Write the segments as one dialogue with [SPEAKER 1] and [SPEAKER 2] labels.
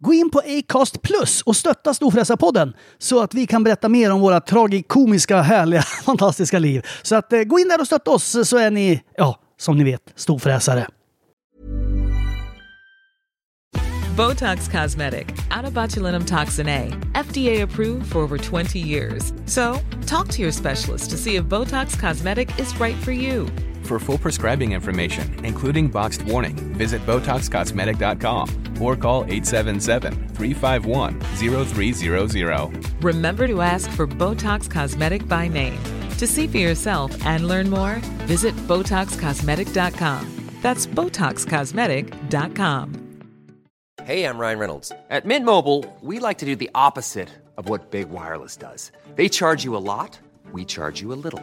[SPEAKER 1] Gå in på Acast Plus och stötta Storfräsarpodden så att vi kan berätta mer om våra tragikomiska, härliga, fantastiska liv. Så att eh, gå in där och stötta oss så är ni, ja, som ni vet, storfräsare.
[SPEAKER 2] Botox Cosmetic, out of botulinum toxin A, FDA approved for over 20 years. So, talk to your specialist to see if Botox Cosmetic is right for you.
[SPEAKER 3] For full prescribing information, including boxed warning, visit BotoxCosmetic.com or call 877-351-0300.
[SPEAKER 2] Remember to ask for Botox Cosmetic by name. To see for yourself and learn more, visit BotoxCosmetic.com. That's BotoxCosmetic.com.
[SPEAKER 4] Hey, I'm Ryan Reynolds. At Mint Mobile, we like to do the opposite of what Big Wireless does. They charge you a lot, we charge you a little.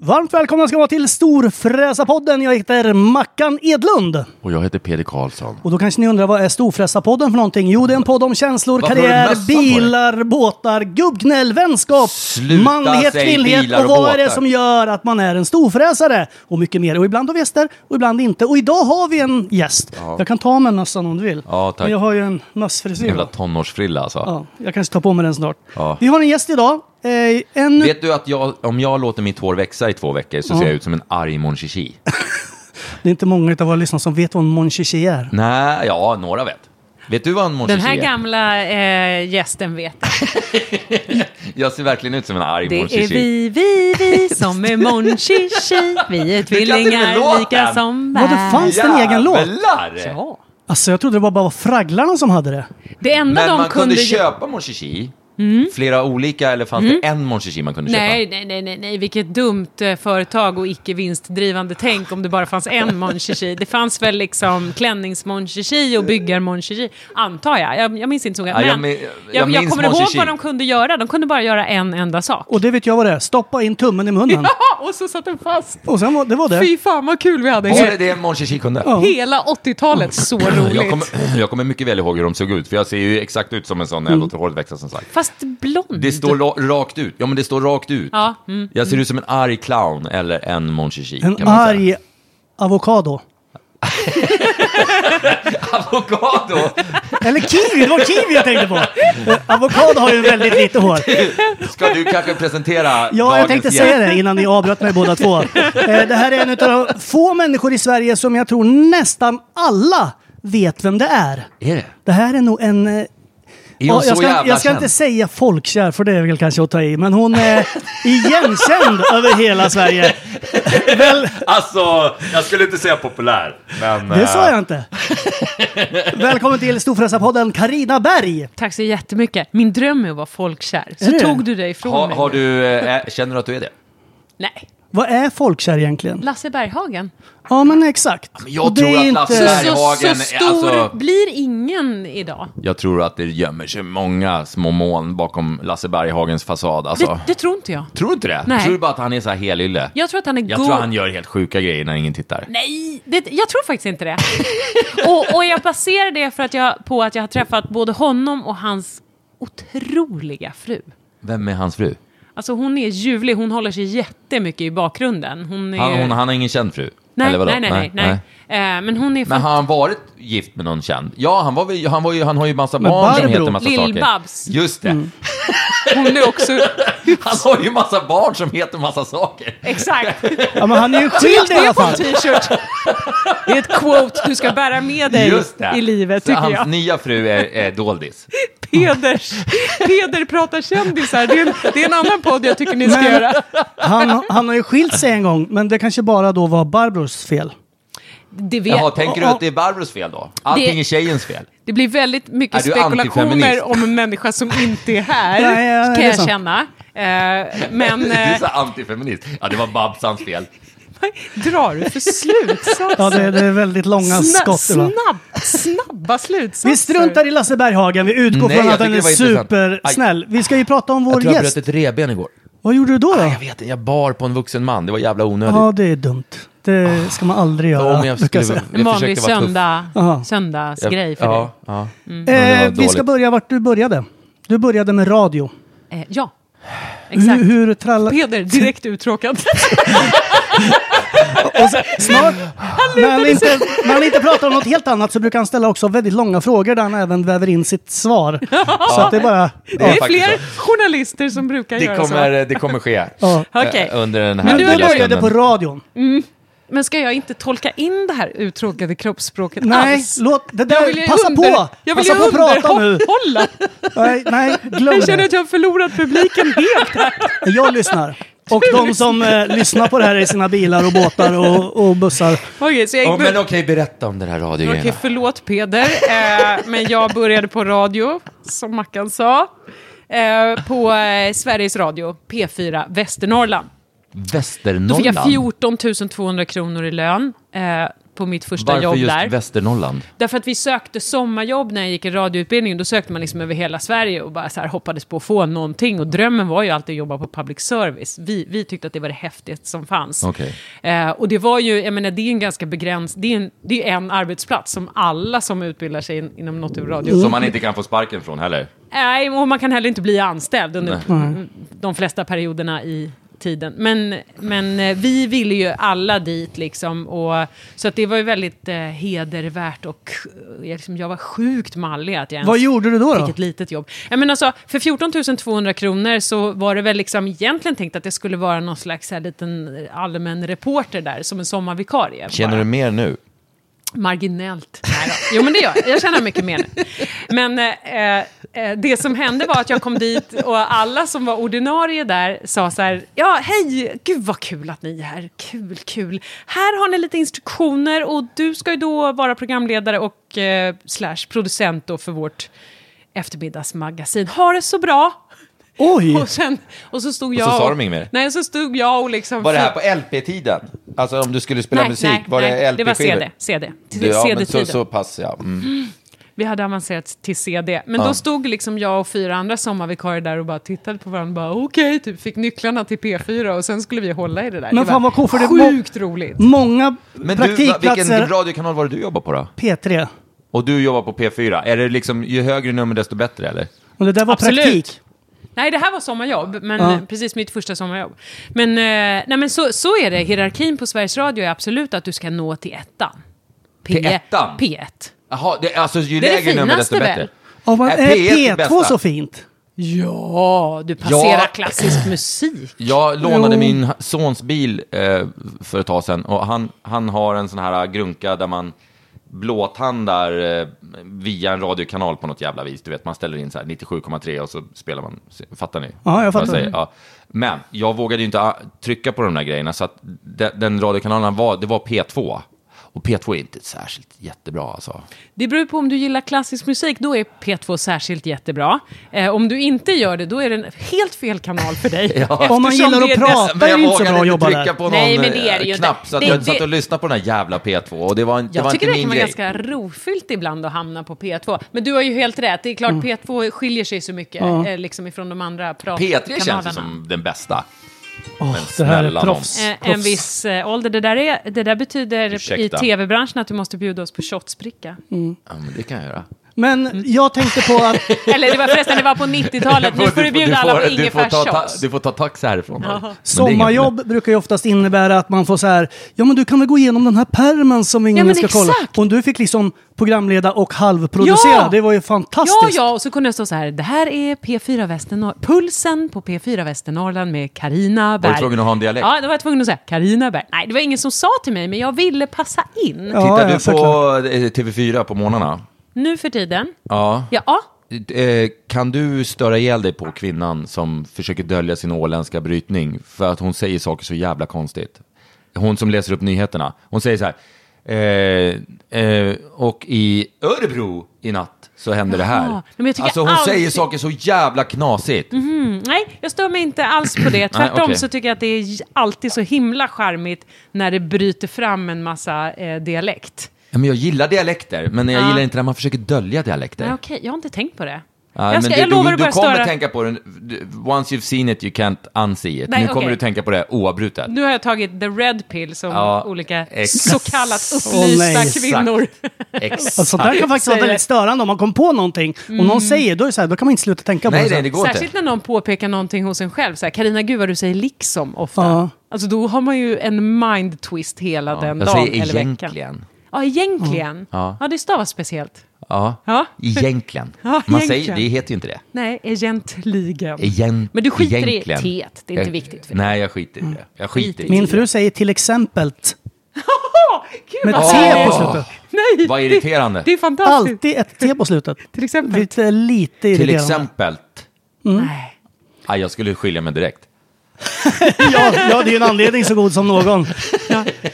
[SPEAKER 1] Varmt välkomna ska vara till Storfräsarpodden. Jag heter Mackan Edlund.
[SPEAKER 5] Och jag heter Peder Karlsson.
[SPEAKER 1] Och då kanske ni undrar, vad är Storfräsarpodden för någonting? Jo, det är en podd om känslor,
[SPEAKER 5] Varför har du mössan
[SPEAKER 1] karriär,
[SPEAKER 5] på dig?
[SPEAKER 1] bilar, båtar, gubbgnäll, vänskap,
[SPEAKER 5] Sluta
[SPEAKER 1] manlighet,
[SPEAKER 5] säg
[SPEAKER 1] kvinnlighet
[SPEAKER 5] bilar
[SPEAKER 1] och
[SPEAKER 5] och
[SPEAKER 1] vad
[SPEAKER 5] båtar.
[SPEAKER 1] är det som gör att man är en storfräsare? Och mycket mer. Och ibland har vi gäster och ibland inte. Och idag har vi en gäst. Jag kan ta med mössan om du vill.
[SPEAKER 5] Ja, tack.
[SPEAKER 1] Men jag har ju en mössfrisyr.
[SPEAKER 5] Jävla
[SPEAKER 1] va?
[SPEAKER 5] tonårsfrilla alltså.
[SPEAKER 1] Ja, jag kanske tar på mig den snart.
[SPEAKER 5] Ja.
[SPEAKER 1] Vi har en gäst idag. Eh, en...
[SPEAKER 5] Vet du att jag, om jag låter mitt hår växa i två veckor så
[SPEAKER 1] Ja.
[SPEAKER 5] ser jag ut som en arg Mon Chichi?
[SPEAKER 1] Det är inte många av våra lyssnare som vet vad en Mon Chichi är.
[SPEAKER 5] Nej, ja, några vet. Vet du vad en Mon
[SPEAKER 6] Den
[SPEAKER 5] Chichi
[SPEAKER 6] här
[SPEAKER 5] är?
[SPEAKER 6] gamla eh, gästen vet.
[SPEAKER 5] Jag ser verkligen ut som en arg
[SPEAKER 6] Det
[SPEAKER 5] Mon
[SPEAKER 6] är
[SPEAKER 5] Chichi.
[SPEAKER 6] vi, vi, vi som är mon Chichi. Vi är
[SPEAKER 5] till och med
[SPEAKER 6] tvillingar lika
[SPEAKER 5] låten.
[SPEAKER 6] som
[SPEAKER 1] Vadå,
[SPEAKER 6] bär.
[SPEAKER 1] fanns det en egen låt?
[SPEAKER 5] Jävlar!
[SPEAKER 6] Ja.
[SPEAKER 1] Alltså jag trodde det var bara fragglarna som hade det.
[SPEAKER 6] Det enda
[SPEAKER 5] Men
[SPEAKER 6] de
[SPEAKER 5] man kunde
[SPEAKER 6] kunde... ju-
[SPEAKER 5] köpa Mon Chichi. Flera olika, eller fanns det en Mon Chichi man kunde
[SPEAKER 6] Mm. Nej,
[SPEAKER 5] köpa?
[SPEAKER 6] nej, nej, nej, nej, vilket dumt eh, företag och icke vinstdrivande tänk om det bara fanns en Mon Chichi. Det fanns väl liksom klännings-Mon Chichi och byggar-Mon Chichi, antar jag. jag. Jag minns inte så noga.
[SPEAKER 5] Ja, jag
[SPEAKER 6] Men
[SPEAKER 5] min-
[SPEAKER 6] jag,
[SPEAKER 5] jag
[SPEAKER 6] jag,
[SPEAKER 5] minns
[SPEAKER 6] kommer
[SPEAKER 5] Mon
[SPEAKER 6] ihåg
[SPEAKER 5] Chichi.
[SPEAKER 6] vad de kunde göra. De kunde bara göra en enda sak.
[SPEAKER 1] Och det vet jag vad det är. Stoppa in tummen i munnen.
[SPEAKER 6] och så satt den fast.
[SPEAKER 1] Och sen var, det var det.
[SPEAKER 6] Fy fan vad kul vi hade.
[SPEAKER 5] Var det det Mon Chichi kunde?
[SPEAKER 6] Hela 80-talet, så
[SPEAKER 5] Jag
[SPEAKER 6] roligt. Mm.
[SPEAKER 5] kommer, jag kommer mycket väl ihåg hur de såg ut, för jag ser ju exakt ut som en sån när jag låter håret växa som sagt.
[SPEAKER 6] Fast blond.
[SPEAKER 5] Det står ra- rakt ut. Ja, men det står rakt ut.
[SPEAKER 6] Ja, mm.
[SPEAKER 5] Jag ser ut som en arg clown eller en Mon Chichi.
[SPEAKER 1] En
[SPEAKER 5] kan man säga.
[SPEAKER 1] arg avokado.
[SPEAKER 5] Avokado!
[SPEAKER 1] Eller kiwi, det var kiwi jag tänkte på. Eh, Avokado har ju väldigt lite hår.
[SPEAKER 5] Ska du kanske presentera
[SPEAKER 1] Ja, jag
[SPEAKER 5] dagens
[SPEAKER 1] tänkte
[SPEAKER 5] gäst?
[SPEAKER 1] säga det innan ni avbröt mig båda två. Eh, Det här är en av de få människor i Sverige som jag tror nästan alla vet vem det är.
[SPEAKER 5] Är det?
[SPEAKER 1] Det här är nog en... eh,
[SPEAKER 5] Är
[SPEAKER 1] ja,
[SPEAKER 5] hon
[SPEAKER 1] jag,
[SPEAKER 5] så
[SPEAKER 1] ska,
[SPEAKER 5] jävla
[SPEAKER 1] jag ska
[SPEAKER 5] känd?
[SPEAKER 1] inte säga folkkär, för det är väl kanske att ta i, men hon är igenkänd över hela Sverige. Väl,
[SPEAKER 5] Alltså, jag skulle inte säga populär, men...
[SPEAKER 1] det sa jag inte. Välkommen till Storfräsarpodden, Karina Berg.
[SPEAKER 6] Tack så jättemycket. Min dröm är att vara folkkär. Så
[SPEAKER 1] Är det?
[SPEAKER 6] tog du dig ifrån
[SPEAKER 5] Har,
[SPEAKER 6] mig.
[SPEAKER 5] har du, eh, känner du att du är det?
[SPEAKER 6] Nej.
[SPEAKER 1] Vad är folkkär egentligen?
[SPEAKER 6] Lasse Berghagen.
[SPEAKER 1] Ja, men exakt.
[SPEAKER 5] jag
[SPEAKER 1] Och det
[SPEAKER 5] tror
[SPEAKER 1] är
[SPEAKER 5] att Lasse
[SPEAKER 6] Så,
[SPEAKER 1] inte-
[SPEAKER 5] Berg-
[SPEAKER 6] så,
[SPEAKER 5] Berghagen är-
[SPEAKER 6] så stor
[SPEAKER 5] alltså-
[SPEAKER 6] blir ingen idag.
[SPEAKER 5] Jag tror att det gömmer sig många små moln bakom Lasse Berghagens fasad. Alltså,
[SPEAKER 6] Det, det tror inte jag.
[SPEAKER 5] Tror du inte det?
[SPEAKER 6] Nej.
[SPEAKER 5] Tror du bara att han är så här helylle?
[SPEAKER 6] Jag tror att han är
[SPEAKER 5] Jag
[SPEAKER 6] god.
[SPEAKER 5] tror han gör helt sjuka grejer när ingen tittar.
[SPEAKER 6] Nej, det, jag tror faktiskt inte det. och, och jag baserar det för att jag, på att jag har träffat både honom och hans otroliga fru.
[SPEAKER 5] Vem är hans fru?
[SPEAKER 6] Alltså hon är ljuvlig, hon håller sig jättemycket i bakgrunden. Hon är...
[SPEAKER 5] Han, hon, han har ingen känd fru?
[SPEAKER 6] nej,
[SPEAKER 5] Eller vadå?
[SPEAKER 6] nej, nej, nej, nej. Eh, men hon är
[SPEAKER 5] Men har han varit gift med någon känd? Ja, han, var, väl- han, var ju, han har ju massa
[SPEAKER 1] Men
[SPEAKER 5] barn som
[SPEAKER 1] Barbro- Mm.
[SPEAKER 5] heter massa saker.
[SPEAKER 6] Lill-Babs.
[SPEAKER 5] Just det.
[SPEAKER 6] Hon är också...
[SPEAKER 5] Han har ju massa barn som heter massa saker.
[SPEAKER 6] Exakt.
[SPEAKER 1] Ja, men han är ju skild i alla
[SPEAKER 6] Det på
[SPEAKER 1] fall.
[SPEAKER 6] en t-shirt. Det är ett quote du ska bära med dig
[SPEAKER 5] Just det.
[SPEAKER 6] i livet,
[SPEAKER 5] Så
[SPEAKER 6] tycker
[SPEAKER 5] hans
[SPEAKER 6] jag.
[SPEAKER 5] nya fru är, är doldis.
[SPEAKER 6] Peders, Peder pratar kändisar. Det är, en, det är en annan podd jag tycker ni ska
[SPEAKER 1] Men-
[SPEAKER 6] göra.
[SPEAKER 1] Han, han har ju skilt sig en gång, men det kanske bara då var Barbros fel.
[SPEAKER 6] Det, vet,
[SPEAKER 5] Jaha, tänker du att det är Barbros fel då? Allting
[SPEAKER 6] Det-
[SPEAKER 5] är tjejens fel?
[SPEAKER 6] det blir väldigt mycket
[SPEAKER 5] Är du antifeminist?
[SPEAKER 6] spekulationer om en människa som inte är här,
[SPEAKER 1] Nej, ja, det
[SPEAKER 6] kan
[SPEAKER 1] är
[SPEAKER 6] jag
[SPEAKER 1] sant.
[SPEAKER 6] känna. Eh, men...
[SPEAKER 5] Du är
[SPEAKER 6] eh,
[SPEAKER 5] så antifeminist. Ja, det var Babsans fel.
[SPEAKER 6] drar du för
[SPEAKER 1] Ja,
[SPEAKER 6] slutsatser?
[SPEAKER 1] det, det är väldigt långa
[SPEAKER 6] Sna-
[SPEAKER 1] skott. ibland.
[SPEAKER 6] snabb, snabba slutsatser.
[SPEAKER 1] Vi struntar i Lasse Berghagen, vi utgår
[SPEAKER 7] Nej,
[SPEAKER 1] från
[SPEAKER 7] jag
[SPEAKER 1] att han
[SPEAKER 7] tycker
[SPEAKER 1] är
[SPEAKER 7] det var intressant.
[SPEAKER 1] supersnäll. Vi ska ju prata om
[SPEAKER 7] Jag
[SPEAKER 1] vår
[SPEAKER 7] tror jag
[SPEAKER 1] gäst.
[SPEAKER 7] bröt ett revben igår.
[SPEAKER 1] Vad gjorde du då? då?
[SPEAKER 7] Jag vet inte, jag bar på en vuxen man. Det var jävla onödigt.
[SPEAKER 1] Ja, det är dumt. Det ska man aldrig göra.
[SPEAKER 7] Om jag
[SPEAKER 1] brukar
[SPEAKER 7] skulle...
[SPEAKER 1] jag säga.
[SPEAKER 6] En
[SPEAKER 7] Jag
[SPEAKER 6] vanlig
[SPEAKER 7] försökte vara tuff.
[SPEAKER 6] söndag,
[SPEAKER 1] Aha.
[SPEAKER 6] söndagsgrej för
[SPEAKER 7] ja, ja.
[SPEAKER 1] Eh,
[SPEAKER 7] var
[SPEAKER 1] vi ska
[SPEAKER 7] dåligt.
[SPEAKER 1] börja vart du började. Du började med radio.
[SPEAKER 6] dig. Eh, ja, exakt.
[SPEAKER 1] Hur, hur trallar...
[SPEAKER 6] Peder, direkt uttråkad.
[SPEAKER 1] Och sen, snart, när han, inte, när han inte pratar om något helt annat så brukar han ställa också väldigt långa frågor där han även väver in sitt svar. Så att det är bara...
[SPEAKER 6] Det är
[SPEAKER 7] faktiskt
[SPEAKER 6] fler journalister som brukar
[SPEAKER 7] Det
[SPEAKER 6] göra så.
[SPEAKER 7] kommer, det kommer ske.
[SPEAKER 1] Ja.
[SPEAKER 7] Eh,
[SPEAKER 6] Okej.
[SPEAKER 7] Under den här
[SPEAKER 1] Men du
[SPEAKER 7] lilla
[SPEAKER 1] började
[SPEAKER 7] stunden.
[SPEAKER 1] på radion.
[SPEAKER 6] Men ska jag inte tolka in det här uttråkade kroppsspråket
[SPEAKER 1] Nej,
[SPEAKER 6] alls?
[SPEAKER 1] låt... Det
[SPEAKER 6] Jag
[SPEAKER 1] där,
[SPEAKER 6] vill ju
[SPEAKER 1] passa
[SPEAKER 6] under,
[SPEAKER 1] på!
[SPEAKER 6] Jag vill
[SPEAKER 1] Passa
[SPEAKER 6] ju
[SPEAKER 1] på att prata nu.
[SPEAKER 6] underhålla.
[SPEAKER 1] Nej, nej glöm
[SPEAKER 6] Jag känner
[SPEAKER 1] det.
[SPEAKER 6] att jag har förlorat publiken helt.
[SPEAKER 1] Jag lyssnar. Och de som eh, lyssnar på det här i sina bilar och båtar och, och bussar.
[SPEAKER 6] Okej, så jag
[SPEAKER 7] Ja,
[SPEAKER 6] gick
[SPEAKER 7] men okej, berätta om den här
[SPEAKER 6] Okej,
[SPEAKER 7] radiogrejen.
[SPEAKER 6] förlåt Peder, eh, men jag började på radio, som Mackan sa. Eh, på eh, Sveriges Radio, P4 Västernorrland. Då fick
[SPEAKER 7] Västernorrland.
[SPEAKER 6] jag 14 200 kronor i lön eh, på mitt första
[SPEAKER 7] Varför
[SPEAKER 6] jobb
[SPEAKER 7] just
[SPEAKER 6] där.
[SPEAKER 7] Västernorrland?
[SPEAKER 6] Därför att vi sökte sommarjobb när jag gick i radioutbildningen. Då sökte man liksom över hela Sverige och bara så här hoppades på att få någonting. Och drömmen var ju alltid att jobba på public service. Vi, vi tyckte att det var det häftigaste som fanns.
[SPEAKER 7] Okej.
[SPEAKER 6] Eh, och det var ju, jag menar det är en ganska begränsad, det är en, det är en arbetsplats som alla som utbildar sig in, inom något av radio.
[SPEAKER 5] Som man inte kan få sparken från heller.
[SPEAKER 6] Nej, och man kan heller inte bli anställd under de flesta perioderna i tiden. Men, men eh, vi ville ju alla dit liksom. Och, så att det var ju väldigt eh, hedervärt och eh, jag, liksom, jag var sjukt mallig att jag ens
[SPEAKER 1] Vad gjorde du då?
[SPEAKER 6] fick
[SPEAKER 1] då?
[SPEAKER 6] ett litet jobb. Jag menar så, för 14 200 kronor så var det väl liksom egentligen tänkt att jag skulle vara någon slags här, liten eh, allmän reporter där som en sommarvikarie.
[SPEAKER 7] Känner du mer nu?
[SPEAKER 6] Marginellt. Nej då. Jo, men det gör jag. Jag känner mycket mer nu. Men eh, eh, det som hände var att jag kom dit och alla som var ordinarie där sa så här, ja, hej, gud vad kul att ni är här, kul, kul. Här har ni lite instruktioner och du ska ju då vara programledare och eh, slash producent då för vårt eftermiddagsmagasin. Ha det så bra!
[SPEAKER 1] Oj!
[SPEAKER 6] Och, sen, och så stod
[SPEAKER 7] så
[SPEAKER 6] jag...
[SPEAKER 7] sa de inget mer?
[SPEAKER 6] Nej, så stod jag och liksom...
[SPEAKER 7] Var det här på LP-tiden? Alltså om du skulle spela
[SPEAKER 6] nej,
[SPEAKER 7] musik,
[SPEAKER 6] nej,
[SPEAKER 7] var
[SPEAKER 6] nej,
[SPEAKER 7] det LP-skivor?
[SPEAKER 6] det var CD. CD.
[SPEAKER 7] Du, ja, men
[SPEAKER 6] CD-tiden.
[SPEAKER 7] så, så pass ja. Mm.
[SPEAKER 6] Vi hade avancerat till CD. Men då stod liksom jag och fyra andra sommarvikarier där och bara tittade på varandra. och bara Okej, typ fick nycklarna till P4 och sen skulle vi hålla i det där.
[SPEAKER 1] Men
[SPEAKER 6] det
[SPEAKER 1] fan
[SPEAKER 6] var
[SPEAKER 1] vad coolt, för det var-
[SPEAKER 6] sjukt roligt.
[SPEAKER 1] Många
[SPEAKER 7] Men du, va- vilken
[SPEAKER 1] praktikplatser.
[SPEAKER 7] radiokanal var det du jobbade på då?
[SPEAKER 1] P3.
[SPEAKER 5] Och du jobbar på P4. Är det liksom, ju högre nummer desto bättre eller?
[SPEAKER 1] Och det där var
[SPEAKER 6] Absolut.
[SPEAKER 1] praktik.
[SPEAKER 6] Nej, det här var sommarjobb. Men
[SPEAKER 1] Ja.
[SPEAKER 6] eh, Precis mitt första sommarjobb. Men, eh, nej, men så, så är det. Hierarkin på Sveriges Radio är absolut att du ska nå till ettan. P-
[SPEAKER 7] Till ettan?
[SPEAKER 6] P1.
[SPEAKER 7] Jaha, det, alltså ju
[SPEAKER 6] Det är det
[SPEAKER 7] lägre nummer desto
[SPEAKER 6] finaste väl?
[SPEAKER 7] bättre?
[SPEAKER 1] Ja, men,
[SPEAKER 7] Är
[SPEAKER 1] är
[SPEAKER 7] P1 det
[SPEAKER 1] P2
[SPEAKER 7] bästa?
[SPEAKER 1] så fint?
[SPEAKER 6] Ja, du passerar
[SPEAKER 7] Ja.
[SPEAKER 6] klassisk musik.
[SPEAKER 5] Jag lånade
[SPEAKER 1] Jo.
[SPEAKER 5] min sons bil eh, för ett tag sedan och han, han har en sån här grunka där man blåtandar eh, via en radiokanal på något jävla vis. Du vet, man ställer in så här 97,3 och så spelar man. Fattar ni?
[SPEAKER 1] Ja, jag
[SPEAKER 5] vad
[SPEAKER 1] fattar.
[SPEAKER 5] säger? Ja. Men jag vågade ju inte ah, trycka på de där grejerna så att de, den radiokanalen han var, det var P2. Och P2 är inte särskilt jättebra alltså.
[SPEAKER 6] Det beror på om du gillar klassisk musik, då är P2 särskilt jättebra. Eh, om du inte gör det, då är den helt fel kanal för dig. Eftersom
[SPEAKER 1] Om man gillar
[SPEAKER 6] det är
[SPEAKER 1] att
[SPEAKER 6] dess-
[SPEAKER 1] prata är det inte så bra att jobba
[SPEAKER 5] trycka
[SPEAKER 1] där.
[SPEAKER 5] på någon
[SPEAKER 6] Nej, men det är det ju
[SPEAKER 5] eh,
[SPEAKER 6] inte.
[SPEAKER 5] knapp så att
[SPEAKER 6] Det-
[SPEAKER 5] jag
[SPEAKER 6] det-
[SPEAKER 5] satt och lyssnade på den där jävla P2 och det var, det
[SPEAKER 6] Jag
[SPEAKER 5] var
[SPEAKER 6] tycker
[SPEAKER 5] inte
[SPEAKER 6] det kan
[SPEAKER 5] min
[SPEAKER 6] vara
[SPEAKER 5] grej.
[SPEAKER 6] ganska rofyllt ibland att hamna på P2. Men du har ju helt rätt, det är klart
[SPEAKER 1] Mm.
[SPEAKER 6] P2 skiljer sig så mycket eh, liksom ifrån de andra pratkanalerna.
[SPEAKER 5] P3 känns ju som den bästa.
[SPEAKER 1] Åh, det här
[SPEAKER 5] snälla
[SPEAKER 1] är proffs.
[SPEAKER 6] Eh, En
[SPEAKER 1] proffs.
[SPEAKER 6] viss eh, ålder. Det där, är, det där betyder
[SPEAKER 5] Ursäkta.
[SPEAKER 6] i tv-branschen att du måste bjuda oss på shotsbricka.
[SPEAKER 1] Mm.
[SPEAKER 5] Ja, men det kan jag göra.
[SPEAKER 1] Men jag tänkte på att
[SPEAKER 6] Eller det var förresten, det var på 90-talet. Nu får du bjuda alla på ingefärs
[SPEAKER 5] ta, ta,
[SPEAKER 6] shots.
[SPEAKER 5] du får ta taxi härifrån. Men det är inga
[SPEAKER 1] sommarjobb brukar ju oftast innebära att man får så här, ja men du kan väl gå igenom den här pärmen som ingen
[SPEAKER 6] men
[SPEAKER 1] ska kolla.
[SPEAKER 6] exakt.
[SPEAKER 1] Och du fick liksom programleda och halvproducera,
[SPEAKER 6] Ja!
[SPEAKER 1] det var ju
[SPEAKER 6] Ja,
[SPEAKER 1] fantastiskt.
[SPEAKER 6] ja, och så kunde jag stå så här. Det här är P4 Västernor- Pulsen på P4 Västernorrland med Karina Berg.
[SPEAKER 5] tvungen att ha en dialekt?
[SPEAKER 6] Ja, då var jag tvungen att säga Karina Berg. Nej, det var ingen som sa till mig, men jag ville passa in.
[SPEAKER 1] Ja,
[SPEAKER 5] problem. Tittar
[SPEAKER 1] ja,
[SPEAKER 5] du på
[SPEAKER 1] såklart.
[SPEAKER 5] eh, TV4 på morgnarna?
[SPEAKER 6] Nu för tiden.
[SPEAKER 5] Ja.
[SPEAKER 6] Ja,
[SPEAKER 5] Eh, Kan du störa ihjäl dig på kvinnan som försöker dölja sin åländska brytning för att hon säger saker så jävla konstigt? Hon som läser upp nyheterna. Hon säger så här. Eh, eh, och i Örebro i natt så hände det
[SPEAKER 6] Jaha.
[SPEAKER 5] här.
[SPEAKER 6] Nej, men jag tycker
[SPEAKER 5] alltså hon
[SPEAKER 6] alltid-
[SPEAKER 5] säger saker så jävla knasigt.
[SPEAKER 6] Mm, nej, jag stör mig inte alls på det. Tvärtom
[SPEAKER 5] okej.
[SPEAKER 6] så tycker jag att det är j- alltid så himla charmigt när det bryter fram en massa eh, dialekt.
[SPEAKER 5] Ja, Men jag gillar dialekter, men jag
[SPEAKER 6] Ja.
[SPEAKER 5] gillar inte när man försöker dölja dialekter.
[SPEAKER 6] Nej, okej, jag har inte tänkt på det.
[SPEAKER 5] Ja,
[SPEAKER 6] jag,
[SPEAKER 5] men
[SPEAKER 6] ska,
[SPEAKER 5] det-
[SPEAKER 6] jag lovar att
[SPEAKER 5] du, du
[SPEAKER 6] börja
[SPEAKER 5] kommer
[SPEAKER 6] störa.
[SPEAKER 5] tänka på den, once you've seen it you can't unsee it.
[SPEAKER 6] Nej,
[SPEAKER 5] nu kommer
[SPEAKER 6] okej.
[SPEAKER 5] du tänka på det oavbrutet.
[SPEAKER 6] Nu har jag tagit the red pill som
[SPEAKER 5] Ja,
[SPEAKER 6] olika
[SPEAKER 5] ex-
[SPEAKER 6] så kallat
[SPEAKER 1] Åh,
[SPEAKER 6] upplysta
[SPEAKER 1] nej.
[SPEAKER 6] kvinnor.
[SPEAKER 5] Exakt.
[SPEAKER 1] Och sånt där Alltså, kan faktiskt vara
[SPEAKER 6] Säger- Mm.
[SPEAKER 1] väldigt störande om man kom på någonting. Om någon säger, då är det så här, då kan man inte sluta tänka på
[SPEAKER 5] Nej,
[SPEAKER 1] det.
[SPEAKER 5] nej, det går
[SPEAKER 6] Särskilt
[SPEAKER 5] inte.
[SPEAKER 6] när någon påpekar någonting hos en själv. Så här, Carina, gud vad du säger liksom ofta.
[SPEAKER 1] Ja.
[SPEAKER 6] Alltså då har man ju en mind twist hela den
[SPEAKER 5] Jag
[SPEAKER 6] dagen
[SPEAKER 5] säger
[SPEAKER 6] eller veckan.
[SPEAKER 5] egentligen.
[SPEAKER 6] Ja, egentligen.
[SPEAKER 5] Ja.
[SPEAKER 6] Ja. det stavas speciellt.
[SPEAKER 5] Ja.
[SPEAKER 6] Ja.
[SPEAKER 5] Egentligen.
[SPEAKER 6] Ja,
[SPEAKER 5] Man säger,
[SPEAKER 6] egentligen.
[SPEAKER 5] det heter ju inte det.
[SPEAKER 6] Nej, egentligen.
[SPEAKER 5] Egent,
[SPEAKER 6] Men du skiter
[SPEAKER 5] egentligen.
[SPEAKER 6] i teet, det är inte
[SPEAKER 5] Jag-
[SPEAKER 6] viktigt för dig. Mm.
[SPEAKER 5] Nej, jag skiter i det. Jag skiter i
[SPEAKER 1] Min
[SPEAKER 5] det.
[SPEAKER 1] fru säger till exempel,
[SPEAKER 6] Åh, gud,
[SPEAKER 1] med
[SPEAKER 6] vad
[SPEAKER 1] T på
[SPEAKER 6] härligt.
[SPEAKER 1] slutet.
[SPEAKER 6] Nej,
[SPEAKER 5] Vad
[SPEAKER 6] det-
[SPEAKER 5] irriterande.
[SPEAKER 6] Det, är fantastiskt.
[SPEAKER 1] Alltid ett T på slutet.
[SPEAKER 6] Till exempel.
[SPEAKER 1] Det är lite
[SPEAKER 5] Till
[SPEAKER 1] irriterande.
[SPEAKER 5] exempel.
[SPEAKER 1] Mm.
[SPEAKER 6] Nej.
[SPEAKER 5] Nej, jag skulle skilja mig direkt.
[SPEAKER 1] Ja, ja, det är ju en anledning så god som någon.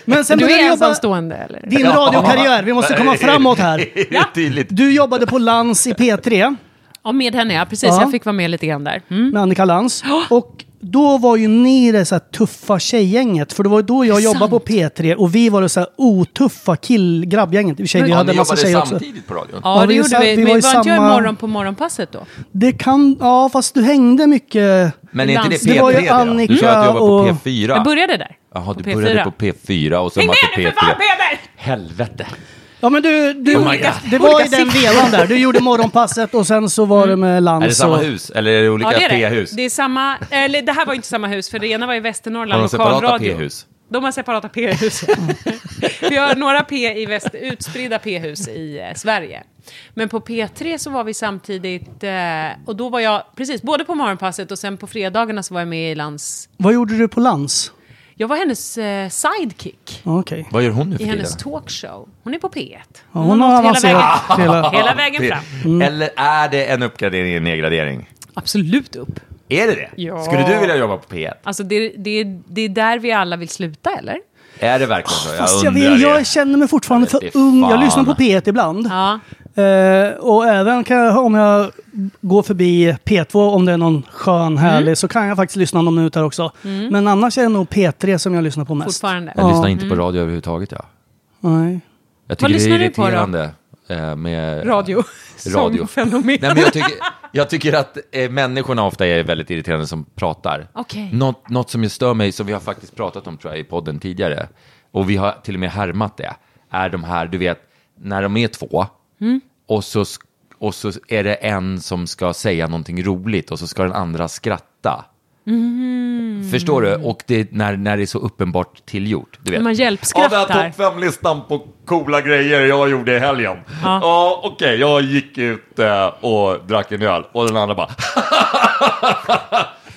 [SPEAKER 1] Men sen
[SPEAKER 6] Du
[SPEAKER 1] började
[SPEAKER 6] är
[SPEAKER 1] du jobba...
[SPEAKER 6] ensamstående eller?
[SPEAKER 1] Din radiokarriär, vi måste komma framåt här.
[SPEAKER 5] Ja. Tydligt.
[SPEAKER 1] Du jobbade på Lans i P3
[SPEAKER 6] Ja, med henne ja. Precis,
[SPEAKER 1] Ja.
[SPEAKER 6] jag fick vara med lite grann där. Mm.
[SPEAKER 1] med Annika Lantz. Och då var ju ni det så här tuffa tjejgänget. För det var ju då jag jobbade på P3 och vi var det så här otuffa killgrabbgänget. I och för sig, vi
[SPEAKER 5] Ja,
[SPEAKER 1] hade
[SPEAKER 5] ni
[SPEAKER 1] en massa
[SPEAKER 5] jobbade
[SPEAKER 1] tjejer också.
[SPEAKER 5] samtidigt på radion.
[SPEAKER 6] Ja,
[SPEAKER 1] Ja,
[SPEAKER 6] det
[SPEAKER 1] vi
[SPEAKER 6] gjorde
[SPEAKER 1] sa-
[SPEAKER 6] vi.
[SPEAKER 1] vi
[SPEAKER 6] Men
[SPEAKER 1] var i
[SPEAKER 6] var inte jag
[SPEAKER 1] samma-
[SPEAKER 6] imorgon på morgonpasset då?
[SPEAKER 1] Det kan... Ja, fast du hängde mycket...
[SPEAKER 5] Men är inte det
[SPEAKER 6] Dans.
[SPEAKER 5] P3
[SPEAKER 1] Det var ju
[SPEAKER 5] det då?
[SPEAKER 1] Annika
[SPEAKER 5] Du sa att du
[SPEAKER 1] och-
[SPEAKER 5] jobbade på P4.
[SPEAKER 6] Jag började där.
[SPEAKER 5] Jaha, du
[SPEAKER 6] På P4.
[SPEAKER 5] började på P4 och sen
[SPEAKER 6] Häng
[SPEAKER 5] var
[SPEAKER 6] med
[SPEAKER 5] det
[SPEAKER 6] nu
[SPEAKER 5] P3.
[SPEAKER 6] för fan Peder!
[SPEAKER 5] Helvete.
[SPEAKER 1] Ja, men du... du
[SPEAKER 5] Oh my God.
[SPEAKER 1] det var i den vevan där. Du gjorde morgonpasset och sen så var det
[SPEAKER 6] Mm.
[SPEAKER 1] med Lantz.
[SPEAKER 5] Är det samma
[SPEAKER 1] och-
[SPEAKER 5] hus eller är det olika
[SPEAKER 6] Alltså- Ja, det är
[SPEAKER 5] P-hus?
[SPEAKER 6] det. Det, är samma, eller, det här var ju inte samma hus, för det ena var i Västernorrland,
[SPEAKER 5] Har de separata
[SPEAKER 6] lokalradio.
[SPEAKER 5] P-hus?
[SPEAKER 6] De har separata P-hus. Vi har några P i väst, utspridda P-hus i eh, Sverige. Men på P3 så var vi samtidigt, eh, och då var jag, precis, både på morgonpasset och sen på fredagarna så var jag med i lands...
[SPEAKER 1] Vad gjorde du på Lans?
[SPEAKER 6] Jag var hennes eh, sidekick
[SPEAKER 1] Ja, Okej.
[SPEAKER 5] Vad gör hon nu för
[SPEAKER 6] i hennes
[SPEAKER 5] tiden?
[SPEAKER 6] talkshow. Hon är på P1.
[SPEAKER 1] Ja, hon har
[SPEAKER 6] nått hela vägen,
[SPEAKER 1] avancerat hela...
[SPEAKER 6] hela vägen fram.
[SPEAKER 5] Mm.
[SPEAKER 6] Mm.
[SPEAKER 5] Eller är det en uppgradering, en nedgradering?
[SPEAKER 6] Absolut upp.
[SPEAKER 5] Är det det?
[SPEAKER 6] Ja.
[SPEAKER 5] Skulle du vilja jobba på P1?
[SPEAKER 6] Alltså det, det, det är där vi alla vill sluta, eller?
[SPEAKER 5] Är det verkligen så?
[SPEAKER 1] Fast
[SPEAKER 5] Jag
[SPEAKER 1] jag,
[SPEAKER 5] undrar
[SPEAKER 1] vill, jag
[SPEAKER 5] det.
[SPEAKER 1] känner mig fortfarande
[SPEAKER 5] Jag vet
[SPEAKER 1] för
[SPEAKER 5] inte
[SPEAKER 1] ung.
[SPEAKER 5] fan.
[SPEAKER 1] Jag lyssnar på P1 ibland.
[SPEAKER 6] Ja.
[SPEAKER 1] Eh, och även kan jag, om jag går förbi P2, om det är någon skön, härlig,
[SPEAKER 6] Mm.
[SPEAKER 1] så kan jag faktiskt lyssna någon minut där också. Men annars är det nog P3 som jag lyssnar på mest.
[SPEAKER 6] Fortfarande.
[SPEAKER 5] Jag lyssnar inte på radio överhuvudtaget. Ja.
[SPEAKER 1] Nej.
[SPEAKER 5] Jag tycker det
[SPEAKER 6] Mm. lyssnar
[SPEAKER 5] är
[SPEAKER 6] du på då?
[SPEAKER 5] irriterande eh, med
[SPEAKER 6] Radio.
[SPEAKER 5] radio.
[SPEAKER 6] Sångfenomen.
[SPEAKER 5] Nej, men jag, tycker, jag tycker att eh, människorna ofta är väldigt irriterande som pratar.
[SPEAKER 6] Okej.
[SPEAKER 5] Något, något som ju stör mig, som vi har faktiskt pratat om tror jag, i podden tidigare, och vi har till och med härmat det, är de här, du vet, när de är två, och, så, sk- och så är det en som ska säga någonting roligt och så ska den andra skratta. Förstår du? Och det, när, när det är så uppenbart tillgjort. Du vet.
[SPEAKER 6] Man hjälpskrattar.
[SPEAKER 5] Ja, det här topp fem-listan på coola grejer jag gjorde i helgen. Ja, okej, jag gick ut eh, och drack en öl och den andra bara...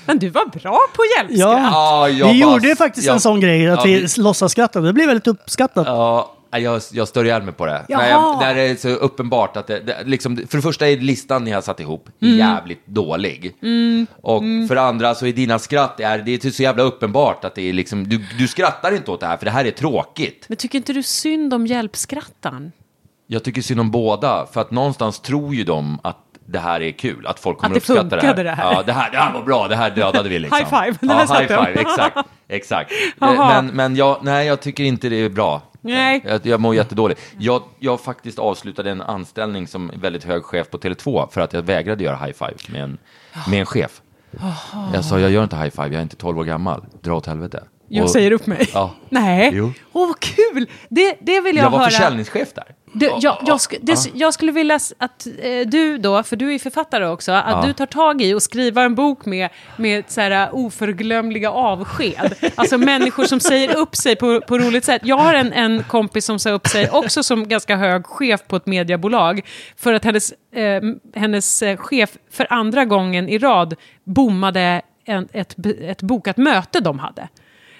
[SPEAKER 6] Men du var bra på hjälpskratt.
[SPEAKER 1] Ja.
[SPEAKER 5] Ah, jag
[SPEAKER 1] vi
[SPEAKER 5] bara-
[SPEAKER 1] gjorde ju faktiskt
[SPEAKER 5] jag-
[SPEAKER 1] en sån grej, att
[SPEAKER 5] Ja,
[SPEAKER 1] vi
[SPEAKER 5] vi-
[SPEAKER 1] låtsaskrattade. Det blev väldigt uppskattat.
[SPEAKER 5] Ja, nej, jag, jag stör ihjäl mig på det.
[SPEAKER 6] Jaha.
[SPEAKER 5] När, jag, när det är så uppenbart att det, det liksom, för det första är listan ni har satt ihop jävligt dålig. Och för det andra så är dina skratt, det är, det är typ så jävla uppenbart att det är liksom, du, du skrattar inte åt det här för det här är tråkigt.
[SPEAKER 6] Men tycker inte du synd om hjälpskrattan?
[SPEAKER 5] Jag tycker synd om båda, för att någonstans tror ju de att det här är kul, att folk kommer
[SPEAKER 6] Att det
[SPEAKER 5] uppskatta det här.
[SPEAKER 6] funkade det här.
[SPEAKER 5] Ja, det här. Det här var bra, det här dödade vi liksom.
[SPEAKER 6] High five, det
[SPEAKER 5] ja,
[SPEAKER 6] där satt
[SPEAKER 5] high
[SPEAKER 6] jag.
[SPEAKER 5] five, exakt. exakt.
[SPEAKER 6] Jaha.
[SPEAKER 5] men men jag, nej, jag tycker inte det är bra.
[SPEAKER 6] Nej.
[SPEAKER 5] Jag, jag mår jättedåligt. Jag, jag faktiskt avslutade en anställning som väldigt hög chef på Tele2 för att jag vägrade göra high five med en, med en chef. Jag sa, jag gör inte high five, jag är inte 12 år gammal. Dra åt helvete.
[SPEAKER 6] Jag
[SPEAKER 5] Och-
[SPEAKER 6] säger upp mig.
[SPEAKER 5] Ja.
[SPEAKER 6] Nej.
[SPEAKER 5] Jo.
[SPEAKER 6] Åh, vad kul! Det, det vill jag,
[SPEAKER 5] Jag var
[SPEAKER 6] höra.
[SPEAKER 5] försäljningschef där.
[SPEAKER 6] Du, jag, jag, sk- det, jag skulle vilja s- att eh, du då, för du är ju författare också, att du tar tag i och skriver en bok med, med så här, eh, oförglömliga avsked. Alltså människor som säger upp sig på, på roligt sätt. Jag har en, en kompis som sa upp sig också som ganska hög chef på ett mediebolag för att hennes, eh, m- hennes eh, chef för andra gången i rad bommade en, ett, b- ett bokat möte de hade.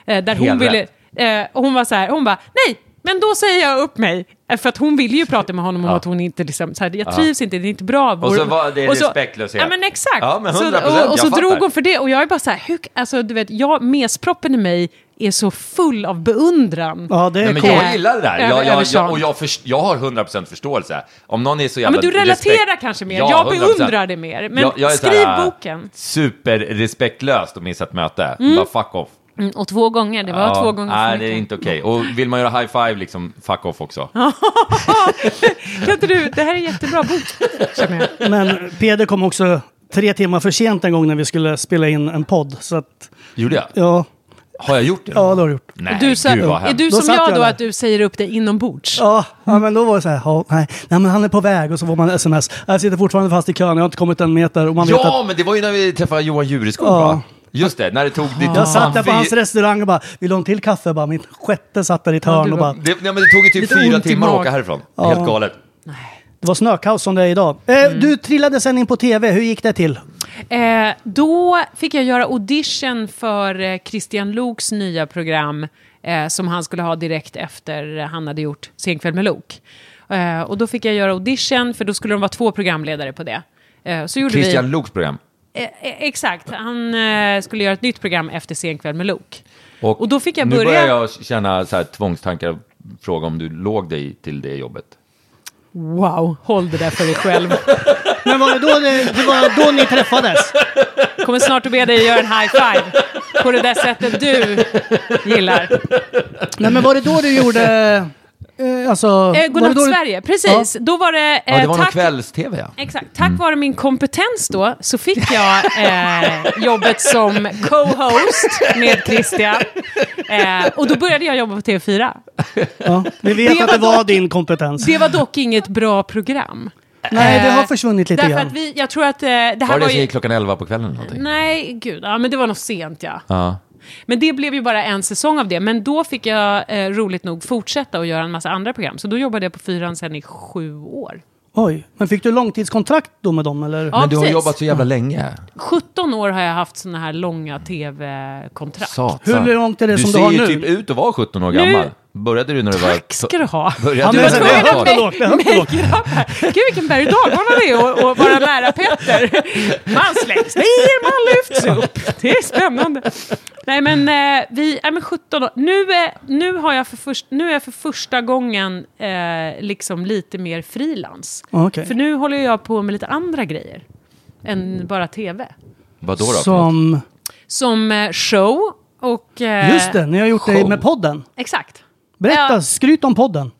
[SPEAKER 6] Eh, där hon
[SPEAKER 5] Helt
[SPEAKER 6] ville...
[SPEAKER 5] rätt.
[SPEAKER 6] Eh, och hon var så här, hon bara, nej, men då säger jag upp mig. Eh, För att hon ville ju prata med honom om att hon inte, liksom, så här, jag trivs inte, det är inte bra.
[SPEAKER 5] Och så
[SPEAKER 6] Vår-
[SPEAKER 5] var det
[SPEAKER 6] och så-
[SPEAKER 5] respektlöshet.
[SPEAKER 6] Ja men exakt.
[SPEAKER 5] Ja, men
[SPEAKER 6] så,
[SPEAKER 5] 100%,
[SPEAKER 6] och, och så
[SPEAKER 5] jag fattar.
[SPEAKER 6] drog hon för det och jag är bara så här, hur, alltså du vet, jag, mesproppen i mig är så full av beundran.
[SPEAKER 1] Ja, det är
[SPEAKER 5] Nej,
[SPEAKER 1] coolt.
[SPEAKER 5] men jag
[SPEAKER 6] Cool.
[SPEAKER 5] gillar det där.
[SPEAKER 6] Över-
[SPEAKER 5] Jag, jag,
[SPEAKER 6] översamt.
[SPEAKER 5] jag, och jag, först, jag har 100% förståelse. Om någon är så jävla...
[SPEAKER 6] men du relaterar
[SPEAKER 5] respekt-
[SPEAKER 6] kanske mer.
[SPEAKER 5] Ja,
[SPEAKER 6] Jag
[SPEAKER 5] 100%.
[SPEAKER 6] beundrar det mer. Men
[SPEAKER 5] är
[SPEAKER 6] skriv
[SPEAKER 5] såhär,
[SPEAKER 6] boken.
[SPEAKER 5] Superrespektlöst att missa ett möte. Bara fuck off.
[SPEAKER 6] Mm, och två gånger, det var
[SPEAKER 5] Ja,
[SPEAKER 6] två gånger
[SPEAKER 5] Nej,
[SPEAKER 6] för
[SPEAKER 5] det är
[SPEAKER 6] mycket.
[SPEAKER 5] inte okej. Och vill man göra high five, liksom fuck off också.
[SPEAKER 6] Kan inte du, det här är en jättebra bok, känner jag.
[SPEAKER 1] Men Peder kom också tre timmar för sent en gång när vi skulle spela in en podd. Så att,
[SPEAKER 5] Gjorde jag?
[SPEAKER 1] ja,
[SPEAKER 5] Har jag gjort det?
[SPEAKER 1] ja det har du gjort.
[SPEAKER 5] Nej,
[SPEAKER 6] Du sa,
[SPEAKER 5] gud vad
[SPEAKER 6] är
[SPEAKER 5] hemskt.
[SPEAKER 6] du
[SPEAKER 1] Då
[SPEAKER 6] som
[SPEAKER 1] satt
[SPEAKER 6] jag
[SPEAKER 1] jag
[SPEAKER 6] då,
[SPEAKER 1] där.
[SPEAKER 6] att du säger upp dig inombords?
[SPEAKER 1] Ja, ja, men då var det så här, ja, nej, nej, men han är på väg och så får man sms. Jag sitter fortfarande fast i kön, jag har inte kommit en meter. Och man vet
[SPEAKER 5] Ja,
[SPEAKER 1] att,
[SPEAKER 5] men det var ju när vi träffade Johan Jureskog,
[SPEAKER 1] Ja.
[SPEAKER 5] va? Just det, när det tog... Det
[SPEAKER 1] jag satt
[SPEAKER 5] fan
[SPEAKER 1] där på
[SPEAKER 5] fy-
[SPEAKER 1] hans restaurang och bara, vill du ha en till kaffe? Jag Bara, min sjätte satt där i ett hörn och bara,
[SPEAKER 5] Det, nej, men det tog ju typ
[SPEAKER 6] Lite
[SPEAKER 5] fyra
[SPEAKER 6] ont i
[SPEAKER 5] timmar att åka
[SPEAKER 6] magen.
[SPEAKER 5] härifrån. Helt galet.
[SPEAKER 1] det var snökaos som det är idag. Eh,
[SPEAKER 5] Mm.
[SPEAKER 1] Du trillade sen in på tv, hur gick det till?
[SPEAKER 6] Eh, då fick jag göra audition för eh, Christian Loks nya program eh, som han skulle ha direkt efter eh, han hade gjort Senkväll med Lok. Eh, och då fick jag göra audition, för då skulle de vara två programledare på det. Eh, så gjorde
[SPEAKER 5] Christian
[SPEAKER 6] vi...
[SPEAKER 5] Loks program.
[SPEAKER 6] Eh, eh, exakt, han eh, skulle göra ett nytt program efter Senkväll med Lok.
[SPEAKER 5] Och,
[SPEAKER 6] Och då fick jag
[SPEAKER 5] nu
[SPEAKER 6] börja-
[SPEAKER 5] börjar jag känna så här, tvångstankar och fråga om du låg dig till det
[SPEAKER 6] Eh,
[SPEAKER 5] jobbet.
[SPEAKER 6] Wow, håll det där för dig själv.
[SPEAKER 1] Men var det då, det, det var då ni träffades?
[SPEAKER 6] kommer snart att be dig göra en high five på det där sättet du gillar. Eh,
[SPEAKER 1] Nej, men var det då du gjorde... Eh, alltså,
[SPEAKER 6] Eh,
[SPEAKER 1] var det
[SPEAKER 6] Godnatt
[SPEAKER 1] då du-
[SPEAKER 6] Sverige, precis. Då var det... Eh,
[SPEAKER 5] Ja, det var någon
[SPEAKER 6] tack,
[SPEAKER 5] kvälls-tv, ja.
[SPEAKER 6] Exakt. Tack vare min kompetens då så fick jag eh, jobbet som co-host med Christian. Eh, och då började jag jobba på TV4.
[SPEAKER 1] Ja, vi vet
[SPEAKER 6] Det
[SPEAKER 1] att det
[SPEAKER 6] var
[SPEAKER 1] var
[SPEAKER 6] dock-
[SPEAKER 1] din kompetens.
[SPEAKER 6] Det var dock inget bra program.
[SPEAKER 1] Nej, det har
[SPEAKER 6] Eh,
[SPEAKER 1] försvunnit lite
[SPEAKER 6] Därför att
[SPEAKER 1] grann.
[SPEAKER 6] vi, jag tror att eh, det här
[SPEAKER 5] Var
[SPEAKER 6] var,
[SPEAKER 5] det det som
[SPEAKER 6] ju...
[SPEAKER 5] gick klockan 11 på kvällen eller någonting?
[SPEAKER 6] Nej, gud. Ja, men det var nog sent ja.
[SPEAKER 5] Ja.
[SPEAKER 6] Men det blev ju bara en säsong av det. Men då fick jag eh, roligt nog fortsätta och göra en massa andra program. Så då jobbade jag på Fyran sen i sju år.
[SPEAKER 1] Oj, men fick du långtidskontrakt då med dem eller?
[SPEAKER 6] Ja,
[SPEAKER 5] Men du har
[SPEAKER 6] precis. Mm.
[SPEAKER 5] jobbat så jävla länge.
[SPEAKER 6] 17 år har jag haft sådana här långa tv-kontrakt.
[SPEAKER 5] Satan.
[SPEAKER 1] Hur långt är det
[SPEAKER 5] du
[SPEAKER 1] som du
[SPEAKER 5] ser
[SPEAKER 1] har
[SPEAKER 5] ju
[SPEAKER 1] nu?
[SPEAKER 5] typ ut att vara 17 år
[SPEAKER 6] Nu-
[SPEAKER 5] gammal. Började du när du var...
[SPEAKER 6] Tack ska du ha.
[SPEAKER 5] Började
[SPEAKER 1] men
[SPEAKER 5] du
[SPEAKER 1] så-
[SPEAKER 5] när
[SPEAKER 1] det
[SPEAKER 5] du
[SPEAKER 1] är
[SPEAKER 5] var
[SPEAKER 1] högt och
[SPEAKER 5] tolv?
[SPEAKER 1] lågt, det är högt och lågt.
[SPEAKER 6] Gud vilken berg och dalbana det är att vara nära Petter. Man slängs ner, man lyfts upp. Det är spännande. Nej men eh, vi, nej men 17 år. Nu, eh, nu, har jag för först, nu är jag för första gången eh, liksom lite mer frilans.
[SPEAKER 1] Ja, Ah, okej.
[SPEAKER 6] För nu håller jag på med lite andra grejer än bara tv.
[SPEAKER 5] Vadå då? Som...
[SPEAKER 1] Som...
[SPEAKER 6] Som eh, show och... eh,
[SPEAKER 1] Just det, ni har gjort det
[SPEAKER 5] show.
[SPEAKER 1] med podden.
[SPEAKER 6] Exakt.
[SPEAKER 1] Berätta,
[SPEAKER 6] Ja.
[SPEAKER 1] skryt om podden.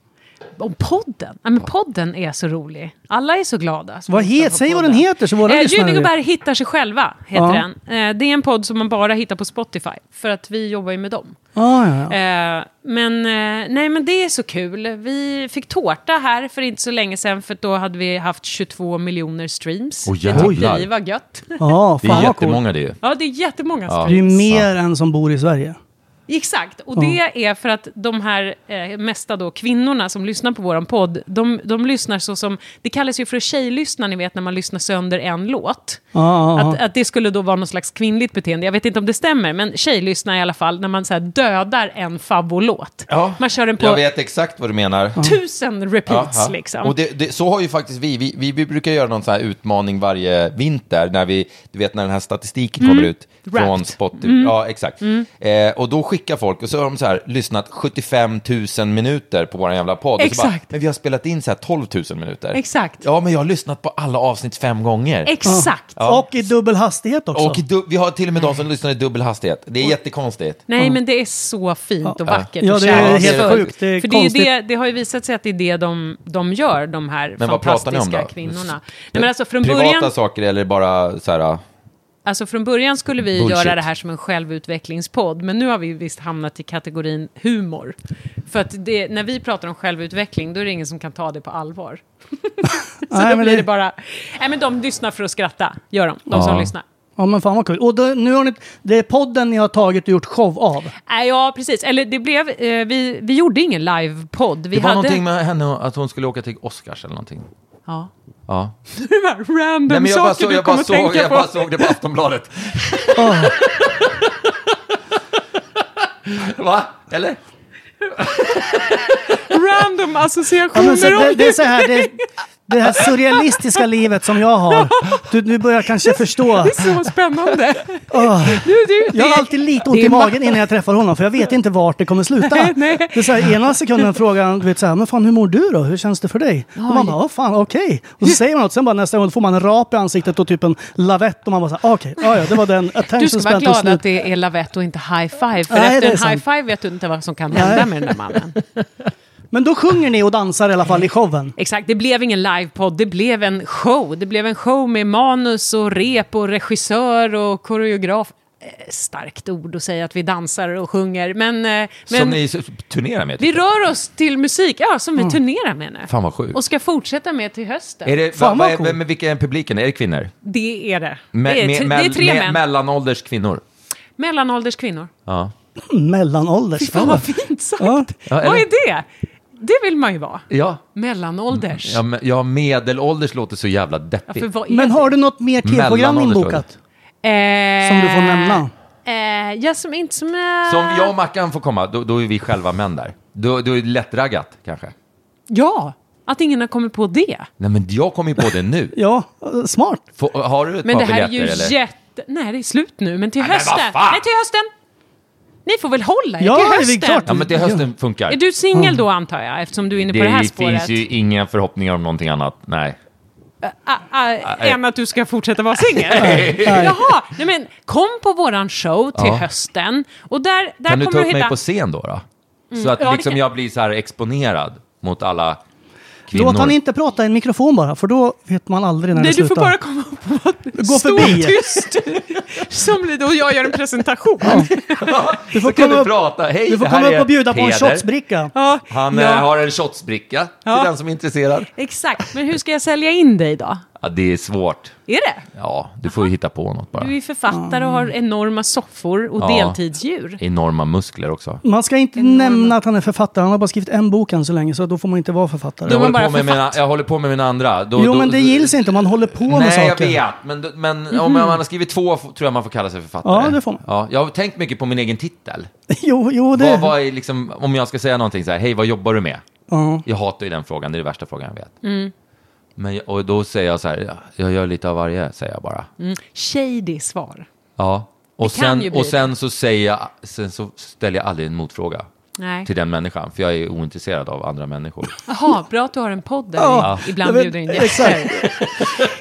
[SPEAKER 6] Om podden? Ja, men podden är så rolig. Alla är så glada. som
[SPEAKER 1] Vad
[SPEAKER 6] lyssnar
[SPEAKER 1] het-
[SPEAKER 6] på
[SPEAKER 1] säg vad
[SPEAKER 6] podden.
[SPEAKER 1] den heter, så våra
[SPEAKER 6] eh,
[SPEAKER 1] lyssnare vet.
[SPEAKER 6] Judingeberg hittar sig själva, heter
[SPEAKER 1] Ja.
[SPEAKER 6] den. Eh, det är en podd som man bara hittar på Spotify, för att vi jobbar ju med dem.
[SPEAKER 1] Ah, ja, ja.
[SPEAKER 6] Eh, men, eh, nej, men det är så kul. Vi fick tårta här för inte så länge sedan, för då hade vi haft 22 miljoner streams.
[SPEAKER 5] Åh,
[SPEAKER 6] det tyckte
[SPEAKER 5] jävlar.
[SPEAKER 6] vi var gött.
[SPEAKER 1] ja
[SPEAKER 5] Det är
[SPEAKER 1] Ah, fan vad coolt.
[SPEAKER 5] jättemånga det ju.
[SPEAKER 6] Ja, det är jättemånga
[SPEAKER 5] Ja.
[SPEAKER 1] Det är
[SPEAKER 6] streams.
[SPEAKER 1] ju mer än som bor i Sverige.
[SPEAKER 6] Exakt, och det är för att de här eh, mesta då, kvinnorna som lyssnar på vår podd, de, de lyssnar så som, det kallas ju för att tjejlyssna, ni vet när man lyssnar sönder en låt.
[SPEAKER 1] Ja, ja,
[SPEAKER 6] Att, att det skulle då vara någon slags kvinnligt beteende, jag vet inte om det stämmer, men tjejlyssna i alla fall, när man så här dödar en favvolåt. Man kör den
[SPEAKER 7] Jag
[SPEAKER 6] på
[SPEAKER 7] vet exakt vad du menar.
[SPEAKER 6] tusen repeats
[SPEAKER 7] Aha.
[SPEAKER 6] liksom.
[SPEAKER 7] Och det, det, så har ju faktiskt vi, vi, vi, vi brukar göra någon sån här utmaning varje vinter när vi, du vet när den här statistiken kommer ut
[SPEAKER 6] Mm. Wrapped. Mm.
[SPEAKER 7] från Spotify. Ja, exakt. Eh, och då skickar folk och så har de så här lyssnat 75 000 minuter på våran jävla podd. Och så bara,
[SPEAKER 6] Exakt.
[SPEAKER 7] men vi har spelat in så här 12 000 minuter.
[SPEAKER 6] Exakt.
[SPEAKER 7] Ja, men jag har lyssnat på alla avsnitt fem gånger.
[SPEAKER 6] Exakt.
[SPEAKER 1] ja. Och i dubbel hastighet också.
[SPEAKER 7] och i du, vi har till och med de som lyssnar i dubbel hastighet. Det är jättekonstigt.
[SPEAKER 6] Nej, men det är så fint och vackert
[SPEAKER 1] Ja,
[SPEAKER 6] och
[SPEAKER 1] det är
[SPEAKER 7] helt
[SPEAKER 6] kärleksfullt.
[SPEAKER 1] sjukt. Det är
[SPEAKER 6] För det, är ju
[SPEAKER 1] konstigt.
[SPEAKER 6] det, det har ju visat sig att det är det de, de gör, de här
[SPEAKER 7] Men vad pratar
[SPEAKER 6] fantastiska
[SPEAKER 7] ni om då?
[SPEAKER 6] kvinnorna. Nej, men alltså, från
[SPEAKER 7] Privata
[SPEAKER 6] början,
[SPEAKER 7] saker eller bara så här...
[SPEAKER 6] alltså från början skulle vi
[SPEAKER 7] Bullshit.
[SPEAKER 6] göra det här som en självutvecklingspodd, men nu har vi visst hamnat i kategorin humor. För att det, när vi pratar om självutveckling, då är det ingen som kan ta det på allvar. Så
[SPEAKER 1] Nej,
[SPEAKER 6] då
[SPEAKER 1] men
[SPEAKER 6] blir det...
[SPEAKER 1] det-
[SPEAKER 6] bara... Nej, men de lyssnar för att skratta, gör de, de som lyssnar.
[SPEAKER 1] Ja, men fan vad kul. Och då, nu har ni, det är podden ni har tagit och gjort show av.
[SPEAKER 6] Nej, ja, precis. Eller det blev... Eh, vi, vi gjorde ingen livepodd. Vi
[SPEAKER 5] Det var
[SPEAKER 6] hade...
[SPEAKER 5] någonting med henne, att hon skulle åka till Oscars eller någonting.
[SPEAKER 6] Ja.
[SPEAKER 5] Ja.
[SPEAKER 6] de här random
[SPEAKER 5] Nej, men jag bara
[SPEAKER 6] saker
[SPEAKER 5] såg,
[SPEAKER 6] du
[SPEAKER 5] jag bara
[SPEAKER 6] kommer
[SPEAKER 5] såg,
[SPEAKER 6] tänka
[SPEAKER 5] jag
[SPEAKER 6] på. Ah.
[SPEAKER 5] bara såg det på Aftonbladet. Va? Eller?
[SPEAKER 6] Random
[SPEAKER 1] Ja,
[SPEAKER 6] associationer.
[SPEAKER 1] men så, det,
[SPEAKER 6] om
[SPEAKER 1] det är så här, det, det här surrealistiska livet som jag har. Du, nu börjar jag kanske förstå.
[SPEAKER 6] Det är så spännande.
[SPEAKER 1] Åh.
[SPEAKER 6] Du, du,
[SPEAKER 1] Jag har
[SPEAKER 6] det-
[SPEAKER 1] alltid lite ont
[SPEAKER 6] det är
[SPEAKER 1] i magen innan jag träffar honom, för jag vet inte vart det kommer sluta.
[SPEAKER 6] Nej, nej.
[SPEAKER 1] Det är så här, ena sekunden frågar han, du vet så här, men fan hur mår du då? Hur känns det för dig? Och man bara, åh fan, okej. Och så säger man något, sen bara nästa gång får man en rap i ansiktet och typ en lavett och man bara så här, "Ah, okej, ja, ja, det var den
[SPEAKER 6] Du ska
[SPEAKER 1] attention
[SPEAKER 6] vara
[SPEAKER 1] span tog
[SPEAKER 6] glad att
[SPEAKER 1] slut.
[SPEAKER 6] det är lavett och inte high five. För
[SPEAKER 1] Nej, det
[SPEAKER 6] efter
[SPEAKER 1] är
[SPEAKER 6] en
[SPEAKER 1] sant.
[SPEAKER 6] high five vet du inte vad som kan hända med den där mannen.
[SPEAKER 1] Men då sjunger ni och dansar i alla fall i showen.
[SPEAKER 6] Exakt, det blev ingen livepodd, det blev en show. Det blev en show med manus och rep och regissör och koreograf. Eh, Starkt ord att säga att vi dansar och sjunger, men... eh, men
[SPEAKER 5] Som ni s- turnerar med? typ.
[SPEAKER 6] Vi rör oss till musik, ja, som
[SPEAKER 1] Mm.
[SPEAKER 6] vi turnerar med nu.
[SPEAKER 5] Fan vad sjukt.
[SPEAKER 6] Och ska fortsätta med till hösten.
[SPEAKER 5] Är det,
[SPEAKER 1] Fan,
[SPEAKER 5] va,
[SPEAKER 1] vad
[SPEAKER 5] va,
[SPEAKER 1] coolt.
[SPEAKER 5] vem- vilka är publiken? Är det kvinnor?
[SPEAKER 6] Det är det.
[SPEAKER 5] Me-
[SPEAKER 6] det, är,
[SPEAKER 5] me-
[SPEAKER 6] tre- det är
[SPEAKER 5] mell-
[SPEAKER 6] tre
[SPEAKER 5] me-
[SPEAKER 6] män.
[SPEAKER 5] Mellanålders kvinnor?
[SPEAKER 6] Mellanålders kvinnor.
[SPEAKER 5] Ja.
[SPEAKER 1] Mellanålders.
[SPEAKER 6] Fan vad fint sagt.
[SPEAKER 1] Ja.
[SPEAKER 5] Ja, eller-
[SPEAKER 6] Vad är det? Det vill man ju vara.
[SPEAKER 5] Ja.
[SPEAKER 6] Mellanålders.
[SPEAKER 5] Mm, Ja, men- ja, medelålders låter så jävla
[SPEAKER 6] Ja,
[SPEAKER 5] deppigt.
[SPEAKER 6] för vad är
[SPEAKER 1] Men har du något mer tv-program
[SPEAKER 5] Mellanålders,
[SPEAKER 1] inbokat?
[SPEAKER 6] det?
[SPEAKER 1] Som du får nämna?
[SPEAKER 6] Eh, ja, som inte som... Eh,
[SPEAKER 5] Så om jag och Mackan får komma, då, då är vi själva män där. Då, då är det lättraggat, kanske.
[SPEAKER 6] Ja, att ingen har kommit på det.
[SPEAKER 5] Nej, men jag kom ju på det nu.
[SPEAKER 1] Ja, eh, smart.
[SPEAKER 5] Får- har du ett
[SPEAKER 6] Men
[SPEAKER 5] par
[SPEAKER 6] det här är ju
[SPEAKER 5] biljetter, eller?
[SPEAKER 6] jätte... Nej, det är slut nu, men till
[SPEAKER 5] men
[SPEAKER 6] hösten.
[SPEAKER 5] vad fan!
[SPEAKER 6] Nej, till hösten! Ni får väl hålla er
[SPEAKER 1] Ja,
[SPEAKER 6] till
[SPEAKER 1] det är
[SPEAKER 6] hösten.
[SPEAKER 1] klart.
[SPEAKER 5] Ja, men till hösten funkar.
[SPEAKER 6] Är du singel då, antar jag, eftersom du är inne på det, här spåret?
[SPEAKER 5] inga förhoppningar om någonting annat. Nej.
[SPEAKER 6] Ah, ah,
[SPEAKER 5] eh.
[SPEAKER 6] än att du ska fortsätta vara singel? Jaha, nej men kom på våran show till
[SPEAKER 5] Ja.
[SPEAKER 6] hösten. Och där, där
[SPEAKER 5] Kan du
[SPEAKER 6] kommer
[SPEAKER 5] ta upp
[SPEAKER 6] hitta...
[SPEAKER 5] mig på scen då? då?
[SPEAKER 1] Mm.
[SPEAKER 5] Så att
[SPEAKER 6] Ja, det
[SPEAKER 5] liksom
[SPEAKER 6] kan-
[SPEAKER 5] jag blir så här exponerad mot alla kvinnor.
[SPEAKER 1] Låt han inte prata i en mikrofon bara, för då vet man aldrig när
[SPEAKER 6] Nej,
[SPEAKER 1] det
[SPEAKER 6] du
[SPEAKER 1] slutar.
[SPEAKER 6] får bara komma upp och
[SPEAKER 1] Gå förbi.
[SPEAKER 6] tyst. Som Lido och jag gör en presentation.
[SPEAKER 1] Du får
[SPEAKER 5] Så kan
[SPEAKER 1] komma
[SPEAKER 5] du
[SPEAKER 1] upp-
[SPEAKER 5] prata. Hej,
[SPEAKER 1] Du får
[SPEAKER 5] här
[SPEAKER 1] komma
[SPEAKER 5] är
[SPEAKER 1] upp och bjuda på en
[SPEAKER 5] Peder.
[SPEAKER 1] shotsbricka.
[SPEAKER 6] Ja,
[SPEAKER 5] Han
[SPEAKER 6] ja,
[SPEAKER 5] eh, har en shotsbricka
[SPEAKER 6] Ja.
[SPEAKER 5] till den som är intresserad.
[SPEAKER 6] Exakt, men hur ska jag sälja in dig då?
[SPEAKER 5] Ja, det är svårt.
[SPEAKER 6] Är det?
[SPEAKER 5] Ja, du får ju hitta på något bara.
[SPEAKER 6] Du är författare och har enorma soffor och
[SPEAKER 5] Ja.
[SPEAKER 6] deltidsdjur.
[SPEAKER 5] Enorma muskler också.
[SPEAKER 1] Man ska inte nämna att han är författare, han har bara skrivit en bok än så länge, så då får man inte vara författare.
[SPEAKER 5] Jag
[SPEAKER 6] man
[SPEAKER 5] håller,
[SPEAKER 6] bara
[SPEAKER 5] på med
[SPEAKER 6] författ-
[SPEAKER 5] mina, jag håller på med min andra. Då,
[SPEAKER 1] jo,
[SPEAKER 5] då-
[SPEAKER 1] men det gills inte om man håller på med
[SPEAKER 5] Nej, jag
[SPEAKER 1] saker. Mhm.
[SPEAKER 5] vet. Men, men om man har skrivit två f- tror jag man får kalla sig författare.
[SPEAKER 1] Ja, det får man.
[SPEAKER 5] Ja, jag har tänkt mycket på min egen titel.
[SPEAKER 1] Jo, jo det...
[SPEAKER 5] Vad, vad är liksom, om jag ska säga någonting så här, hej, vad jobbar du med?
[SPEAKER 1] Ja.
[SPEAKER 5] Jag hatar ju den frågan, det är den värsta frågan jag vet.
[SPEAKER 6] Mm.
[SPEAKER 5] Men, jag- och då säger jag så här, "Ja, jag gör lite av varje, säger jag bara.
[SPEAKER 6] Shady svar.
[SPEAKER 5] Ja. Och,
[SPEAKER 6] Mm. Det kan ju
[SPEAKER 5] sen,
[SPEAKER 6] bli
[SPEAKER 5] och sen, så säger jag, sen så ställer jag aldrig en motfråga
[SPEAKER 6] Nej.
[SPEAKER 5] till den människan, för jag är ointresserad av andra människor.
[SPEAKER 6] Jaha, bra att du har en podd där
[SPEAKER 1] Ja,
[SPEAKER 6] vi ibland
[SPEAKER 1] jag vet-
[SPEAKER 6] bjuder in gäster.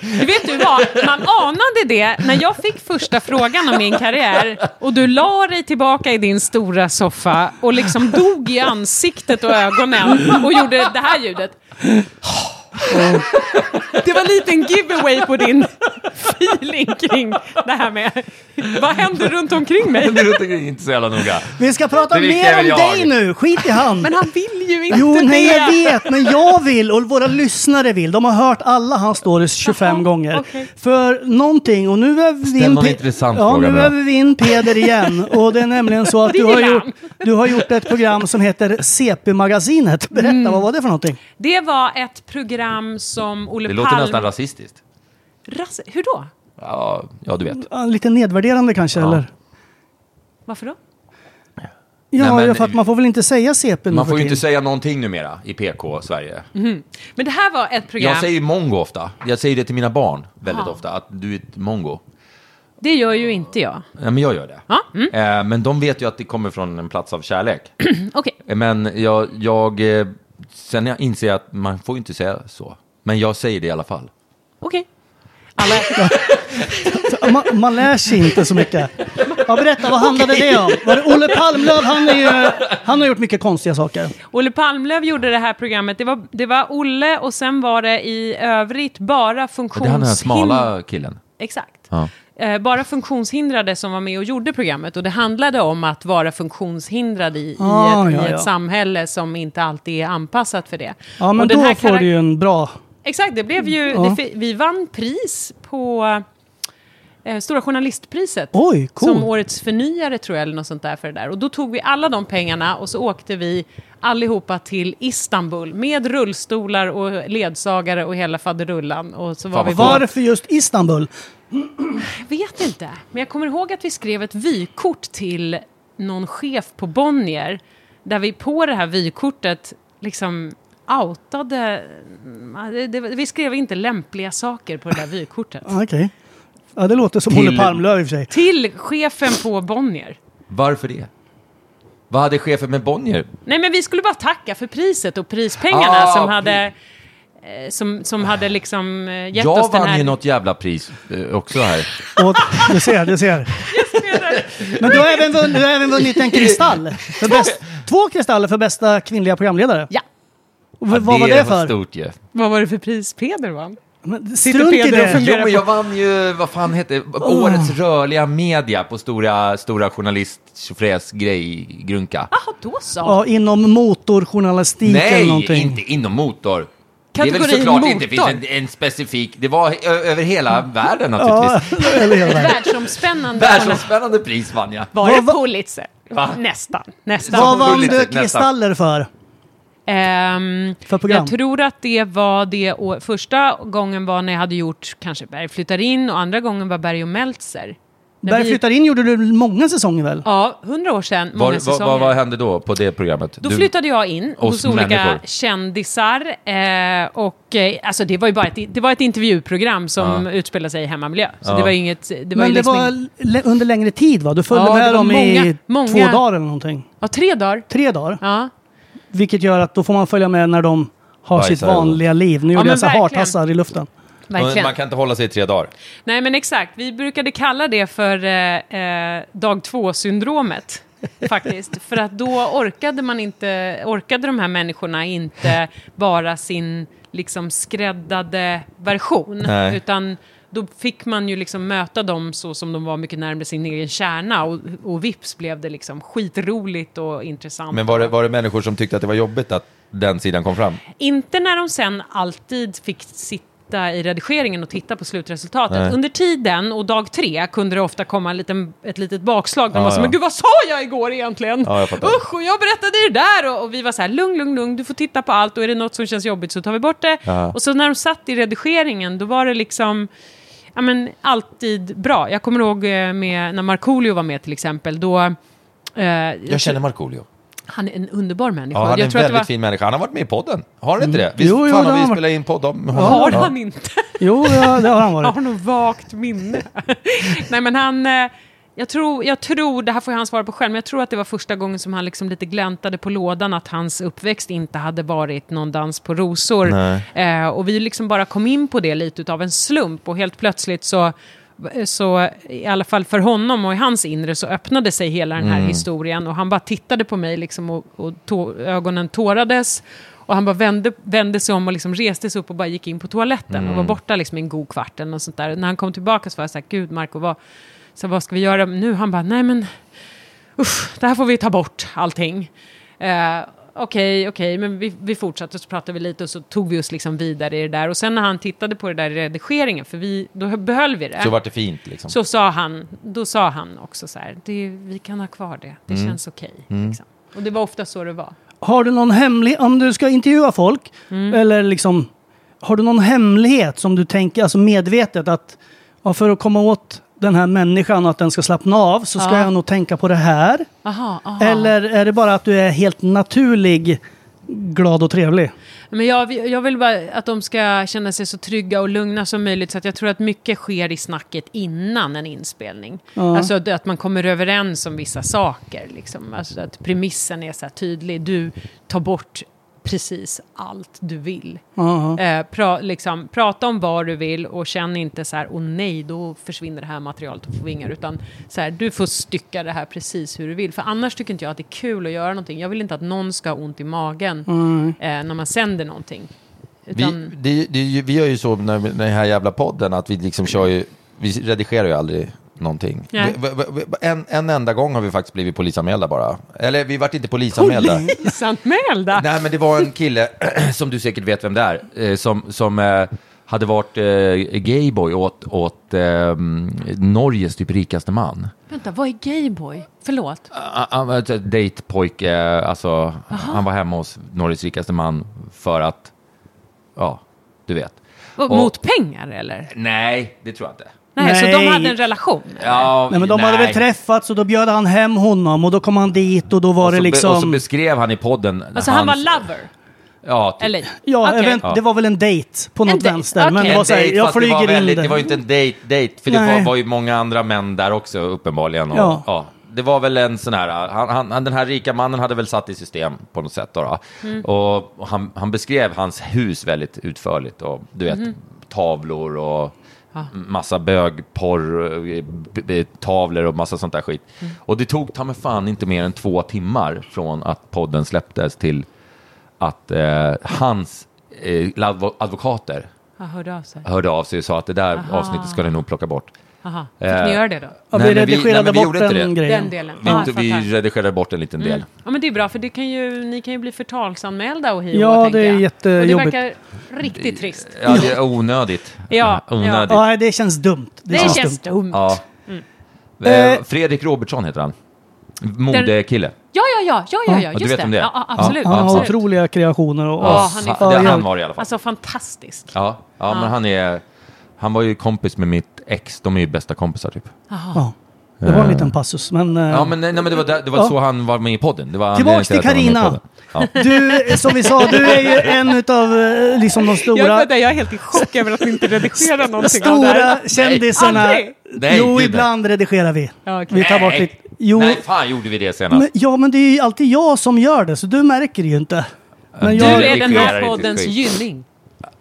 [SPEAKER 6] Du vet du vad, man anade det när jag fick första frågan om min karriär och du la dig tillbaka i din stora soffa och liksom dog i ansiktet och ögonen och gjorde det här ljudet. Det var en liten giveaway på din feeling kring det här med vad händer runt omkring mig?
[SPEAKER 5] Det är inte så jävla noga.
[SPEAKER 1] Vi ska prata
[SPEAKER 5] Det viktiga
[SPEAKER 1] mer
[SPEAKER 5] är
[SPEAKER 1] om
[SPEAKER 5] väl jag.
[SPEAKER 1] dig nu, skit i han.
[SPEAKER 6] Men han vill ju inte
[SPEAKER 1] Jo,
[SPEAKER 6] det.
[SPEAKER 1] nej jag vet, men jag vill och våra lyssnare vill. De har hört alla hans stories 25
[SPEAKER 6] Jaha,
[SPEAKER 1] gånger.
[SPEAKER 6] okej.
[SPEAKER 1] För någonting, och nu väver vi in,
[SPEAKER 5] någon intressant
[SPEAKER 1] ja,
[SPEAKER 5] fråga
[SPEAKER 1] nu
[SPEAKER 5] nu då.
[SPEAKER 1] väver vi in Peder igen. Och det är nämligen så att du har,
[SPEAKER 6] gillar
[SPEAKER 1] gjort,
[SPEAKER 6] han.
[SPEAKER 1] du har gjort ett program som heter CP-magasinet. Berätta,
[SPEAKER 6] Mm.
[SPEAKER 1] vad var det för någonting?
[SPEAKER 6] Det var ett program som Olle
[SPEAKER 5] Det låter
[SPEAKER 6] Palme...
[SPEAKER 5] nästan rasistiskt.
[SPEAKER 6] Ras- Hur då?
[SPEAKER 5] Ja, ja du vet.
[SPEAKER 6] Mm.
[SPEAKER 1] Ja, Lite nedvärderande kanske, eller?
[SPEAKER 6] Varför då?
[SPEAKER 1] Ja,
[SPEAKER 5] Nej, men-
[SPEAKER 1] ja, för att man får väl inte säga CP nu
[SPEAKER 5] Man får
[SPEAKER 1] för
[SPEAKER 5] ju inte
[SPEAKER 1] tiden.
[SPEAKER 5] säga någonting numera i PK-Sverige.
[SPEAKER 6] Men det här var ett program.
[SPEAKER 5] Jag säger ju mongo ofta. Jag säger det till mina barn väldigt ofta, att du är ett mongo.
[SPEAKER 6] Det gör ju inte jag.
[SPEAKER 5] Ja, men jag gör det.
[SPEAKER 6] Ja,
[SPEAKER 1] mm.
[SPEAKER 5] Eh, Men de vet ju att det kommer från en plats av kärlek.
[SPEAKER 6] Okej.
[SPEAKER 5] Eh, Men jag, jag eh, sen jag inser jag att man får ju inte säga så. Men jag säger det i alla fall.
[SPEAKER 6] Okej. Alla...
[SPEAKER 1] Man, man lär sig inte så mycket. Ja, berätta, vad handlade det om? Var det Olle Palmlöv, han, är ju, han har gjort mycket konstiga saker.
[SPEAKER 6] Olle Palmlöv gjorde det här programmet. Det var, det var Olle och sen var det i övrigt bara
[SPEAKER 5] Det är han den här
[SPEAKER 6] funktionshindrade.
[SPEAKER 5] smala killen.
[SPEAKER 6] Exakt.
[SPEAKER 5] Ja.
[SPEAKER 6] Eh, Bara funktionshindrade som var med och gjorde programmet. Och det handlade om att vara funktionshindrad i,
[SPEAKER 1] Ah,
[SPEAKER 6] i ett,
[SPEAKER 1] ja,
[SPEAKER 6] i
[SPEAKER 1] ja.
[SPEAKER 6] ett samhället som inte alltid är anpassat för det.
[SPEAKER 1] Ja, men
[SPEAKER 6] och den
[SPEAKER 1] då
[SPEAKER 6] här
[SPEAKER 1] får
[SPEAKER 6] karak-
[SPEAKER 1] du ju en bra...
[SPEAKER 6] Exakt, det blev ju... Det, fi- vi vann pris på eh, Stora Journalistpriset.
[SPEAKER 1] Oj, coolt.
[SPEAKER 6] Som årets förnyare tror jag, eller något sånt där för det där. Och då tog vi alla de pengarna och så åkte vi allihopa till Istanbul med rullstolar och ledsagare och hela faderullan. Och så var
[SPEAKER 5] Fan,
[SPEAKER 6] vi på,
[SPEAKER 1] Varför just Istanbul?
[SPEAKER 6] jag vet inte, men jag kommer ihåg att vi skrev ett vykort till någon chef på Bonnier där vi på det här vykortet liksom outade... mm, Det, det, vi skrev inte lämpliga saker på det där vykortet.
[SPEAKER 1] Ja, Ah, Okej. Ja, det låter som
[SPEAKER 5] Till-
[SPEAKER 1] Olle Palmlöv i och för sig.
[SPEAKER 6] Till chefen på Bonnier.
[SPEAKER 5] Varför det?
[SPEAKER 7] Vad hade chefen med Bonnier?
[SPEAKER 6] Nej, men vi skulle bara tacka för priset och prispengarna
[SPEAKER 7] Ah,
[SPEAKER 6] som
[SPEAKER 7] pri-
[SPEAKER 6] hade... eh, Som, som hade liksom eh, gett oss
[SPEAKER 5] Jag
[SPEAKER 6] den
[SPEAKER 5] vann ju
[SPEAKER 6] här...
[SPEAKER 5] något jävla pris eh, också här.
[SPEAKER 1] Och, du ser, du ser. Men du har även vunnit, du har även vunnit en kristall. För bäst, två kristaller för bästa kvinnliga programledare.
[SPEAKER 6] Ja.
[SPEAKER 1] Och v- vad var det för?
[SPEAKER 5] stort ju.
[SPEAKER 6] Vad var det för pris Peder vann?
[SPEAKER 1] Men
[SPEAKER 6] Sitter
[SPEAKER 1] Strunt i
[SPEAKER 6] Peder och
[SPEAKER 1] det.
[SPEAKER 6] funderar
[SPEAKER 5] Jo, men jag vann ju, vad fan heter det, årets rörliga media på stora, stora journalist tjofräs grej grunka.
[SPEAKER 6] Ja, då så.
[SPEAKER 1] Ja, inom motorjournalistik eller
[SPEAKER 5] Nej,
[SPEAKER 1] någonting.
[SPEAKER 5] inte inom motor. det är väl
[SPEAKER 6] Kategorin
[SPEAKER 5] såklart inte finns
[SPEAKER 6] motor.
[SPEAKER 5] en, en specifik, det var ö- över hela världen naturligtvis.
[SPEAKER 1] Eller hela världen.
[SPEAKER 6] Världsomspännande.
[SPEAKER 5] Världsomspännande pris vann jag.
[SPEAKER 6] Var
[SPEAKER 1] Vad
[SPEAKER 6] det
[SPEAKER 1] va-
[SPEAKER 6] Pulitzer?
[SPEAKER 5] Va?
[SPEAKER 6] Nästan. Nästan.
[SPEAKER 1] Vad
[SPEAKER 5] var-
[SPEAKER 1] vann
[SPEAKER 5] Gulligt,
[SPEAKER 1] du
[SPEAKER 5] nästan.
[SPEAKER 1] kristaller för?
[SPEAKER 6] Ehm,
[SPEAKER 1] För program?
[SPEAKER 6] Jag tror att det var det å- första gången var när jag hade gjort kanske Berg flyttar in och andra gången var Berg och Meltzer. När
[SPEAKER 1] Berg
[SPEAKER 6] vi-
[SPEAKER 1] flyttar in gjorde du många säsonger väl?
[SPEAKER 6] Ja, hundra år sedan, många
[SPEAKER 7] Var, vad,
[SPEAKER 6] säsonger.
[SPEAKER 7] vad, vad hände då på det programmet?
[SPEAKER 6] Då flyttade jag in
[SPEAKER 7] Oss
[SPEAKER 6] hos olika
[SPEAKER 7] människor.
[SPEAKER 6] kändisar. Eh, och, eh, alltså det var ju bara ett, det var ett intervjuprogram som utspelade sig i hemmamiljö. Så det var ju inget... Det var, ju
[SPEAKER 1] Men det
[SPEAKER 6] liksom
[SPEAKER 1] var
[SPEAKER 6] ing-
[SPEAKER 1] le- under längre tid va? Du följde
[SPEAKER 6] Ja, det
[SPEAKER 1] med
[SPEAKER 6] var
[SPEAKER 1] dem i
[SPEAKER 6] många- många-
[SPEAKER 1] två dagar eller någonting?
[SPEAKER 6] ja, tre dagar.
[SPEAKER 1] Tre dagar?
[SPEAKER 6] Ja.
[SPEAKER 1] Vilket gör att då får man följa med när de har
[SPEAKER 7] Bajsar
[SPEAKER 1] sitt vanliga liv. Nu gjorde
[SPEAKER 6] men
[SPEAKER 1] jag så här
[SPEAKER 6] verkligen.
[SPEAKER 1] hartassar i luften.
[SPEAKER 6] Verkligen.
[SPEAKER 7] Man kan inte hålla sig i tre dagar.
[SPEAKER 6] Nej, men exakt. Vi brukade kalla det för eh, eh, dag två-syndromet. Faktiskt. för att då orkade man inte, orkade de här människorna inte bara sin liksom skräddade version.
[SPEAKER 7] Nej.
[SPEAKER 6] Utan då fick man ju liksom möta dem så som de var mycket närmare sin egen kärna och, och vips blev det liksom skitroligt och intressant.
[SPEAKER 7] Men var det, var det människor som tyckte att det var jobbigt att den sidan kom fram?
[SPEAKER 6] Inte när de sen alltid fick sitta i redigeringen och titta på slutresultatet.
[SPEAKER 7] Nej.
[SPEAKER 6] Under tiden och dag tre kunde det ofta komma en liten, ett litet bakslag. De
[SPEAKER 7] Ja,
[SPEAKER 6] var så
[SPEAKER 7] ja.
[SPEAKER 6] men gud vad sa jag igår egentligen?
[SPEAKER 7] Ja, jag fattar.
[SPEAKER 6] Usch, och jag berättade det där. Och, och vi var så här, lugn, lugn, lugn, du får titta på allt och är det något som känns jobbigt så tar vi bort det.
[SPEAKER 7] Ja.
[SPEAKER 6] Och så när de satt i redigeringen, då var det liksom ja, men, alltid bra. Jag kommer ihåg eh, med, när Markoolio var med till exempel, då... eh,
[SPEAKER 7] Jag känner Markoolio.
[SPEAKER 6] Han är en underbar människa.
[SPEAKER 7] Ja, han är
[SPEAKER 6] jag
[SPEAKER 7] en
[SPEAKER 6] tror att
[SPEAKER 7] väldigt
[SPEAKER 6] det var, Mm.
[SPEAKER 7] fin människa. Han har varit med i podden. Har han inte det? Visst,
[SPEAKER 1] Jo, jo,
[SPEAKER 7] fan
[SPEAKER 1] det har
[SPEAKER 7] har
[SPEAKER 1] han
[SPEAKER 7] vi
[SPEAKER 1] varit.
[SPEAKER 7] spelat in podd om honom.
[SPEAKER 6] Har
[SPEAKER 7] Ja.
[SPEAKER 6] han inte?
[SPEAKER 1] Jo, ja, det har han
[SPEAKER 6] Jag
[SPEAKER 1] varit.
[SPEAKER 6] har nog vagt minne. Nej, men han... eh, Jag tror, jag tror, det här får ju han svara på själv, men jag tror att det var första gången som han liksom lite gläntade på lådan att hans uppväxt inte hade varit någon dans på rosor. Eh, och vi liksom bara kom in på det lite utav en slump och helt plötsligt så, så i alla fall för honom och i hans inre så öppnade sig hela den här historien och han bara tittade på mig liksom och, och tå, ögonen tårades. Och han bara vände, vände sig om och liksom reste sig upp och bara gick in på toaletten och var borta liksom i en god kvart eller något sånt där. När han kom tillbaka så var jag så här, gud Marco, vad, så vad ska vi göra nu? Han bara, nej men usch, det här får vi ta bort allting. Eh, Okej, okej, men vi, vi fortsatte och så pratade vi lite och så tog vi oss liksom vidare i det där. Och sen när han tittade på det där i redigeringen, för vi, då behöll vi det.
[SPEAKER 7] Så vart det fint liksom.
[SPEAKER 6] Så sa han, då sa han också så här, det, vi kan ha kvar det, det känns okej. liksom. Och det var ofta så det var.
[SPEAKER 1] Har du någon hemlig... Om du ska intervjua folk,
[SPEAKER 6] Mm.
[SPEAKER 1] eller liksom... Har du någon hemlighet som du tänker, alltså medvetet att ja, för att komma åt den här människan och att den ska slappna av så ska
[SPEAKER 6] Ja.
[SPEAKER 1] jag nog tänka på det här?
[SPEAKER 6] Aha, aha.
[SPEAKER 1] Eller är det bara att du är helt naturlig, glad och trevlig?
[SPEAKER 6] Men jag, jag vill bara att de ska känna sig så trygga och lugna som möjligt. Så att jag tror att mycket sker i snacket innan en inspelning. Alltså att- att man kommer överens om vissa saker. Liksom. Alltså att premissen är så här tydlig. Du tar bort precis allt du vill. Eh, pra, liksom, prata om vad du vill och känn inte så här, åh nej, då försvinner det här materialet och får vingar. Utan så här, du får stycka det här precis hur du vill. För annars tycker inte jag att det är kul att göra någonting. Jag vill inte att någon ska ha ont i magen eh, när man sänder någonting.
[SPEAKER 7] Vi,
[SPEAKER 6] Utan,
[SPEAKER 7] det, det, är ju- vi gör ju så med den här jävla podden att vi liksom kör ju, vi redigerar ju aldrig någonting.
[SPEAKER 6] Nej.
[SPEAKER 7] Vi- vi- vi- En, en enda gång har vi faktiskt blivit polisanmälda bara. Eller vi vart inte polisanmälda.
[SPEAKER 6] Polisanmälda!
[SPEAKER 7] Nej, men det var en kille, som du säkert vet vem det är, eh, som, som eh, hade varit eh, gayboy åt, åt eh, Norges typ rikaste man.
[SPEAKER 6] Vänta, vad är gayboy? Förlåt.
[SPEAKER 7] Ah, Han var ett dejtpojke, eh, alltså han var hemma hos Norges rikaste man för att, ja, du vet.
[SPEAKER 6] Vad,
[SPEAKER 7] Och-
[SPEAKER 6] Mot pengar eller?
[SPEAKER 7] Nej, det tror jag inte.
[SPEAKER 6] Nej, så de
[SPEAKER 1] Nej.
[SPEAKER 6] hade en relation?
[SPEAKER 7] Ja,
[SPEAKER 1] Nej, men de hade väl träffats och då bjöd han hem honom och då kom han dit och då var
[SPEAKER 7] och så,
[SPEAKER 1] det
[SPEAKER 7] be-
[SPEAKER 1] liksom...
[SPEAKER 7] och så beskrev han i podden...
[SPEAKER 6] Alltså han Alltså, var lover?
[SPEAKER 5] Ja, typ.
[SPEAKER 6] Eller?
[SPEAKER 1] Ja,
[SPEAKER 6] Okej.
[SPEAKER 1] event, det var väl en dejt på något
[SPEAKER 6] En dejt,
[SPEAKER 1] vänster. Men
[SPEAKER 6] okej.
[SPEAKER 1] det var
[SPEAKER 5] En
[SPEAKER 1] så här,
[SPEAKER 5] dejt,
[SPEAKER 1] jag
[SPEAKER 5] fast det
[SPEAKER 1] flyger
[SPEAKER 5] var,
[SPEAKER 1] in
[SPEAKER 5] väldigt,
[SPEAKER 1] där.
[SPEAKER 5] det var ju inte en dejt, dejt för det
[SPEAKER 1] Nej.
[SPEAKER 5] var, var ju många andra män där också uppenbarligen. Och,
[SPEAKER 1] Ja.
[SPEAKER 5] ja. det var väl en sån här, han, han, han- den här rika mannen hade väl satt i system på något sätt. Då, då.
[SPEAKER 1] Mm.
[SPEAKER 5] Och, och han, han beskrev hans hus väldigt utförligt och du vet,
[SPEAKER 1] Mm-hmm.
[SPEAKER 5] tavlor och massa bögporr, eh, b- b- tavlor och massa sånt där skit.
[SPEAKER 1] Mm.
[SPEAKER 5] Och det tog ta mig fan inte mer än två timmar från att podden släpptes till att eh, hans eh, advo- advokater
[SPEAKER 6] Han hörde av sig.
[SPEAKER 5] hörde av sig och sa att det där avsnittet ska ni nog plocka bort.
[SPEAKER 6] Aha. Fick
[SPEAKER 5] Eh,
[SPEAKER 6] ni göra det då?
[SPEAKER 1] Ja, vi
[SPEAKER 5] Nej, men vi- nej,
[SPEAKER 1] redigerade
[SPEAKER 5] men vi
[SPEAKER 1] bort
[SPEAKER 5] gjorde inte
[SPEAKER 1] den
[SPEAKER 5] det.
[SPEAKER 1] grejen.
[SPEAKER 6] Den delen.
[SPEAKER 5] Vi,
[SPEAKER 6] Ja,
[SPEAKER 5] inte,
[SPEAKER 6] jag
[SPEAKER 5] vi
[SPEAKER 6] fattar.
[SPEAKER 5] redigerade bort en liten
[SPEAKER 1] Mm.
[SPEAKER 5] del.
[SPEAKER 6] ja, men det är bra, för det kan ju, ni kan ju bli förtalsanmälda och hio,
[SPEAKER 1] Ja,
[SPEAKER 6] tänker
[SPEAKER 1] det är
[SPEAKER 6] jag. Och
[SPEAKER 1] jättejobbigt.
[SPEAKER 6] det verkar riktigt trist.
[SPEAKER 5] Ja, det är onödigt.
[SPEAKER 6] Ja, ja.
[SPEAKER 5] onödigt.
[SPEAKER 1] Ja, det känns dumt. Det,
[SPEAKER 6] Det
[SPEAKER 1] känns
[SPEAKER 6] känns
[SPEAKER 1] dumt.
[SPEAKER 6] dumt.
[SPEAKER 5] Ja.
[SPEAKER 1] Eh,
[SPEAKER 5] Eh, Fredrik Robertsson heter han. Modekille.
[SPEAKER 6] Ja, ja, ja, ja, ja, ja
[SPEAKER 5] du
[SPEAKER 6] just
[SPEAKER 5] vet om det är?
[SPEAKER 6] Ja, ja, absolut.
[SPEAKER 1] Han har
[SPEAKER 6] absolut.
[SPEAKER 1] otroliga kreationer. Och,
[SPEAKER 6] Ja, han är
[SPEAKER 5] det,
[SPEAKER 1] ja.
[SPEAKER 5] han var det i alla fall.
[SPEAKER 6] Alltså fantastisk.
[SPEAKER 5] Ja, ja, men han är... Han var ju kompis med mitt ex, de är ju bästa kompisar typ.
[SPEAKER 1] ja. Det var en liten passus, men... eh,
[SPEAKER 5] Ja, men, nej, nej, men det var, där, det var
[SPEAKER 1] Ja.
[SPEAKER 5] så han var med i podden. Det var
[SPEAKER 1] Tillbaks till
[SPEAKER 5] anledningen att han var med i podden. Ja.
[SPEAKER 1] Du, eh, som vi sa, du är ju en utav eh, liksom de stora,
[SPEAKER 6] Jag, jag är helt i chock över att ni inte redigerar någonting av det här.
[SPEAKER 1] stora kändisarna.
[SPEAKER 6] Aldrig.
[SPEAKER 5] Nej, gud,
[SPEAKER 1] Jo,
[SPEAKER 5] nej.
[SPEAKER 1] ibland redigerar vi.
[SPEAKER 6] Ja, okej.
[SPEAKER 1] Vi tar bort
[SPEAKER 5] Nej.
[SPEAKER 1] lite... Jo,
[SPEAKER 5] Nej, fan gjorde vi det senast.
[SPEAKER 1] men, ja, men det är ju alltid jag som gör det, så du märker det ju inte. Men
[SPEAKER 6] Du
[SPEAKER 1] jag,
[SPEAKER 6] är den här
[SPEAKER 5] redigerar inte
[SPEAKER 6] poddens
[SPEAKER 5] skit.
[SPEAKER 6] gynning.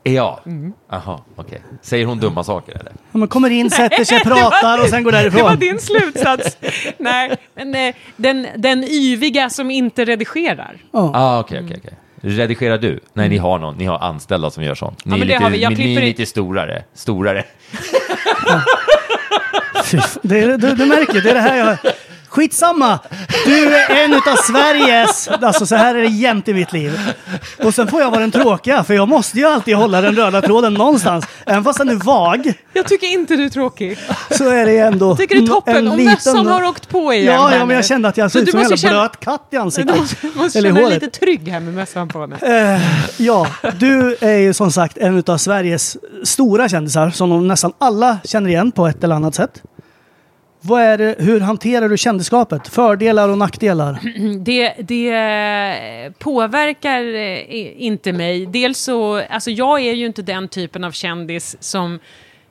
[SPEAKER 5] Ja.
[SPEAKER 1] Mm.
[SPEAKER 5] Aha, okej. Säger hon dumma saker eller?
[SPEAKER 1] Ja, men kommer in, sätter sig, pratar och sen går därifrån.
[SPEAKER 6] Det var din slutsats. Nej, men eh, den, den yviga som inte redigerar.
[SPEAKER 1] Ja.
[SPEAKER 5] Ah, okej,
[SPEAKER 6] Mm.
[SPEAKER 5] okej, okej. Redigerar du? Nej, ni har någon. Ni har anställda som gör sånt. Ni
[SPEAKER 6] Ja,
[SPEAKER 5] är
[SPEAKER 6] men det
[SPEAKER 5] lite,
[SPEAKER 6] har vi. Jag
[SPEAKER 5] ni- ni är
[SPEAKER 6] klipper i-
[SPEAKER 5] lite storare. Storare.
[SPEAKER 1] Fy fan, Det är, du, du märker, det är det här jag... Skitsamma! Du är en utav Sveriges... Alltså så här är det jämt i mitt liv. Och sen får jag vara den tråkiga, för jag måste ju alltid hålla den röda tråden någonstans. Även fast den är vag,
[SPEAKER 6] Jag tycker inte du är tråkig.
[SPEAKER 1] så är det ändå...
[SPEAKER 6] Tycker det är
[SPEAKER 1] Mm, en
[SPEAKER 6] toppen om
[SPEAKER 1] liten-
[SPEAKER 6] mössan har åkt på igen.
[SPEAKER 1] Ja,
[SPEAKER 6] här
[SPEAKER 1] ja, men
[SPEAKER 6] nu.
[SPEAKER 1] jag kände att jag
[SPEAKER 6] Så
[SPEAKER 1] såg ut
[SPEAKER 6] du
[SPEAKER 1] som en
[SPEAKER 6] måste
[SPEAKER 1] jävla
[SPEAKER 6] känna-
[SPEAKER 1] blöt katt i
[SPEAKER 6] Du
[SPEAKER 1] ansiktet.
[SPEAKER 6] måste, måste
[SPEAKER 1] Typ. Eller i
[SPEAKER 6] känna dig
[SPEAKER 1] håret. Eh.
[SPEAKER 6] lite trygg här med mössan på nu.
[SPEAKER 1] Ja, du är ju som sagt en utav Sveriges stora kändisar som de nästan alla känner igen på ett eller annat sätt. Vad är det, hur hanterar du kändisskapet? Fördelar och nackdelar?
[SPEAKER 6] Mm, Det, det eh, påverkar eh, inte mig. Dels så, alltså jag är ju inte den typen av kändis som,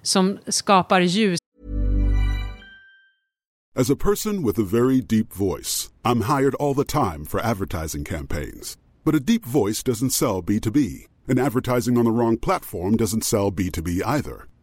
[SPEAKER 6] som skapar ljus
[SPEAKER 8] As a person with a very deep voice, I'm hired all the time for advertising campaigns. But a deep voice doesn't sell B2B, and advertising on the wrong platform doesn't sell B2B either.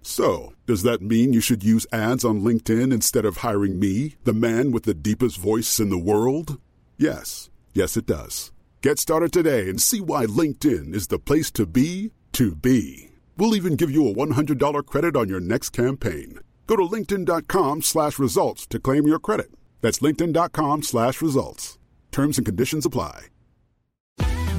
[SPEAKER 8] So, does that mean you should use ads on LinkedIn instead of hiring me, the man with the deepest voice in the world? Yes. Yes, it does. Get started today and see why LinkedIn is the place to be to be. We'll even give you a $100 credit on your next campaign. Go to linkedin.com slash results to claim your credit. That's linkedin.com slash results. Terms and conditions apply.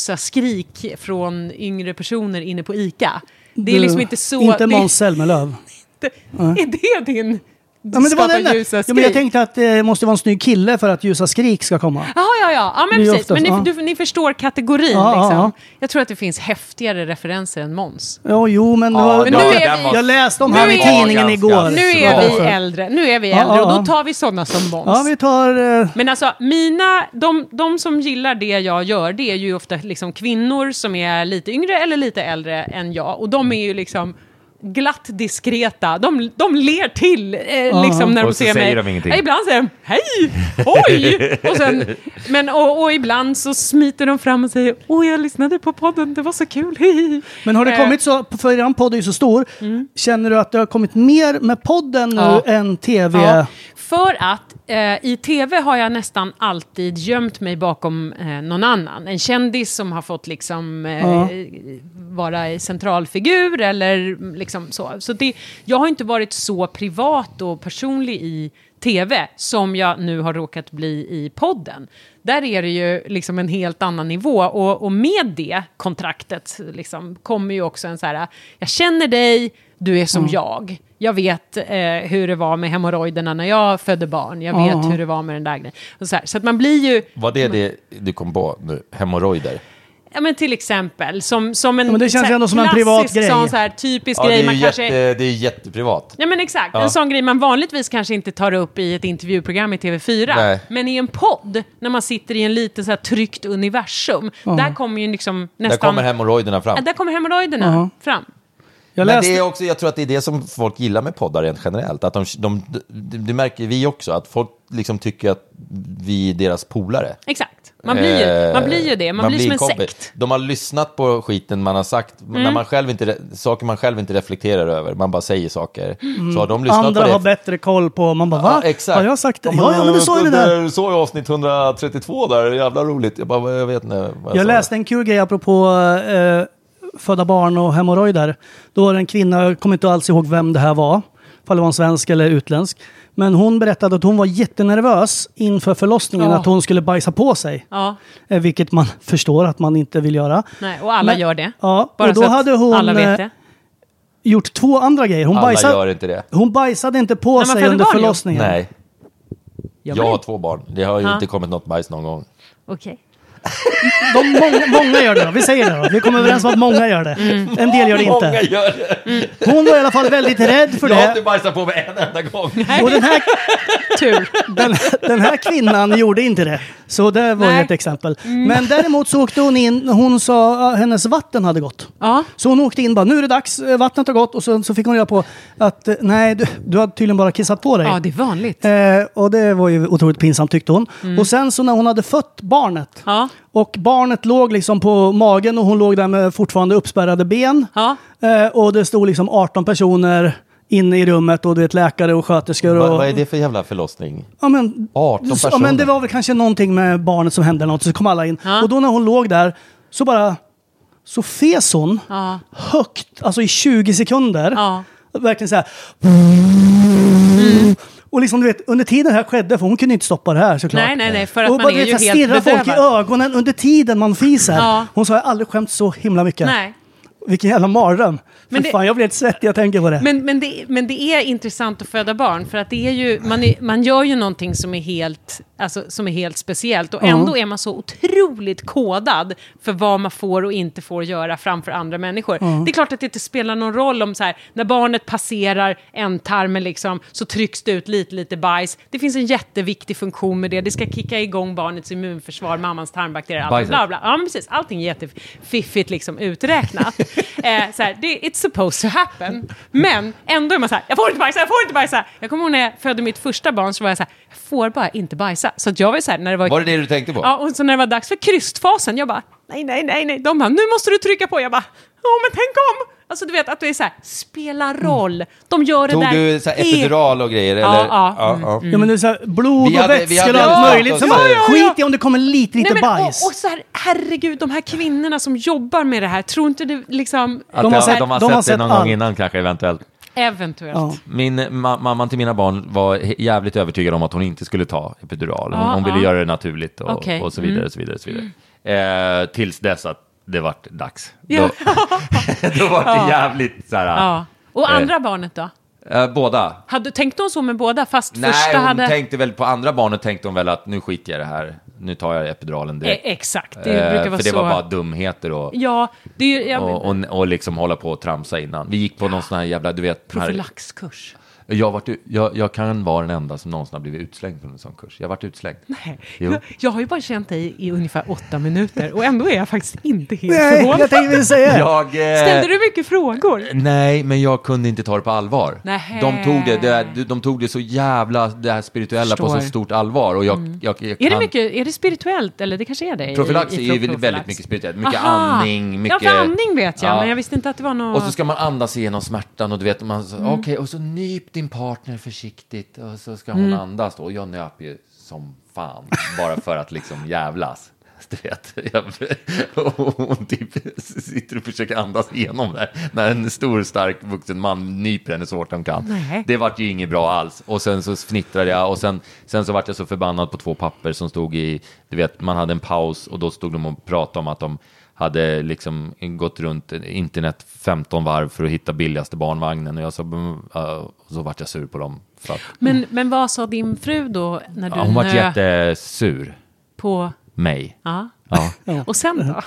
[SPEAKER 6] så skrik från yngre personer inne på ICA. Det är
[SPEAKER 1] Du-
[SPEAKER 6] liksom inte så...
[SPEAKER 1] Inte
[SPEAKER 6] det,
[SPEAKER 1] Måns Zelmerlöw.
[SPEAKER 6] Är det din...
[SPEAKER 1] Ja, men det var
[SPEAKER 6] skapar
[SPEAKER 1] den.
[SPEAKER 6] ljusa
[SPEAKER 1] Ja, men jag
[SPEAKER 6] skrik.
[SPEAKER 1] tänkte att det måste vara en snygg kille för att ljusa skrik ska komma.
[SPEAKER 6] Ja, ja, ja. ja men
[SPEAKER 1] Det är
[SPEAKER 6] precis.
[SPEAKER 1] oftast,
[SPEAKER 6] men ni,
[SPEAKER 1] ja.
[SPEAKER 6] du, ni förstår kategorin.
[SPEAKER 1] Ja, ja,
[SPEAKER 6] liksom.
[SPEAKER 1] ja.
[SPEAKER 6] Jag tror att det finns häftigare referenser än Måns.
[SPEAKER 1] Ja, jo, men...
[SPEAKER 9] Ja,
[SPEAKER 1] vad-
[SPEAKER 6] Men nu är
[SPEAKER 9] den
[SPEAKER 6] vi-
[SPEAKER 9] var-
[SPEAKER 1] Jag läste om
[SPEAKER 6] Nu
[SPEAKER 1] han i
[SPEAKER 6] är-
[SPEAKER 1] tidningen
[SPEAKER 9] Ja,
[SPEAKER 1] igår.
[SPEAKER 9] ganska-
[SPEAKER 6] Nu är
[SPEAKER 1] Ja.
[SPEAKER 6] vi äldre, nu är vi
[SPEAKER 1] Ja,
[SPEAKER 6] äldre och
[SPEAKER 1] ja,
[SPEAKER 6] då
[SPEAKER 1] ja.
[SPEAKER 6] tar vi sådana som Måns.
[SPEAKER 1] Ja, vi tar... eh,
[SPEAKER 6] Men alltså, mina, de, de som gillar det jag gör, det är ju ofta liksom kvinnor som är lite yngre eller lite äldre än jag. Och de är ju liksom glatt diskreta. De, de ler till eh, liksom när de
[SPEAKER 5] Och så
[SPEAKER 6] ser mig.
[SPEAKER 5] säger de ingenting.
[SPEAKER 6] Ja, Ibland säger de hej, oj! och, sen, men, och, och ibland så smiter de fram och säger åh, jag lyssnade på podden, det var så kul. hihi."
[SPEAKER 1] Men har det
[SPEAKER 6] Eh, Mm.
[SPEAKER 1] kommit så, för er podd är ju så stor, känner du att det har kommit mer med podden nu
[SPEAKER 6] Ja.
[SPEAKER 1] än tv?
[SPEAKER 6] Ja, för att eh, i tv har jag nästan alltid gömt mig bakom eh, någon annan. En kändis som har fått liksom eh,
[SPEAKER 1] Ja.
[SPEAKER 6] vara centralfigur eller liksom så. så det, jag har inte varit så privat och personlig i tv som jag nu har råkat bli i podden. Där är det ju liksom en helt annan nivå och, och med det kontraktet liksom, kommer ju också en så här, jag känner dig, du är som jag. Jag vet eh, hur det var med hemorrojderna när jag födde barn, jag vet hur det var med den där grejen. Och Så, här, så att man blir ju,
[SPEAKER 5] Var det det du kom på nu? Hemorrojder?
[SPEAKER 6] Ja men till exempel, som, som en,
[SPEAKER 1] men det känns
[SPEAKER 6] så här
[SPEAKER 1] ändå som en privat
[SPEAKER 6] klassisk
[SPEAKER 1] grej.
[SPEAKER 6] Sån, så här, typisk
[SPEAKER 5] Ja, det
[SPEAKER 6] grej.
[SPEAKER 5] är,
[SPEAKER 6] Man
[SPEAKER 5] ju
[SPEAKER 6] kanske,
[SPEAKER 5] jätte, det är jätteprivat.
[SPEAKER 6] Ja men exakt, en sån grej man vanligtvis kanske inte tar upp i ett intervjuprogram i TV4.
[SPEAKER 5] Nej.
[SPEAKER 6] Men i en podd, när man sitter i en liten så här tryggt universum, där kommer ju liksom
[SPEAKER 5] Där
[SPEAKER 6] nästan...
[SPEAKER 5] kommer hemorrojderna fram.
[SPEAKER 6] Ja, där kommer hemorrojderna fram.
[SPEAKER 1] Jag
[SPEAKER 5] Men
[SPEAKER 1] läste,
[SPEAKER 5] det är också, jag tror att det är det som folk gillar med poddar rent generellt. Att de, de, det det märker vi också, att folk liksom tycker att vi är deras polare.
[SPEAKER 6] Exakt, man blir ju, man blir ju det, man, blir som en
[SPEAKER 5] Eh, kompis.
[SPEAKER 6] sekt. Mm.
[SPEAKER 5] De har lyssnat på skiten man har sagt, när man själv inte, re- saker man själv inte reflekterar över, man bara säger saker. Så har de lyssnat
[SPEAKER 1] andra
[SPEAKER 5] på det.
[SPEAKER 1] har bättre koll på, man bara va?
[SPEAKER 5] Ja, exakt.
[SPEAKER 1] Har jag sagt det?
[SPEAKER 5] men,
[SPEAKER 1] Ja, ja, men du sa ju det där.
[SPEAKER 5] Du sa ju avsnitt 132 där, jävla roligt. Jag bara, vad- jag vet inte. vad
[SPEAKER 1] Jag
[SPEAKER 5] sa.
[SPEAKER 1] läste en kul grej apropå eh, föda barn och hemorrojder. Då var det en kvinna, jag kommer inte alls ihåg vem det här var, ifall det var en svensk eller utländsk. Men hon berättade att hon var jättenervös inför förlossningen,
[SPEAKER 6] Ja.
[SPEAKER 1] att hon skulle bajsa på sig.
[SPEAKER 6] Ja.
[SPEAKER 1] Eh, Vilket man förstår att man inte vill göra.
[SPEAKER 6] Nej, och alla
[SPEAKER 1] Men-
[SPEAKER 6] gör det.
[SPEAKER 1] Ja,
[SPEAKER 6] Bara
[SPEAKER 1] och då
[SPEAKER 6] så att
[SPEAKER 1] hade hon
[SPEAKER 6] alla
[SPEAKER 1] eh,
[SPEAKER 6] vet det.
[SPEAKER 1] gjort två andra grejer. Hon
[SPEAKER 5] Alla
[SPEAKER 1] bajsade,
[SPEAKER 5] gör inte det.
[SPEAKER 1] Hon bajsade inte på
[SPEAKER 6] man
[SPEAKER 1] sig
[SPEAKER 6] föder
[SPEAKER 1] under
[SPEAKER 6] barn, jo.
[SPEAKER 1] förlossningen.
[SPEAKER 5] Nej,
[SPEAKER 6] Ja,
[SPEAKER 5] jag
[SPEAKER 6] men-
[SPEAKER 5] har två barn. Det har ju
[SPEAKER 6] Ja.
[SPEAKER 5] inte kommit något bajs någon gång.
[SPEAKER 6] Okej.
[SPEAKER 1] De, många, många gör det då. Vi säger det då. Vi kommer överens om att många gör det.
[SPEAKER 6] Mm.
[SPEAKER 1] En del gör det
[SPEAKER 5] Många
[SPEAKER 1] inte.
[SPEAKER 5] gör det.
[SPEAKER 1] Hon var i alla fall väldigt rädd för
[SPEAKER 5] Jag har inte
[SPEAKER 1] det.
[SPEAKER 5] bajsat på mig en enda gång.
[SPEAKER 1] Och den här,
[SPEAKER 6] Tur.
[SPEAKER 1] den, den här kvinnan gjorde inte det. Så det var
[SPEAKER 6] Nej. Mm.
[SPEAKER 1] ett exempel. Men däremot så åkte hon in, hon sa att hennes vatten hade gått.
[SPEAKER 6] Ja.
[SPEAKER 1] Så hon åkte in bara, nu är det dags, eh, vattnet har gått. Och så, så fick hon reda på att eh, nej, du, du har tydligen bara kissat på dig.
[SPEAKER 6] ja, det är vanligt.
[SPEAKER 1] Eh, och det var ju otroligt pinsamt tyckte hon. Och sen så när hon hade fött barnet
[SPEAKER 6] Mm. Ja.
[SPEAKER 1] och barnet låg liksom på magen och hon låg där med fortfarande uppspärrade ben.
[SPEAKER 6] Ja.
[SPEAKER 1] Eh, och det stod liksom 18 personer inne i rummet och det är läkare och sköterskor. Och,
[SPEAKER 5] Vad, vad är det för jävla förlossning?
[SPEAKER 1] Ja, men, ja,
[SPEAKER 5] 18
[SPEAKER 1] men det
[SPEAKER 5] personer.
[SPEAKER 1] var väl kanske någonting med barnet som hände eller något så kom alla in.
[SPEAKER 6] Ja.
[SPEAKER 1] Och då när hon låg där så bara så fes hon
[SPEAKER 6] Ja.
[SPEAKER 1] högt, alltså i 20 sekunder.
[SPEAKER 6] Ja.
[SPEAKER 1] Verkligen så här. Och liksom du vet, under tiden det här skedde, för hon kunde inte stoppa det här såklart.
[SPEAKER 6] Nej, nej, nej, för att
[SPEAKER 1] och
[SPEAKER 6] man
[SPEAKER 1] bara,
[SPEAKER 6] är
[SPEAKER 1] du vet, så
[SPEAKER 6] ju
[SPEAKER 1] här,
[SPEAKER 6] helt
[SPEAKER 1] stirra folk i
[SPEAKER 6] bedövad.
[SPEAKER 1] ögonen under tiden man fiser.
[SPEAKER 6] Ja.
[SPEAKER 1] Hon sa, jag har aldrig skämt så himla mycket.
[SPEAKER 6] Nej.
[SPEAKER 1] Vilken jävla mardröm.
[SPEAKER 6] Men
[SPEAKER 1] Men
[SPEAKER 6] det-
[SPEAKER 1] fan, jag blir helt svettig, jag tänker på det.
[SPEAKER 6] Men, men, det, men det är intressant att föda barn, för att det är ju, man, är, man gör ju någonting som är helt, alltså, som är helt speciellt. Och ändå är man så otroligt kodad för vad man får och inte får göra framför andra människor. Det är klart att det inte spelar någon roll om så här, när barnet passerar ändtarmen liksom, så trycks det ut lite, lite bajs. Det finns en jätteviktig funktion med det. Det ska kicka igång barnets immunförsvar, mammans tarmbakterier, allt
[SPEAKER 5] Bajset.
[SPEAKER 6] bla, bla. Ja, men precis. Allting är jättefiffigt liksom uträknat. eh, så här, det, it's supposed to happen. Men ändå är man så här, jag får inte bajsa, jag får inte bajsa. Jag kommer ihåg när jag födde mitt första barn så var jag så här, jag får bara inte bajsa. Så att jag var ju så här, när det var...
[SPEAKER 5] Var det det du tänkte på?
[SPEAKER 6] Ja, och så när det var dags för krystfasen, jag bara, nej, nej, nej, nej. De bara, nu måste du trycka på. Jag bara, ja, men tänk om. Alltså du vet att du är så här, spela roll. De gör det
[SPEAKER 5] Mm. Tog
[SPEAKER 6] där.
[SPEAKER 5] du så här
[SPEAKER 6] helt-
[SPEAKER 5] epidural och grejer?
[SPEAKER 6] Ja,
[SPEAKER 5] eller?
[SPEAKER 6] ja. Mm.
[SPEAKER 1] Ja, men det är så här, blod
[SPEAKER 5] Vi
[SPEAKER 1] och
[SPEAKER 5] hade- vi
[SPEAKER 1] vätskor
[SPEAKER 5] hade
[SPEAKER 1] och allt
[SPEAKER 5] pratat
[SPEAKER 1] möjligt.
[SPEAKER 5] om
[SPEAKER 1] Så
[SPEAKER 5] det.
[SPEAKER 1] bara,
[SPEAKER 5] Ja,
[SPEAKER 6] ja, ja.
[SPEAKER 1] Skit i om det kommer lite, lite
[SPEAKER 6] Nej, men,
[SPEAKER 1] bajs.
[SPEAKER 6] Och, och så här, herregud, de här kvinnorna som jobbar med det här, tror inte du liksom...
[SPEAKER 5] Att
[SPEAKER 1] De har
[SPEAKER 5] jag-
[SPEAKER 1] sett-
[SPEAKER 5] de har
[SPEAKER 1] de
[SPEAKER 5] sett,
[SPEAKER 1] har
[SPEAKER 5] det
[SPEAKER 1] sett
[SPEAKER 5] någon
[SPEAKER 1] allt.
[SPEAKER 5] gång innan kanske eventuellt.
[SPEAKER 6] Eventuellt.
[SPEAKER 1] Ja.
[SPEAKER 5] Min ma- mamman till mina barn var he- jävligt övertygad om att hon inte skulle ta epidural. Hon,
[SPEAKER 6] Ja,
[SPEAKER 5] hon ville
[SPEAKER 6] ja.
[SPEAKER 5] göra det naturligt och,
[SPEAKER 6] Okej. Mm.
[SPEAKER 5] och så vidare. Och så vidare, och så vidare. Eh, tills dess att det vart dags.
[SPEAKER 6] Ja.
[SPEAKER 5] Då, då var det jävligt så här.
[SPEAKER 6] Ja. Och
[SPEAKER 5] Eh.
[SPEAKER 6] andra barnet då?
[SPEAKER 5] Eh, båda.
[SPEAKER 6] Hade, tänkte hon så med båda, fast
[SPEAKER 5] Nej,
[SPEAKER 6] första
[SPEAKER 5] hon
[SPEAKER 6] hade...
[SPEAKER 5] tänkte väl på andra barnet tänkte hon väl att nu skiter jag i det här. Nu tar jag epiduralen
[SPEAKER 6] Eh,
[SPEAKER 5] direkt.
[SPEAKER 6] Exakt, det
[SPEAKER 5] Eh,
[SPEAKER 6] brukar vara
[SPEAKER 5] För det
[SPEAKER 6] så.
[SPEAKER 5] var bara dumheter och,
[SPEAKER 6] Ja, det är ju... Jag,
[SPEAKER 5] och, och, och liksom hålla på och tramsa innan. Vi gick på någon sån här jävla, du vet, den här,
[SPEAKER 6] Profylaxkurs.
[SPEAKER 5] jag, vart, u- jag, jag kan vara den enda som någonsin har blivit utslängd från en sån kurs. Jag vart utslängd.
[SPEAKER 6] Nej,
[SPEAKER 5] Jo.
[SPEAKER 6] Jag, jag har ju bara känt dig i ungefär åtta minuter och ändå är jag faktiskt inte helt
[SPEAKER 1] Nej, jag
[SPEAKER 6] förvånad.
[SPEAKER 1] tänkte säga det.
[SPEAKER 5] Jag, eh,
[SPEAKER 6] Ställde du mycket frågor?
[SPEAKER 5] Nej, men jag kunde inte ta det på allvar.
[SPEAKER 6] Nähä.
[SPEAKER 5] De tog det, det, de tog det så jävla, det här spirituella på
[SPEAKER 6] Förstår. Mm.
[SPEAKER 5] så stort allvar. Och jag, jag, jag
[SPEAKER 6] Är det,
[SPEAKER 5] kan-
[SPEAKER 6] mycket, är det spirituellt eller det kanske är det? i-
[SPEAKER 5] Profylax är
[SPEAKER 6] i
[SPEAKER 5] ju väldigt
[SPEAKER 6] profylax.
[SPEAKER 5] mycket spirituellt. Mycket
[SPEAKER 6] Aha.
[SPEAKER 5] andning, mycket-
[SPEAKER 6] Ja, för andning vet jag,
[SPEAKER 5] Ja.
[SPEAKER 6] men jag visste inte att det var något...
[SPEAKER 5] Och så ska man andas igenom smärtan och du vet, man, så- okej, och så nyp din partner försiktigt och så ska hon andas då. Och jag nöp ju som fan, bara för att liksom jävlas. Du vet, jag, och hon typ sitter och försöker andas igenom där när en stor stark vuxen man nyper henne så hårt han kan.
[SPEAKER 6] Nej.
[SPEAKER 5] Det vart ju inget bra alls. Och sen så fnittrade jag och sen, sen så vart jag så förbannad på två papper som stod i, du vet, man hade en paus och då stod de och pratade om att de hade liksom gått runt internet 15 varv för att hitta billigaste barnvagnen och jag sa, "Mm, ja." och så vart jag sur på dem. För att,
[SPEAKER 6] men, men vad sa din fru då när du
[SPEAKER 5] ja, hon vart
[SPEAKER 6] nöp
[SPEAKER 5] jättesur,
[SPEAKER 6] på...
[SPEAKER 5] mig.
[SPEAKER 6] Ja.
[SPEAKER 5] Ja.
[SPEAKER 6] Och sen då?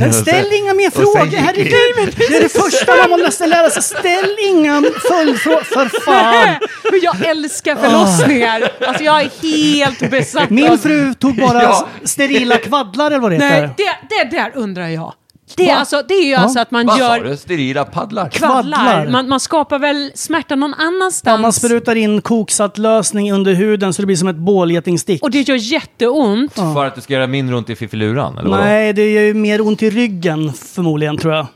[SPEAKER 1] Men ställ inga mer frågor,
[SPEAKER 5] gick vi.
[SPEAKER 1] herregud! Det är det första man måste lära sig. Alltså, Ställ inga följdfrågor, för fan!
[SPEAKER 6] Men jag älskar förlossningar! Alltså jag är helt besatt av...
[SPEAKER 1] Min fru tog bara
[SPEAKER 5] Ja.
[SPEAKER 1] sterila kvaddlar eller vad det
[SPEAKER 6] Nej,
[SPEAKER 1] heter.
[SPEAKER 6] det, det där undrar jag. Det, är
[SPEAKER 1] Va?
[SPEAKER 6] alltså, det är ju alltså att man
[SPEAKER 5] Vad
[SPEAKER 6] gör...
[SPEAKER 5] sa du? Sterila paddlar?
[SPEAKER 1] Kvaddlar.
[SPEAKER 6] kvaddlar. Man, man skapar väl smärta någon annanstans.
[SPEAKER 1] Ja, man sprutar in koksatt lösning under huden så det blir som ett bålgetingstick.
[SPEAKER 6] Och det gör jätteont.
[SPEAKER 5] För att du ska göra mindre ont i fiffiluran? Eller vadå?
[SPEAKER 1] Nej, det gör ju mer ont i ryggen förmodligen tror jag.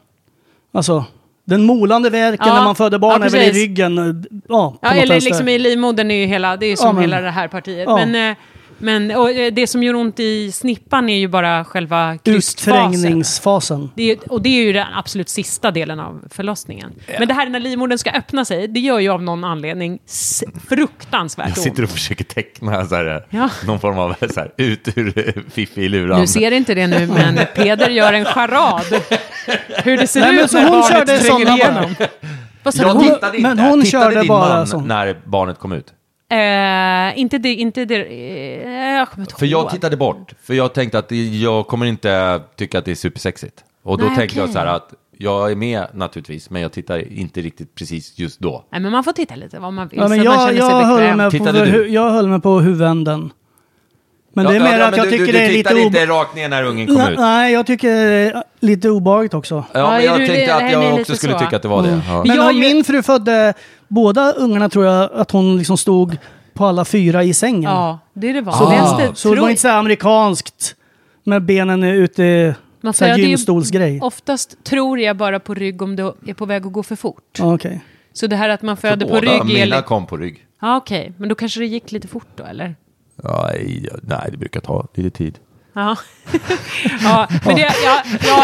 [SPEAKER 1] Alltså, den molande värken
[SPEAKER 6] Ja.
[SPEAKER 1] när man föder barn
[SPEAKER 6] Ja,
[SPEAKER 1] är väl i
[SPEAKER 6] precis.
[SPEAKER 1] ryggen. eh, Ja, på
[SPEAKER 6] Ja,
[SPEAKER 1] något
[SPEAKER 6] eller
[SPEAKER 1] vänster.
[SPEAKER 6] liksom i livmodern är ju hela, det är ju som
[SPEAKER 1] Ja, men-
[SPEAKER 6] hela det här partiet.
[SPEAKER 1] Ja.
[SPEAKER 6] Men, eh, men och eh, det som gör ont i snippan är ju bara själva krystfasen.
[SPEAKER 1] Utträngningsfasen.
[SPEAKER 6] Det är, ju- och det är ju den absolut sista delen av förlossningen. Men det här när livmodern ska öppna sig, det gör ju av någon anledning s- fruktansvärt
[SPEAKER 5] Jag
[SPEAKER 6] ont.
[SPEAKER 5] sitter och försöker teckna så här,
[SPEAKER 6] Ja.
[SPEAKER 5] någon form av så här, ut ur fiffiluran.
[SPEAKER 6] Du ser inte det nu, men Peder gör en charad. Hur det ser
[SPEAKER 1] Nej, men
[SPEAKER 6] ut
[SPEAKER 1] så
[SPEAKER 6] när
[SPEAKER 1] hon
[SPEAKER 6] barnet
[SPEAKER 1] körde
[SPEAKER 6] tränger
[SPEAKER 1] sådana
[SPEAKER 6] igenom. Vad sa du?
[SPEAKER 5] Jag
[SPEAKER 6] Hon-
[SPEAKER 5] tittade inte.
[SPEAKER 1] men hon
[SPEAKER 5] tittade
[SPEAKER 1] körde
[SPEAKER 5] din
[SPEAKER 1] bara
[SPEAKER 5] man
[SPEAKER 1] sån.
[SPEAKER 5] när barnet kom ut?
[SPEAKER 6] Eh, inte det, inte det, eh, jag kommer inte
[SPEAKER 5] För jag
[SPEAKER 6] ihåg.
[SPEAKER 5] tittade bort, för jag tänkte att det- jag kommer inte tycka att det är supersexigt. Och då
[SPEAKER 6] Nej,
[SPEAKER 5] tänkte jag
[SPEAKER 6] okej.
[SPEAKER 5] så här att jag är med naturligtvis, men jag tittar inte riktigt precis just då.
[SPEAKER 6] Nej, men man får titta lite vad man vill,
[SPEAKER 1] Ja, men
[SPEAKER 6] så att man
[SPEAKER 1] jag,
[SPEAKER 6] känner
[SPEAKER 1] jag,
[SPEAKER 6] sig
[SPEAKER 1] höll
[SPEAKER 6] bekväm.
[SPEAKER 1] mig på,
[SPEAKER 5] Tittade du?
[SPEAKER 1] jag höll mig på huvudänden. Men det är
[SPEAKER 5] Ja,
[SPEAKER 1] mer
[SPEAKER 5] ja,
[SPEAKER 1] att
[SPEAKER 5] men
[SPEAKER 1] jag
[SPEAKER 5] du,
[SPEAKER 1] tycker
[SPEAKER 5] du,
[SPEAKER 1] det är
[SPEAKER 5] du
[SPEAKER 1] lite
[SPEAKER 5] tittade
[SPEAKER 1] o...
[SPEAKER 5] inte rakt ner när ungen kom ut.
[SPEAKER 1] Nej, jag tycker det är lite obehagligt också.
[SPEAKER 5] Ja, men
[SPEAKER 6] Ja, du,
[SPEAKER 5] jag
[SPEAKER 6] det-
[SPEAKER 5] tänkte
[SPEAKER 6] det
[SPEAKER 5] att
[SPEAKER 6] här är
[SPEAKER 5] jag
[SPEAKER 6] lite
[SPEAKER 5] också skulle
[SPEAKER 6] så. Mm.
[SPEAKER 5] tycka att det var det. Ja.
[SPEAKER 1] Men
[SPEAKER 6] Jag
[SPEAKER 1] jag,
[SPEAKER 6] ju-
[SPEAKER 1] min fru födde båda ungarna tror jag att hon liksom stod på alla fyra i sängen.
[SPEAKER 6] Ja, det är det
[SPEAKER 5] Ah.
[SPEAKER 1] Så,
[SPEAKER 6] vanligaste.
[SPEAKER 1] det, så det var inte så här amerikanskt med benen ute,
[SPEAKER 6] Man
[SPEAKER 1] så här
[SPEAKER 6] föder ju
[SPEAKER 1] gynstolsgrej.
[SPEAKER 6] Oftast tror jag bara på rygg om det är på väg att gå för fort.
[SPEAKER 1] Ja, Ah, Okej.
[SPEAKER 6] Så det här att man föder på
[SPEAKER 5] Båda
[SPEAKER 6] rygg är...
[SPEAKER 5] Mina
[SPEAKER 6] li-
[SPEAKER 5] kom på rygg.
[SPEAKER 6] Ja, okej. Men då kanske det gick lite fort då, eller?
[SPEAKER 5] Ja, i- nej, det brukar ta lite tid.
[SPEAKER 6] Ja. ja, men det, jag, jag,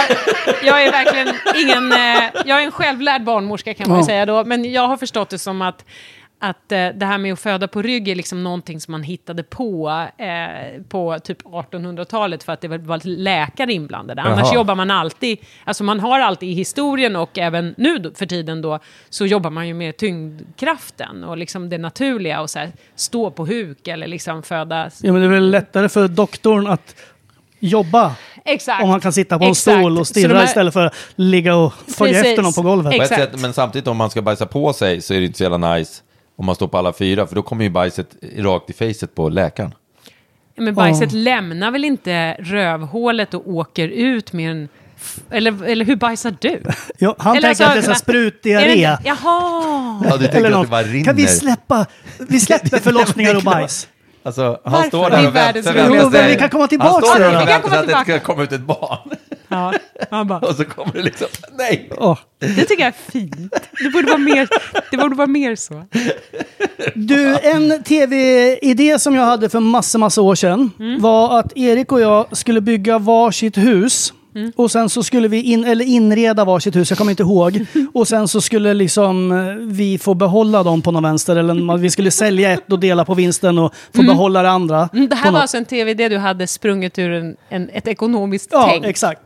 [SPEAKER 6] jag är verkligen ingen... eh, Jag är en självlärd barnmorska kan man ju
[SPEAKER 1] Ja.
[SPEAKER 6] säga då. Men jag har förstått det som att, att eh, det här med att föda på rygg är liksom någonting som man hittade på eh, på typ 1800-talet för att det var läkare inblandade. Annars
[SPEAKER 5] Jaha.
[SPEAKER 6] jobbar man alltid... Alltså man har alltid i historien och även nu då- för tiden då så jobbar man ju med tyngdkraften och liksom det naturliga och så här, stå på huk eller liksom föda
[SPEAKER 1] Ja, men det är väl lättare för doktorn att jobba
[SPEAKER 6] Exakt.
[SPEAKER 1] om han kan sitta på en
[SPEAKER 6] Exakt.
[SPEAKER 1] stol och
[SPEAKER 6] Så de
[SPEAKER 1] stirra
[SPEAKER 6] här-
[SPEAKER 1] istället för att ligga och följa
[SPEAKER 6] Precis.
[SPEAKER 1] efter någon på golvet.
[SPEAKER 5] På ett
[SPEAKER 6] Exakt.
[SPEAKER 5] sätt, men samtidigt om man ska bajsa på sig så är det inte så jävla nice om man står på alla fyra, för då kommer ju bajset rakt i facet på läkaren.
[SPEAKER 6] Men bajset lämnar väl inte rövhålet och åker ut med en... f- Eller, eller hur bajsar du?
[SPEAKER 1] Ja, han tänker
[SPEAKER 6] Eller alltså-
[SPEAKER 1] att det är så här
[SPEAKER 6] Är det
[SPEAKER 1] sprutdiarré.
[SPEAKER 6] inte- Jaha!
[SPEAKER 5] Ja, du tänker
[SPEAKER 1] Eller
[SPEAKER 5] att det bara
[SPEAKER 1] något.
[SPEAKER 5] rinner.
[SPEAKER 1] Kan vi släppa? Vi släpper förlossningar och bajs.
[SPEAKER 5] Alltså, han
[SPEAKER 6] Varför?
[SPEAKER 5] står
[SPEAKER 6] Det
[SPEAKER 5] där
[SPEAKER 6] är
[SPEAKER 5] och vänt-
[SPEAKER 6] världens
[SPEAKER 5] förväntar
[SPEAKER 1] roligaste- Jo,
[SPEAKER 5] sig-
[SPEAKER 1] men vi kan komma tillbaka
[SPEAKER 5] Han står
[SPEAKER 1] till
[SPEAKER 5] där
[SPEAKER 1] det.
[SPEAKER 5] och
[SPEAKER 1] Vi
[SPEAKER 6] kan
[SPEAKER 5] förväntar
[SPEAKER 6] komma
[SPEAKER 5] sig att det ska
[SPEAKER 6] tillbaka.
[SPEAKER 5] komma ut ett barn.
[SPEAKER 6] Ja, han bara,
[SPEAKER 5] Och så kommer det liksom, nej!
[SPEAKER 1] Ja.
[SPEAKER 6] det tycker jag är fint. Det borde vara mer, det borde vara mer så.
[SPEAKER 1] Du, en tv-idé som jag hade för massa, massa år sedan
[SPEAKER 6] Mm.
[SPEAKER 1] var att Erik och jag skulle bygga varsitt hus.
[SPEAKER 6] Mm.
[SPEAKER 1] Och sen så skulle vi in, eller inreda varsitt hus, jag kommer inte ihåg. Och sen så skulle liksom eh, vi få behålla dem på någon vänster. Eller man- vi skulle sälja ett och dela på vinsten och få behålla det andra.
[SPEAKER 6] Mm, Det här
[SPEAKER 1] på
[SPEAKER 6] var
[SPEAKER 1] något-
[SPEAKER 6] alltså en tv-idé du hade sprunget ur en, en, ett ekonomiskt
[SPEAKER 1] Ja,
[SPEAKER 6] tänk.
[SPEAKER 1] exakt.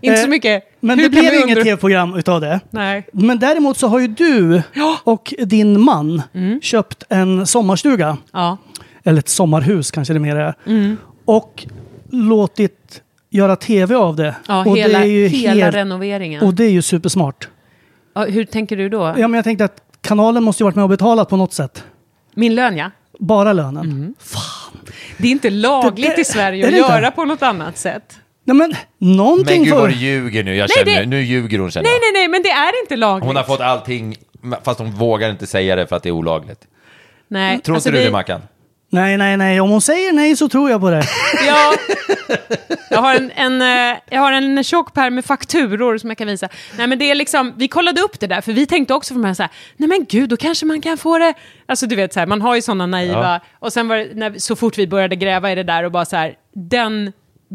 [SPEAKER 6] Inte så
[SPEAKER 1] Eh,
[SPEAKER 6] mycket
[SPEAKER 1] Men
[SPEAKER 6] Hur
[SPEAKER 1] det
[SPEAKER 6] kan
[SPEAKER 1] blev
[SPEAKER 6] vi
[SPEAKER 1] ju inget
[SPEAKER 6] undra-
[SPEAKER 1] tv-program utav det.
[SPEAKER 6] Nej.
[SPEAKER 1] Men däremot så har ju du och din man
[SPEAKER 6] Mm.
[SPEAKER 1] köpt en sommarstuga.
[SPEAKER 6] Ja.
[SPEAKER 1] Eller ett sommarhus kanske det mer är.
[SPEAKER 6] Mm.
[SPEAKER 1] Och låtit göra tv av det.
[SPEAKER 6] Ja,
[SPEAKER 1] och
[SPEAKER 6] hela,
[SPEAKER 1] det är ju
[SPEAKER 6] hela
[SPEAKER 1] helt-
[SPEAKER 6] renoveringen.
[SPEAKER 1] Och det är ju supersmart.
[SPEAKER 6] ja, hur tänker du då?
[SPEAKER 1] Ja, men jag tänkte att kanalen måste ju varit med och betalat på något sätt.
[SPEAKER 6] Min lön, ja.
[SPEAKER 1] Bara lönen.
[SPEAKER 6] Mm. Det är inte lagligt
[SPEAKER 1] Det- det-
[SPEAKER 6] i Sverige
[SPEAKER 1] är
[SPEAKER 6] att
[SPEAKER 1] det inte?
[SPEAKER 6] göra på något annat sätt.
[SPEAKER 1] Nej men, någonting
[SPEAKER 5] Men gud
[SPEAKER 1] för...
[SPEAKER 5] vad du ljuger nu. Jag
[SPEAKER 6] Nej,
[SPEAKER 5] känner,
[SPEAKER 6] det-
[SPEAKER 5] Nu ljuger hon känner
[SPEAKER 6] Nej,
[SPEAKER 5] jag.
[SPEAKER 6] nej, nej, men det är inte lagligt.
[SPEAKER 5] Hon har fått allting, fast hon vågar inte säga det för att det är olagligt.
[SPEAKER 6] Nej.
[SPEAKER 5] Tror
[SPEAKER 6] alltså,
[SPEAKER 5] inte du
[SPEAKER 6] vi-
[SPEAKER 5] det, Mackan?
[SPEAKER 1] Nej, nej, nej. Om hon säger nej så tror jag på det.
[SPEAKER 6] Ja. Jag har en, en, eh, jag har en tjock pärm med fakturor som jag kan visa. Nej, men det är liksom, vi kollade upp det där, för vi tänkte också för mig så här, nej men gud, då kanske man kan få det... Alltså du vet, så här, man har ju sådana naiva... Och sen var det, när, så fort vi började gräva i det där och bara så här, den...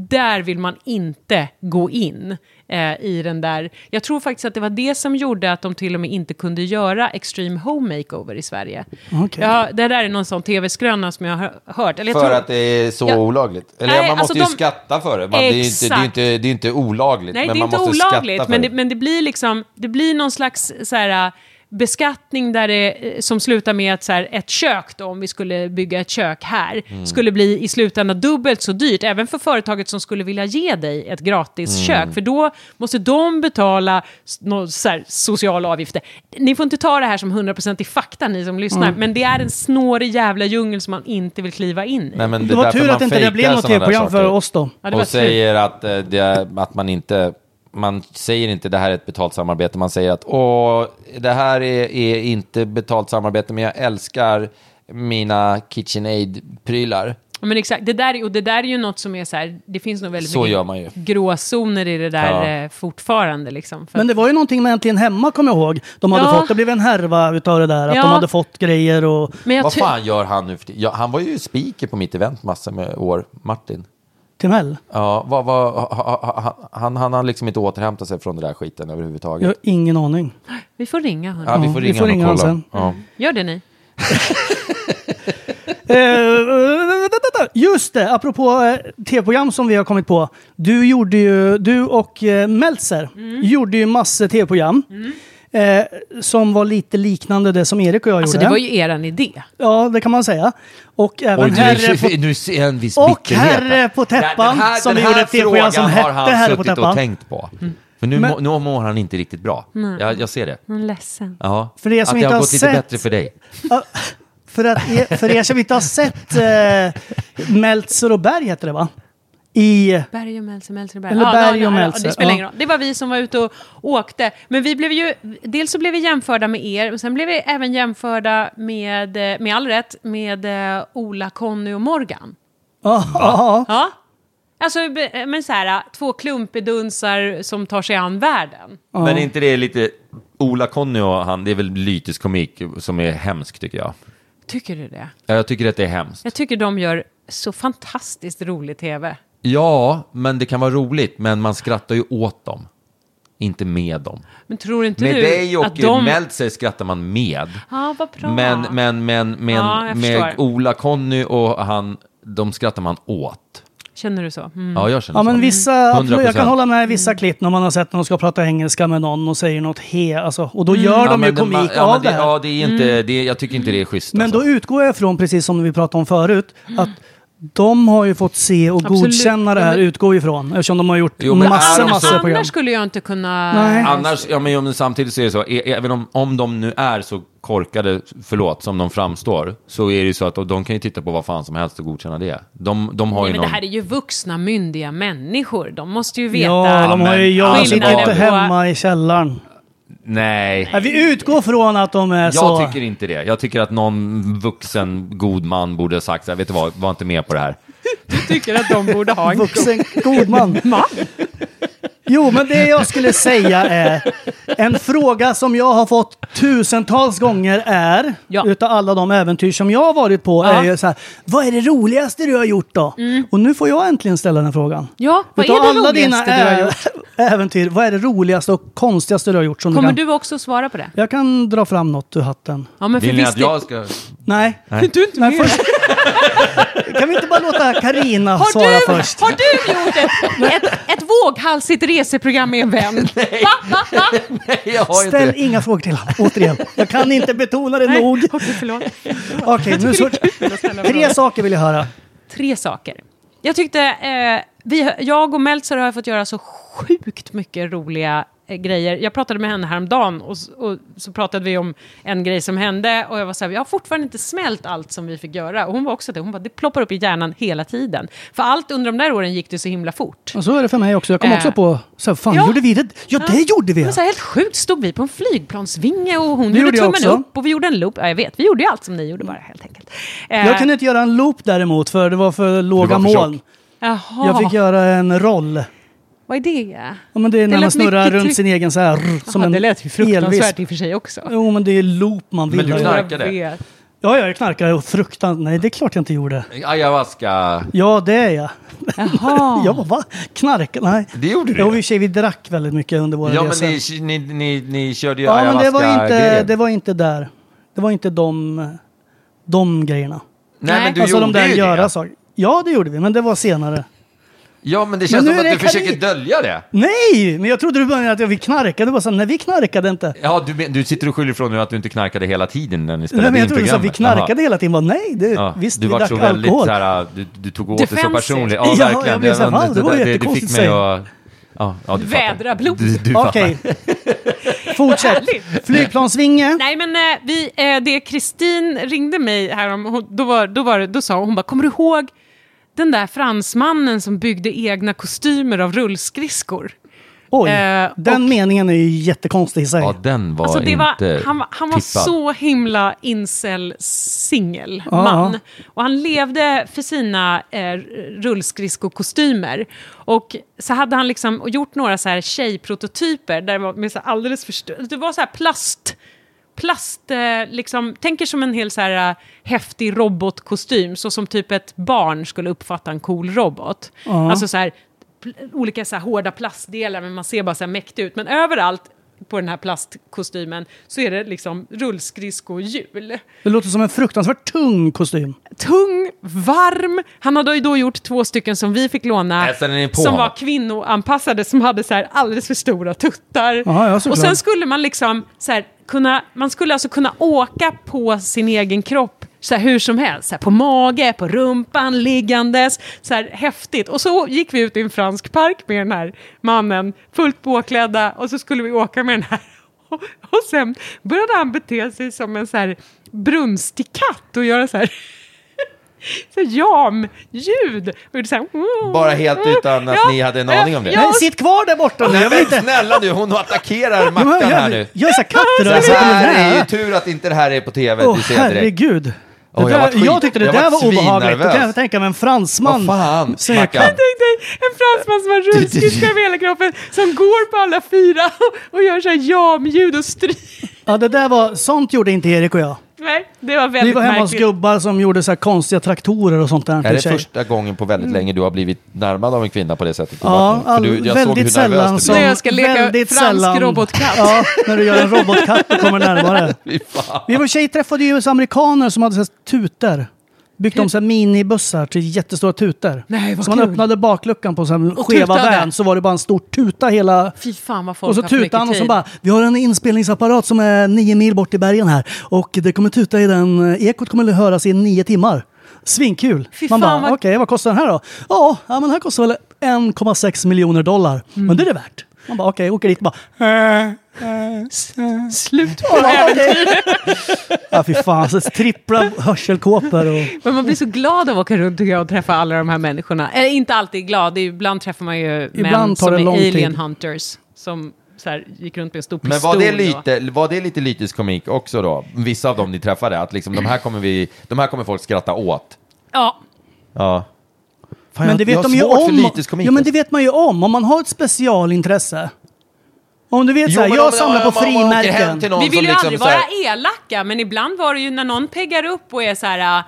[SPEAKER 6] Där vill man inte gå in eh, i den där... Jag tror faktiskt att det var det som gjorde att de till och med inte kunde göra Extreme Home Makeover i Sverige.
[SPEAKER 1] Okej.
[SPEAKER 6] Ja, det där är någon sån tv-skröna som jag har hört. Eller jag
[SPEAKER 5] För
[SPEAKER 6] tror...
[SPEAKER 5] att det är så
[SPEAKER 6] Ja.
[SPEAKER 5] olagligt. Eller
[SPEAKER 6] Nej,
[SPEAKER 5] man måste
[SPEAKER 6] alltså
[SPEAKER 5] ju
[SPEAKER 6] de-
[SPEAKER 5] skatta för det. Man, det, är ju inte, det, är ju inte, det är inte olagligt.
[SPEAKER 6] Nej,
[SPEAKER 5] men
[SPEAKER 6] det är
[SPEAKER 5] man
[SPEAKER 6] inte
[SPEAKER 5] måste skatta
[SPEAKER 6] olagligt,
[SPEAKER 5] för
[SPEAKER 6] men det,
[SPEAKER 5] det.
[SPEAKER 6] men det blir liksom, det blir någon slags så här, äh, beskattning där det, eh, som slutar med att så här, ett kök, då, om vi skulle bygga ett kök här,
[SPEAKER 5] Mm.
[SPEAKER 6] skulle bli i slutändan dubbelt så dyrt, även för företaget som skulle vilja ge dig ett gratis
[SPEAKER 5] Mm.
[SPEAKER 6] kök, för då måste de betala s- nå- så här, sociala avgifter. Ni får inte ta det här som 100% i fakta, ni som lyssnar,
[SPEAKER 5] Mm.
[SPEAKER 6] men det är en snårig jävla djungel som man inte vill kliva in i.
[SPEAKER 5] Nej, men
[SPEAKER 1] Det
[SPEAKER 5] är
[SPEAKER 1] var
[SPEAKER 5] därför
[SPEAKER 1] tur
[SPEAKER 5] man
[SPEAKER 1] att inte det
[SPEAKER 5] fejkar
[SPEAKER 1] blev något
[SPEAKER 5] sådana där
[SPEAKER 1] tv-program för
[SPEAKER 5] saker.
[SPEAKER 1] oss då.
[SPEAKER 6] Ja, det var
[SPEAKER 5] och
[SPEAKER 6] tur.
[SPEAKER 5] säger att, eh, det, att man inte... Man säger inte det här är ett betalt samarbete, man säger att åh, det här är, är inte betalt samarbete, men jag älskar mina KitchenAid-prylar.
[SPEAKER 6] Ja, Men exakt, det där, är- och det där är ju något som är så här, det finns nog väldigt
[SPEAKER 5] Så
[SPEAKER 6] mycket
[SPEAKER 5] gör man ju.
[SPEAKER 6] gråzoner i det där
[SPEAKER 5] Ja.
[SPEAKER 6] eh, fortfarande. Liksom, för
[SPEAKER 1] Men det var ju någonting med Äntligen Hemma, kommer jag ihåg. De hade
[SPEAKER 6] Ja.
[SPEAKER 1] fått, det blev en härva utav det där, att
[SPEAKER 6] Ja.
[SPEAKER 1] de hade fått grejer och...
[SPEAKER 6] men jag
[SPEAKER 5] Vad
[SPEAKER 6] ty-
[SPEAKER 5] fan gör han nu för tiden? ja, Han var ju speaker på mitt event massor med år, Martin.
[SPEAKER 1] Timell?
[SPEAKER 5] Ja, vad, vad, ha, ha, ha, han han har liksom inte återhämtat sig från den där skiten överhuvudtaget.
[SPEAKER 1] Jag har ingen aning.
[SPEAKER 6] Vi får ringa honom.
[SPEAKER 5] Ja, vi får
[SPEAKER 1] Mm. vi
[SPEAKER 5] ringa,
[SPEAKER 1] får ringa
[SPEAKER 5] honom och
[SPEAKER 1] honom
[SPEAKER 5] kolla.
[SPEAKER 1] sen.
[SPEAKER 5] Ja.
[SPEAKER 6] Gör det ni.
[SPEAKER 1] Eh, eh, Just det, apropå eh, tv-program som vi har kommit på. Du, gjorde ju, du och eh, Meltzer
[SPEAKER 6] Mm.
[SPEAKER 1] gjorde ju massor tv-program. Eh, som var lite liknande det som Erik och jag
[SPEAKER 6] Alltså
[SPEAKER 1] gjorde.
[SPEAKER 6] det var ju eran idé.
[SPEAKER 1] Ja, det kan man säga. Och även
[SPEAKER 5] Oj,
[SPEAKER 1] herre
[SPEAKER 5] nu,
[SPEAKER 1] på...
[SPEAKER 5] nu ser jag en viss
[SPEAKER 1] Och
[SPEAKER 5] bitterhet här.
[SPEAKER 1] herre på täppan,
[SPEAKER 5] Den här,
[SPEAKER 1] som
[SPEAKER 5] den
[SPEAKER 1] vi gjorde
[SPEAKER 5] här
[SPEAKER 1] ett tv-program som
[SPEAKER 5] frågan har han
[SPEAKER 1] hette Herre på
[SPEAKER 5] suttit
[SPEAKER 1] täppan. Mm.
[SPEAKER 5] och tänkt på. För nu,
[SPEAKER 1] Men-
[SPEAKER 5] må, nu mår han inte riktigt bra. Jag, jag ser det.
[SPEAKER 6] Jag är ledsen.
[SPEAKER 5] Ja.
[SPEAKER 1] För er som
[SPEAKER 5] att
[SPEAKER 1] inte
[SPEAKER 5] det
[SPEAKER 1] har
[SPEAKER 5] har gått lite
[SPEAKER 1] sett-
[SPEAKER 5] bättre för dig.
[SPEAKER 1] Ja, För, att er, för er som inte har sett eh, Meltzer och Berg heter det va? I...
[SPEAKER 6] Berg och Meltzer, Meltzer och Berg.
[SPEAKER 1] Eller Berg och
[SPEAKER 6] ja,
[SPEAKER 1] Meltzer,
[SPEAKER 6] Det spelar
[SPEAKER 1] ja.
[SPEAKER 6] ingen roll. Det var vi som var ute och åkte. Men vi blev ju, dels så blev vi jämförda med er, och sen blev vi även jämförda med, eh, med all rätt, med eh, Ola, Conny och Morgan.
[SPEAKER 1] Ja,
[SPEAKER 6] Ja. Alltså, be- men så här, två klumpedunsar som tar sig an världen.
[SPEAKER 5] Men är inte det lite... Ola-Conny och han, det är väl lytisk komik som är hemsk tycker jag.
[SPEAKER 6] Tycker du det?
[SPEAKER 5] Ja, Jag tycker att det är hemskt.
[SPEAKER 6] Jag tycker de gör så fantastiskt rolig tv.
[SPEAKER 5] Ja, men det kan vara roligt, men man skrattar ju åt dem. Inte med dem.
[SPEAKER 6] Men tror inte
[SPEAKER 5] Med
[SPEAKER 6] du
[SPEAKER 5] dig och
[SPEAKER 6] att de...
[SPEAKER 5] Meltzer skrattar man med.
[SPEAKER 6] Ja, vad bra.
[SPEAKER 5] Men, men, men, men
[SPEAKER 6] Ja, jag
[SPEAKER 5] med
[SPEAKER 6] förstår.
[SPEAKER 5] Ola-Conny och han, de skrattar man åt.
[SPEAKER 6] Känner du så? Mm.
[SPEAKER 5] Ja, jag känner
[SPEAKER 1] ja men
[SPEAKER 5] så.
[SPEAKER 1] vissa...
[SPEAKER 5] 100%.
[SPEAKER 1] Jag kan hålla med i vissa klipp när man har sett när de ska prata engelska med någon och säger något he. Alltså, och då gör de
[SPEAKER 5] men
[SPEAKER 1] ju
[SPEAKER 5] det-
[SPEAKER 1] komik
[SPEAKER 5] man- Mm. ja,
[SPEAKER 1] av
[SPEAKER 5] men
[SPEAKER 1] det
[SPEAKER 5] det,
[SPEAKER 1] här.
[SPEAKER 5] ja, det är inte,
[SPEAKER 6] Mm.
[SPEAKER 5] det, jag tycker inte det är schysst.
[SPEAKER 1] Men
[SPEAKER 5] alltså. Mm.
[SPEAKER 1] då utgår jag från, precis som vi pratade om förut, att de har ju fått se och
[SPEAKER 6] Absolut.
[SPEAKER 1] godkänna det
[SPEAKER 6] Ja,
[SPEAKER 1] här,
[SPEAKER 6] men-
[SPEAKER 1] utgår ju från. Eftersom de har gjort
[SPEAKER 5] Jo, men är
[SPEAKER 1] massor,
[SPEAKER 5] de
[SPEAKER 1] massor
[SPEAKER 5] så-
[SPEAKER 1] program.
[SPEAKER 6] Annars skulle jag inte kunna...
[SPEAKER 1] Nej.
[SPEAKER 5] Annars, ja, men, ja, men samtidigt så är det så, ä- även om, om de nu är så korkade, förlåt, som de framstår, så är det ju så att och de kan ju titta på vad fan som helst och godkänna det. De, de har
[SPEAKER 6] Nej,
[SPEAKER 5] ju
[SPEAKER 6] men
[SPEAKER 5] någon...
[SPEAKER 6] det här är ju vuxna, myndiga människor. De måste ju veta.
[SPEAKER 1] Ja, de har ju...
[SPEAKER 5] men-
[SPEAKER 1] Jag sitter
[SPEAKER 6] skillnaden
[SPEAKER 1] inte
[SPEAKER 5] på-
[SPEAKER 1] hemma i källaren.
[SPEAKER 5] Nej.
[SPEAKER 1] Nej, vi utgår från att de är så...
[SPEAKER 5] Jag tycker inte det. Jag tycker att någon vuxen god man borde ha sagt så här, vet du vad, var inte med på det här.
[SPEAKER 6] tycker att de borde ha en
[SPEAKER 1] Vuxen god man. Jo, men det jag skulle säga är en fråga som jag har fått tusentals gånger är,
[SPEAKER 6] Ja.
[SPEAKER 1] utav alla de äventyr som jag har varit på,
[SPEAKER 6] Ja. Mm.
[SPEAKER 1] är ju så här, vad är det roligaste du har gjort då? Och nu får jag äntligen ställa den frågan.
[SPEAKER 6] Ja, vad
[SPEAKER 1] Utav
[SPEAKER 6] är det roligaste du har
[SPEAKER 1] ä-
[SPEAKER 6] gjort?
[SPEAKER 1] äventyr. Vad är det roligaste och konstigaste du har gjort? Som
[SPEAKER 6] Kommer
[SPEAKER 1] kan...
[SPEAKER 6] du också svara på det?
[SPEAKER 1] Jag kan dra fram något ur hatten.
[SPEAKER 6] Ja, men för
[SPEAKER 5] Vill ni
[SPEAKER 6] visst
[SPEAKER 5] att jag ska...
[SPEAKER 1] Nej.
[SPEAKER 6] Du är inte
[SPEAKER 1] Nej,
[SPEAKER 6] med.
[SPEAKER 1] först... Kan vi inte bara låta Karina
[SPEAKER 6] Har
[SPEAKER 1] svara
[SPEAKER 6] du,
[SPEAKER 1] först?
[SPEAKER 6] har du gjort ett, ett, ett våghalsigt reseprogram med en vän? Va? Va? Va?
[SPEAKER 7] Jag har ju
[SPEAKER 1] Ställ
[SPEAKER 7] inte...
[SPEAKER 1] inga frågor till honom, återigen. Jag kan inte betona det
[SPEAKER 6] Nej,
[SPEAKER 1] nog.
[SPEAKER 6] okej, förlåt.
[SPEAKER 1] Okej, nu så... Tre saker vill jag höra.
[SPEAKER 6] Tre saker. Jag tyckte, eh, vi, jag och Meltzer har fått göra så sjukt mycket roliga eh, grejer. Jag pratade med henne häromdagen och, s- och så pratade vi om en grej som hände och jag var så här, jag har fortfarande inte smält allt som vi fick göra. Och hon var också det, hon bara, det ploppar upp i hjärnan hela tiden. För allt under de där åren gick det så himla fort.
[SPEAKER 1] Och så är det för mig också. Jag kom
[SPEAKER 6] Eh.
[SPEAKER 1] också på, så här, fan
[SPEAKER 6] Ja.
[SPEAKER 1] gjorde vi det? Ja, det gjorde vi!
[SPEAKER 6] Men så här, helt sjukt stod vi på en flygplansvinge och hon
[SPEAKER 1] Det
[SPEAKER 6] gjorde
[SPEAKER 1] gjorde jag
[SPEAKER 6] tummen
[SPEAKER 1] också.
[SPEAKER 6] upp och vi gjorde en loop. Ja, jag vet, vi gjorde ju allt som ni gjorde bara helt enkelt. Eh,
[SPEAKER 1] Jag kunde inte göra en loop däremot, för det var för låga
[SPEAKER 5] för
[SPEAKER 1] moln.
[SPEAKER 6] Eh, Jaha,
[SPEAKER 1] Jag fick göra en roll.
[SPEAKER 6] vad är det?
[SPEAKER 1] Ja, men det är när
[SPEAKER 6] lät
[SPEAKER 1] man snurrar
[SPEAKER 6] mycket
[SPEAKER 1] runt
[SPEAKER 6] tryck-
[SPEAKER 1] sin egen så här, rr, som
[SPEAKER 6] Jaha,
[SPEAKER 1] en
[SPEAKER 6] det lät ju fruktansvärt i och för sig också.
[SPEAKER 1] Jo, men det är loop man
[SPEAKER 5] Men
[SPEAKER 1] vill.
[SPEAKER 5] du
[SPEAKER 1] ha.
[SPEAKER 5] knarkar.
[SPEAKER 1] Ja,
[SPEAKER 5] knarkade.
[SPEAKER 6] Jag vet.
[SPEAKER 1] ja, jag knarkar och fruktan. Nej, det är klart jag inte gjorde.
[SPEAKER 5] Ayahuasca.
[SPEAKER 1] Ja, det är jag.
[SPEAKER 6] Jaha.
[SPEAKER 1] Ja, va? Knark? Nej.
[SPEAKER 5] Det gjorde du.
[SPEAKER 1] Jo, i och för sig, vi drack väldigt mycket under våra
[SPEAKER 5] Ja, men
[SPEAKER 1] resor.
[SPEAKER 5] ni, ni, ni, ni körde ju
[SPEAKER 1] ja, men det var, inte,
[SPEAKER 5] ayahuasca-grejen.
[SPEAKER 1] det var inte där. Det var inte de, de grejerna.
[SPEAKER 5] Nej, men du
[SPEAKER 1] alltså de
[SPEAKER 5] gjorde
[SPEAKER 1] där
[SPEAKER 5] ju
[SPEAKER 1] göra
[SPEAKER 5] det.
[SPEAKER 1] saker. Ja, det gjorde vi, men det var senare.
[SPEAKER 5] Ja, men det känns
[SPEAKER 1] nu
[SPEAKER 5] som att
[SPEAKER 1] är
[SPEAKER 5] du
[SPEAKER 1] det
[SPEAKER 5] försöker
[SPEAKER 1] Karin.
[SPEAKER 5] dölja det.
[SPEAKER 1] Nej, men jag trodde du började att vi knarkade. Det var så här, nej, vi knarkade inte.
[SPEAKER 5] Ja, du, men- du sitter och skyller ifrån nu att du inte knarkade hela tiden när ni
[SPEAKER 1] Nej,
[SPEAKER 5] spelade
[SPEAKER 1] men jag
[SPEAKER 5] in
[SPEAKER 1] trodde du sa att vi
[SPEAKER 5] programmet.
[SPEAKER 1] knarkade
[SPEAKER 5] Jaha.
[SPEAKER 1] hela tiden. Bara, nej, det,
[SPEAKER 5] Ja,
[SPEAKER 1] visst,
[SPEAKER 5] du
[SPEAKER 1] vi
[SPEAKER 5] var
[SPEAKER 1] drack
[SPEAKER 5] så väldigt
[SPEAKER 1] alkohol.
[SPEAKER 5] så här, du, du tog åt det så
[SPEAKER 6] Defensive.
[SPEAKER 5] personligt.
[SPEAKER 6] Ja,
[SPEAKER 5] Ja,
[SPEAKER 1] jag
[SPEAKER 5] verkligen.
[SPEAKER 1] blev så här,
[SPEAKER 5] men
[SPEAKER 1] "Fan, det var
[SPEAKER 5] det
[SPEAKER 1] jättekonstigt
[SPEAKER 5] fick mig
[SPEAKER 1] att säga."
[SPEAKER 5] att... Ja, ja, du fattar.
[SPEAKER 6] Vädra blod.
[SPEAKER 5] Du, du fattar.
[SPEAKER 1] Okej, fortsätt. Flygplansvinge.
[SPEAKER 6] Nej men eh, vi, eh, det Kristin ringde mig härom, hon, då, var, då, var, det- då sa hon, hon bara, kommer du ihåg den där fransmannen som byggde egna kostymer av rullskridskor?
[SPEAKER 1] Oj,
[SPEAKER 6] Eh,
[SPEAKER 1] den
[SPEAKER 6] och-
[SPEAKER 1] meningen är ju jättekonstig i sig.
[SPEAKER 5] Ja, den var
[SPEAKER 6] Alltså det
[SPEAKER 5] inte
[SPEAKER 6] var, han, var- han var
[SPEAKER 5] tippad.
[SPEAKER 6] så himla incel-singel man. Och han levde för sina eh, rullskridskokostymer. Och så hade han liksom gjort några så här tjejprototyper där det var med så här alldeles för st- Det var så här plast... Plast, eh, liksom, tänker som en hel så här eh, häftig robotkostym, så som typ ett barn skulle uppfatta en cool robot. Alltså så här, pl- olika så här hårda plastdelar, men man ser bara så här mäktig ut. Men överallt på den här plastkostymen så är det liksom rullskridskohjul.
[SPEAKER 1] Det låter som en fruktansvärt tung kostym.
[SPEAKER 6] Tung, varm. Han hade ju då gjort två stycken som vi fick låna.
[SPEAKER 5] Äh, sen är ni på
[SPEAKER 6] som var
[SPEAKER 5] honom.
[SPEAKER 6] kvinnoanpassade, som hade så här alldeles för stora tuttar.
[SPEAKER 1] Ja, ja,
[SPEAKER 6] och
[SPEAKER 1] såklart.
[SPEAKER 6] sen skulle man liksom så här, kunna, man skulle alltså kunna åka på sin egen kropp så här, hur som helst. Så här, på mage, på rumpan, liggandes. Så här, häftigt. Och så gick vi ut i en fransk park med den här mannen, fullt påklädda, och så skulle vi åka med den här. Och, och sen började han bete sig som en så här brunstig katt och göra så här så jam-ljud. Och gjorde så här, mm,
[SPEAKER 7] Bara helt utan att
[SPEAKER 6] Ja,
[SPEAKER 7] ni hade en
[SPEAKER 6] ja,
[SPEAKER 7] aning om det.
[SPEAKER 6] ja,
[SPEAKER 1] Men sitt kvar där borta nu,
[SPEAKER 7] Nej
[SPEAKER 1] jag vill
[SPEAKER 7] men
[SPEAKER 1] inte...
[SPEAKER 7] snälla nu, hon attackerar
[SPEAKER 1] Jag
[SPEAKER 7] Mackan här nu.
[SPEAKER 1] gör, gör så här
[SPEAKER 7] Det
[SPEAKER 1] kattrörelser.
[SPEAKER 7] här är ju tur att inte det här är på tv,
[SPEAKER 1] Åh
[SPEAKER 7] du ser direkt.
[SPEAKER 1] herregud. Det
[SPEAKER 7] Åh, jag
[SPEAKER 1] där,
[SPEAKER 7] vart
[SPEAKER 1] jag,
[SPEAKER 7] skit-
[SPEAKER 1] tyckte det
[SPEAKER 7] jag
[SPEAKER 1] där
[SPEAKER 7] vart
[SPEAKER 1] var obehagligt. Då kan jag
[SPEAKER 7] svinnervös.
[SPEAKER 1] tänka mig en fransman.
[SPEAKER 7] Vad fan,
[SPEAKER 1] Så-
[SPEAKER 7] Mackan.
[SPEAKER 6] Tänk dig en fransman som har rullskridskor över hela kroppen som går på alla fyra och, och gör så här jam-ljud och stryker.
[SPEAKER 1] Ja, det där var, sånt gjorde inte Erik och jag.
[SPEAKER 6] Nej, det var
[SPEAKER 1] Vi
[SPEAKER 6] väldigt
[SPEAKER 1] var hemma hos
[SPEAKER 6] märkligt.
[SPEAKER 1] gubbar som gjorde så här konstiga traktorer och sånt där.
[SPEAKER 7] Är
[SPEAKER 1] till
[SPEAKER 7] det
[SPEAKER 1] tjejer.
[SPEAKER 7] första gången på väldigt länge du har blivit närmad av en kvinna på det sättet?
[SPEAKER 1] Mm. Ja,
[SPEAKER 7] För du,
[SPEAKER 1] all-
[SPEAKER 7] jag såg
[SPEAKER 1] väldigt
[SPEAKER 7] hur nervös
[SPEAKER 1] sällan
[SPEAKER 7] du
[SPEAKER 1] som...
[SPEAKER 7] blev.
[SPEAKER 6] Nej, jag ska leka
[SPEAKER 1] väldigt
[SPEAKER 6] fransk robotkatt.
[SPEAKER 1] Ja, när du gör en robotkatt och kommer närmare.
[SPEAKER 7] Fy fan.
[SPEAKER 1] Vi var tjej träffade ju så amerikaner som hade så här tutor. Byggt om så här minibussar till jättestora tutor.
[SPEAKER 6] Nej, vad
[SPEAKER 1] så man
[SPEAKER 6] kul.
[SPEAKER 1] öppnade bakluckan på så här skeva
[SPEAKER 6] tutade.
[SPEAKER 1] vän så var det bara en stor tuta hela...
[SPEAKER 6] Fy fan vad folk
[SPEAKER 1] Och så
[SPEAKER 6] har haft mycket
[SPEAKER 1] tutade han och så
[SPEAKER 6] tid.
[SPEAKER 1] bara, vi har en inspelningsapparat som är nio mil bort i bergen här. Och det kommer tuta i den, ekot kommer höras i nio timmar. Svinkul.
[SPEAKER 6] Fy
[SPEAKER 1] Man bara,
[SPEAKER 6] fan, vad-
[SPEAKER 1] okej vad kostar den här då? Ja, ja men den här kostar väl 1,6 miljoner dollar.
[SPEAKER 6] Mm.
[SPEAKER 1] Men det är det värt. Man bara okej, åker dit och bara,
[SPEAKER 6] Slut på det.
[SPEAKER 1] ja, okej. ja fy fan, så trippla hörselkåpor och...
[SPEAKER 6] Men man blir så glad av att åka runt tycker jag, och träffa alla de här människorna. Eller inte alltid glad, det är, ibland träffar man ju män
[SPEAKER 1] Ibland tar
[SPEAKER 6] som
[SPEAKER 1] det
[SPEAKER 6] är
[SPEAKER 1] lång tid.
[SPEAKER 6] alien hunters. Som så här, gick runt med en stor pistol.
[SPEAKER 7] Men var det,
[SPEAKER 6] och-
[SPEAKER 7] lite, var det lite lyteskomik också då? Vissa av dem ni träffade, att liksom de här kommer, vi, de här kommer folk skratta åt.
[SPEAKER 6] Ja,
[SPEAKER 7] Ja. Fan,
[SPEAKER 1] Men
[SPEAKER 7] jag-
[SPEAKER 1] det
[SPEAKER 7] jag
[SPEAKER 1] vet
[SPEAKER 7] har
[SPEAKER 1] de ju
[SPEAKER 7] svårt för alltså.
[SPEAKER 1] om.
[SPEAKER 7] lyteskomik.
[SPEAKER 1] Ja, men det vet man ju om. Om man har ett specialintresse. Om du vet
[SPEAKER 7] Jo,
[SPEAKER 1] så här,
[SPEAKER 7] men
[SPEAKER 1] jag
[SPEAKER 7] om-
[SPEAKER 1] samlar
[SPEAKER 7] om-
[SPEAKER 1] på
[SPEAKER 7] om- om man åker hem
[SPEAKER 1] frimärken.
[SPEAKER 7] till någon
[SPEAKER 6] Vi
[SPEAKER 7] som
[SPEAKER 6] vill ju
[SPEAKER 7] liksom
[SPEAKER 6] aldrig
[SPEAKER 7] så här-
[SPEAKER 6] vara elaka, men ibland var det ju när någon peggar upp och är så här...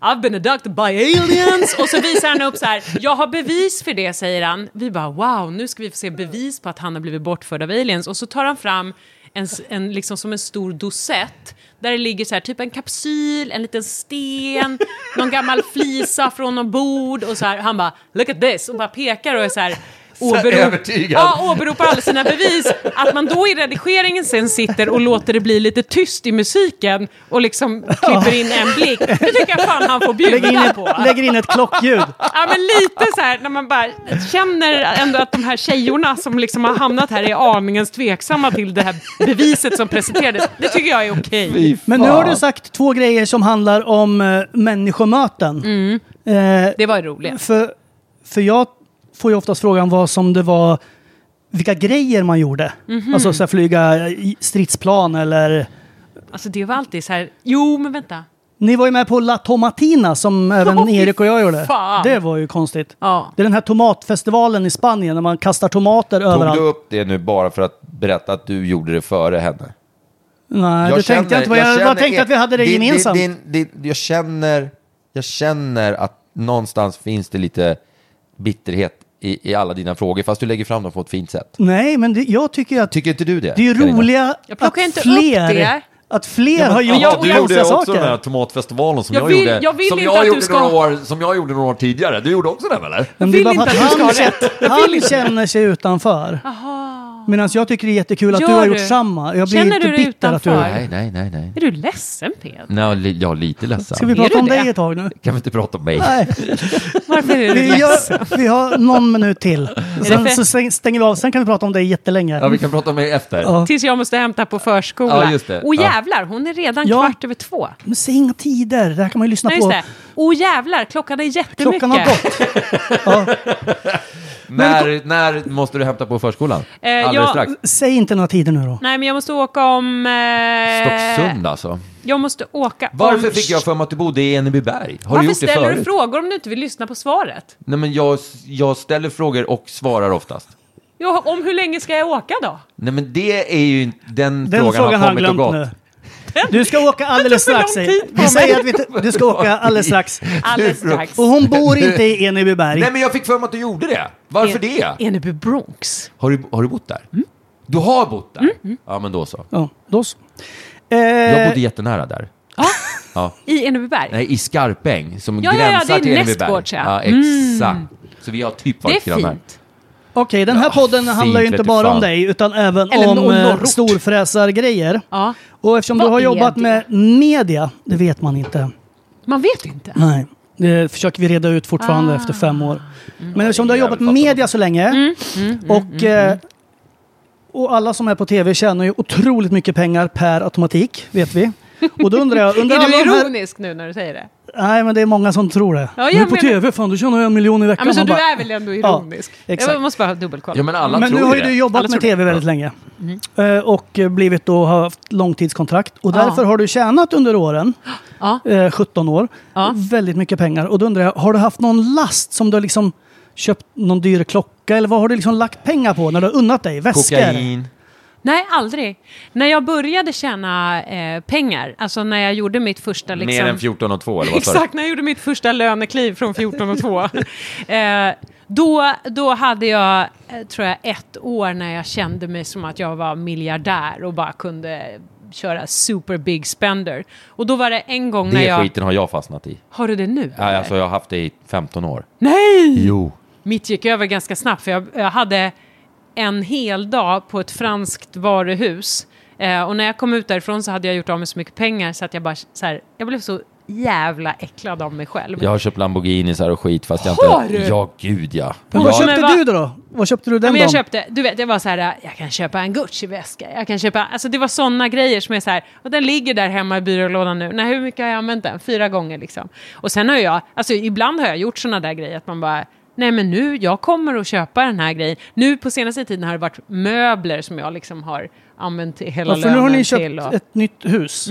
[SPEAKER 6] "Ah, I've been abducted by aliens. Och så visar han upp så här, jag har bevis för det, säger han. Vi bara wow, nu ska vi få se bevis på att han har blivit bortförd av aliens. Och så tar han fram en, s- en, liksom som en stor dosett där det ligger så här, typ en kapsyl, en liten sten, någon gammal flisa från någon bord och så här. Han bara “look at this” och bara pekar och är så här åbero-
[SPEAKER 5] övertygad.
[SPEAKER 6] Ja, åberopar alla sina bevis. Att man då i redigeringen sen sitter och låter det bli lite tyst i musiken och liksom klipper in en blick. Det tycker jag fan han får
[SPEAKER 1] Lägger in
[SPEAKER 6] bjuda på.
[SPEAKER 1] ett, lägger in ett klockljud.
[SPEAKER 6] Ja, men lite så här när man bara känner ändå att de här tjejorna som liksom har hamnat här är aningens tveksamma till det här beviset som presenterades. Det tycker jag är okej.
[SPEAKER 1] Men nu har du sagt två grejer som handlar om eh, människomöten.
[SPEAKER 6] Mm.
[SPEAKER 1] Eh,
[SPEAKER 6] Det var ju roligt.
[SPEAKER 1] För, för jag får ju oftast frågan vad som det var, vilka grejer man gjorde.
[SPEAKER 6] Mhm.
[SPEAKER 1] Alltså så här, flyga i stridsplan eller...
[SPEAKER 6] Alltså det var alltid så här, jo men vänta.
[SPEAKER 1] Ni var ju med på La Tomatina som även
[SPEAKER 6] Åh, fy
[SPEAKER 1] Erik och jag gjorde.
[SPEAKER 6] fan.
[SPEAKER 1] Det var ju konstigt.
[SPEAKER 6] Ja.
[SPEAKER 1] Det är den här tomatfestivalen i Spanien när man kastar tomater
[SPEAKER 7] Tog
[SPEAKER 1] överallt.
[SPEAKER 7] du upp det nu bara för att berätta att du gjorde det före henne?
[SPEAKER 1] Nej, det tänkte jag inte. Jag, jag, bara tänkte att vi hade det
[SPEAKER 7] din-
[SPEAKER 1] gemensamt.
[SPEAKER 7] Din, din, din, jag, känner, jag känner att någonstans finns det lite bitterhet i, i alla dina frågor, fast du lägger fram dem på ett fint sätt.
[SPEAKER 1] Nej, men det, jag tycker ju att
[SPEAKER 7] Tycker inte du det?
[SPEAKER 1] det är ju
[SPEAKER 7] Carina?
[SPEAKER 1] roliga
[SPEAKER 6] Jag
[SPEAKER 1] att
[SPEAKER 6] plockar inte upp
[SPEAKER 1] fler,
[SPEAKER 6] det.
[SPEAKER 1] att fler har gjort
[SPEAKER 6] jag-
[SPEAKER 5] du
[SPEAKER 1] konstiga
[SPEAKER 5] gjorde också den här
[SPEAKER 1] saker.
[SPEAKER 5] tomatfestivalen som
[SPEAKER 6] Jag
[SPEAKER 5] jag,
[SPEAKER 6] vill-
[SPEAKER 5] gjorde,
[SPEAKER 6] jag vill
[SPEAKER 5] som,
[SPEAKER 6] inte
[SPEAKER 5] jag
[SPEAKER 6] att du
[SPEAKER 5] gjorde
[SPEAKER 6] ska-
[SPEAKER 5] några år, som jag gjorde några år tidigare. Du gjorde också den väl? eller?
[SPEAKER 1] Men det är
[SPEAKER 6] vill
[SPEAKER 1] bara för
[SPEAKER 6] inte att
[SPEAKER 1] att
[SPEAKER 6] du
[SPEAKER 1] han,
[SPEAKER 6] ska ha
[SPEAKER 1] kän- han känner sig utanför. Medan jag tycker det är jättekul att
[SPEAKER 6] Gör
[SPEAKER 1] du har
[SPEAKER 6] du?
[SPEAKER 1] gjort samma. Jag blir
[SPEAKER 6] Känner
[SPEAKER 1] inte
[SPEAKER 6] du dig
[SPEAKER 1] bitter att du...
[SPEAKER 6] utanför?
[SPEAKER 7] Nej, nej, nej, nej.
[SPEAKER 6] Är du ledsen Peder?
[SPEAKER 7] Nej, jag är li- jag är lite ledsen.
[SPEAKER 1] Ska vi
[SPEAKER 7] vi...
[SPEAKER 1] prata
[SPEAKER 6] du
[SPEAKER 1] om
[SPEAKER 6] det?
[SPEAKER 1] dig ett tag nu?
[SPEAKER 7] Kan vi inte prata om mig?
[SPEAKER 1] Nej,
[SPEAKER 6] Varför är du
[SPEAKER 1] vi,
[SPEAKER 6] ledsen?
[SPEAKER 1] gör, vi har någon minut till. Sen
[SPEAKER 6] för-
[SPEAKER 1] så stäng- stänger vi av. Sen kan vi prata om dig jättelänge.
[SPEAKER 5] Ja, vi kan prata om det efter.
[SPEAKER 6] Tills jag måste hämta på förskola.
[SPEAKER 5] Ja, just det.
[SPEAKER 6] Och
[SPEAKER 5] Ja.
[SPEAKER 6] jävlar, hon är redan
[SPEAKER 1] Ja.
[SPEAKER 6] kvart över två.
[SPEAKER 1] Men säg inga tider. Det här kan man ju lyssna
[SPEAKER 6] Nej, just
[SPEAKER 1] på.
[SPEAKER 6] det. Och jävlar, klockan är jättemycket.
[SPEAKER 1] Klockan har gått.
[SPEAKER 5] När, när måste du hämta på förskolan?
[SPEAKER 6] Eh,
[SPEAKER 5] Alldeles
[SPEAKER 6] jag-
[SPEAKER 5] strax.
[SPEAKER 1] Säg inte några tider nu då.
[SPEAKER 6] Nej, men jag måste åka om... Eh,
[SPEAKER 5] Stocksund alltså.
[SPEAKER 6] Jag måste åka
[SPEAKER 5] Varför
[SPEAKER 6] om...
[SPEAKER 5] fick jag för mig att du bodde i Enebyberg? Har du
[SPEAKER 6] Varför
[SPEAKER 5] gjort det
[SPEAKER 6] ställer
[SPEAKER 5] förut?
[SPEAKER 6] du frågor om du inte vill lyssna på svaret?
[SPEAKER 5] Nej, men jag, jag ställer frågor och svarar oftast.
[SPEAKER 6] Jo, om hur länge ska jag åka då?
[SPEAKER 5] Nej, men det är ju den,
[SPEAKER 1] Den
[SPEAKER 5] frågan,
[SPEAKER 1] frågan
[SPEAKER 5] har
[SPEAKER 1] har jag
[SPEAKER 5] kommit och
[SPEAKER 1] glömt
[SPEAKER 5] gått.
[SPEAKER 1] nu. Du ska åka alldeles
[SPEAKER 6] Det tog för
[SPEAKER 1] strax.
[SPEAKER 6] lång
[SPEAKER 1] säger-
[SPEAKER 6] tid på
[SPEAKER 1] Vi
[SPEAKER 6] mig.
[SPEAKER 1] säger att vi t- du ska åka alldeles strax.
[SPEAKER 6] Alldeles strax.
[SPEAKER 1] Och hon bor inte i Enebyberg.
[SPEAKER 5] Nej, men jag fick för mig att du gjorde det. Varför det?
[SPEAKER 6] Eneby Bronx.
[SPEAKER 5] Har du, har du bott där? Du har bott där? Ja, men då så.
[SPEAKER 1] Ja, då så.
[SPEAKER 5] Jag
[SPEAKER 1] Eh,
[SPEAKER 5] bodde jättenära där.
[SPEAKER 6] I Enebyberg.
[SPEAKER 5] Nej, i Skarpäng, som
[SPEAKER 6] Ja, ja, ja,
[SPEAKER 5] gränsar
[SPEAKER 6] det är
[SPEAKER 5] till Enebyberg.
[SPEAKER 6] nästgårds, ja.
[SPEAKER 5] ja, exakt. Så vi har typ
[SPEAKER 6] det är
[SPEAKER 5] varit grannar.
[SPEAKER 6] fint.
[SPEAKER 1] Okej, den här podden handlar ju
[SPEAKER 5] fint
[SPEAKER 1] inte
[SPEAKER 5] vete
[SPEAKER 1] bara om
[SPEAKER 5] fan.
[SPEAKER 1] dig, utan även
[SPEAKER 6] Eller
[SPEAKER 1] om
[SPEAKER 6] no-
[SPEAKER 1] eh,
[SPEAKER 6] norrort.
[SPEAKER 1] storfräsargrejer.
[SPEAKER 6] Ja.
[SPEAKER 1] Och eftersom
[SPEAKER 6] Vad
[SPEAKER 1] du har
[SPEAKER 6] är
[SPEAKER 1] jobbat
[SPEAKER 6] det?
[SPEAKER 1] med media, det vet man inte.
[SPEAKER 6] Man vet inte. Ah.
[SPEAKER 1] Nej, det försöker vi reda ut fortfarande efter fem år.
[SPEAKER 6] Mm.
[SPEAKER 1] Men eftersom du har jobbat med media så länge, och,
[SPEAKER 6] mm.
[SPEAKER 1] eh, och alla som är på tv tjänar ju otroligt mycket pengar per automatik, vet vi. Och då undrar jag... Under
[SPEAKER 6] Är
[SPEAKER 1] alla
[SPEAKER 6] du
[SPEAKER 1] de här-
[SPEAKER 6] ironisk nu när du säger det?
[SPEAKER 1] Nej, men det är många som tror det.
[SPEAKER 6] Ja,
[SPEAKER 1] Ja,
[SPEAKER 6] jag
[SPEAKER 1] nu på
[SPEAKER 6] menar-
[SPEAKER 1] tv, fan, du tjänar ju en miljon i
[SPEAKER 6] Ja,
[SPEAKER 1] veckan.
[SPEAKER 6] men så
[SPEAKER 1] Man
[SPEAKER 6] du
[SPEAKER 1] bara-
[SPEAKER 6] är väl ändå ironisk?
[SPEAKER 1] exakt.
[SPEAKER 6] Jag måste bara dubbelkolla.
[SPEAKER 5] Ja, men alla
[SPEAKER 1] men
[SPEAKER 5] tror
[SPEAKER 1] nu har ju
[SPEAKER 5] det.
[SPEAKER 1] du jobbat
[SPEAKER 6] Alla
[SPEAKER 1] med
[SPEAKER 6] tror det.
[SPEAKER 1] tv väldigt länge. Eh, Och eh, blivit då, har haft långtidskontrakt. Och
[SPEAKER 6] Mm. Ja.
[SPEAKER 1] därför har du tjänat under åren,
[SPEAKER 6] Ja.
[SPEAKER 1] eh, 17 år,
[SPEAKER 6] Ja.
[SPEAKER 1] väldigt mycket pengar. Och då undrar jag, har du haft någon last som du har liksom köpt någon dyr klocka? Eller vad har du liksom lagt pengar på när du har unnat dig? Väskor?
[SPEAKER 5] Kokain.
[SPEAKER 6] Nej, aldrig. När jag började tjäna eh, pengar, alltså när jag gjorde mitt första... Liksom,
[SPEAKER 5] Mer än 14 och 2, eller vad sa du?
[SPEAKER 6] Exakt, när jag gjorde mitt första lönekliv från 14 och 2. eh, då, då hade jag, eh, tror jag, ett år när jag kände mig som att jag var miljardär och bara kunde köra super big spender. Och då var det en gång när
[SPEAKER 7] Det
[SPEAKER 6] jag...
[SPEAKER 7] skiten har jag fastnat i.
[SPEAKER 6] Har du det nu?
[SPEAKER 7] Ja, alltså, jag har haft det i 15 år.
[SPEAKER 6] Nej!
[SPEAKER 7] Jo.
[SPEAKER 6] Mitt gick över ganska snabbt för jag, jag hade en hel dag på ett franskt varuhus. Eh, och när jag kom ut därifrån så hade jag gjort av med så mycket pengar så att jag bara så här, jag blev så jävla äcklad av mig själv.
[SPEAKER 7] Jag har köpt Lamborghinis här och skit, fast jag
[SPEAKER 6] Har
[SPEAKER 7] inte...
[SPEAKER 6] du?
[SPEAKER 7] Ja, gud ja.
[SPEAKER 1] Men
[SPEAKER 6] Ja,
[SPEAKER 1] vad köpte
[SPEAKER 6] men vad-
[SPEAKER 1] du då, då? Vad köpte du den
[SPEAKER 6] Ja, men jag
[SPEAKER 1] dagen?
[SPEAKER 6] köpte, du vet, jag var så här, jag kan köpa en Gucci-väska, jag kan köpa, alltså det var sådana grejer som är så här, och den ligger där hemma i byrålådan nu, nej hur mycket har jag använt den? Fyra gånger liksom. Och sen har jag, alltså ibland har jag gjort sådana där grejer att man bara, nej men nu, jag kommer att köpa den här grejen. Nu på senaste tiden har det varit möbler som jag liksom har använt till hela
[SPEAKER 1] Ja, för nu har
[SPEAKER 6] lönen
[SPEAKER 1] ni köpt
[SPEAKER 6] till. Och, Mm.
[SPEAKER 1] ett nytt hus.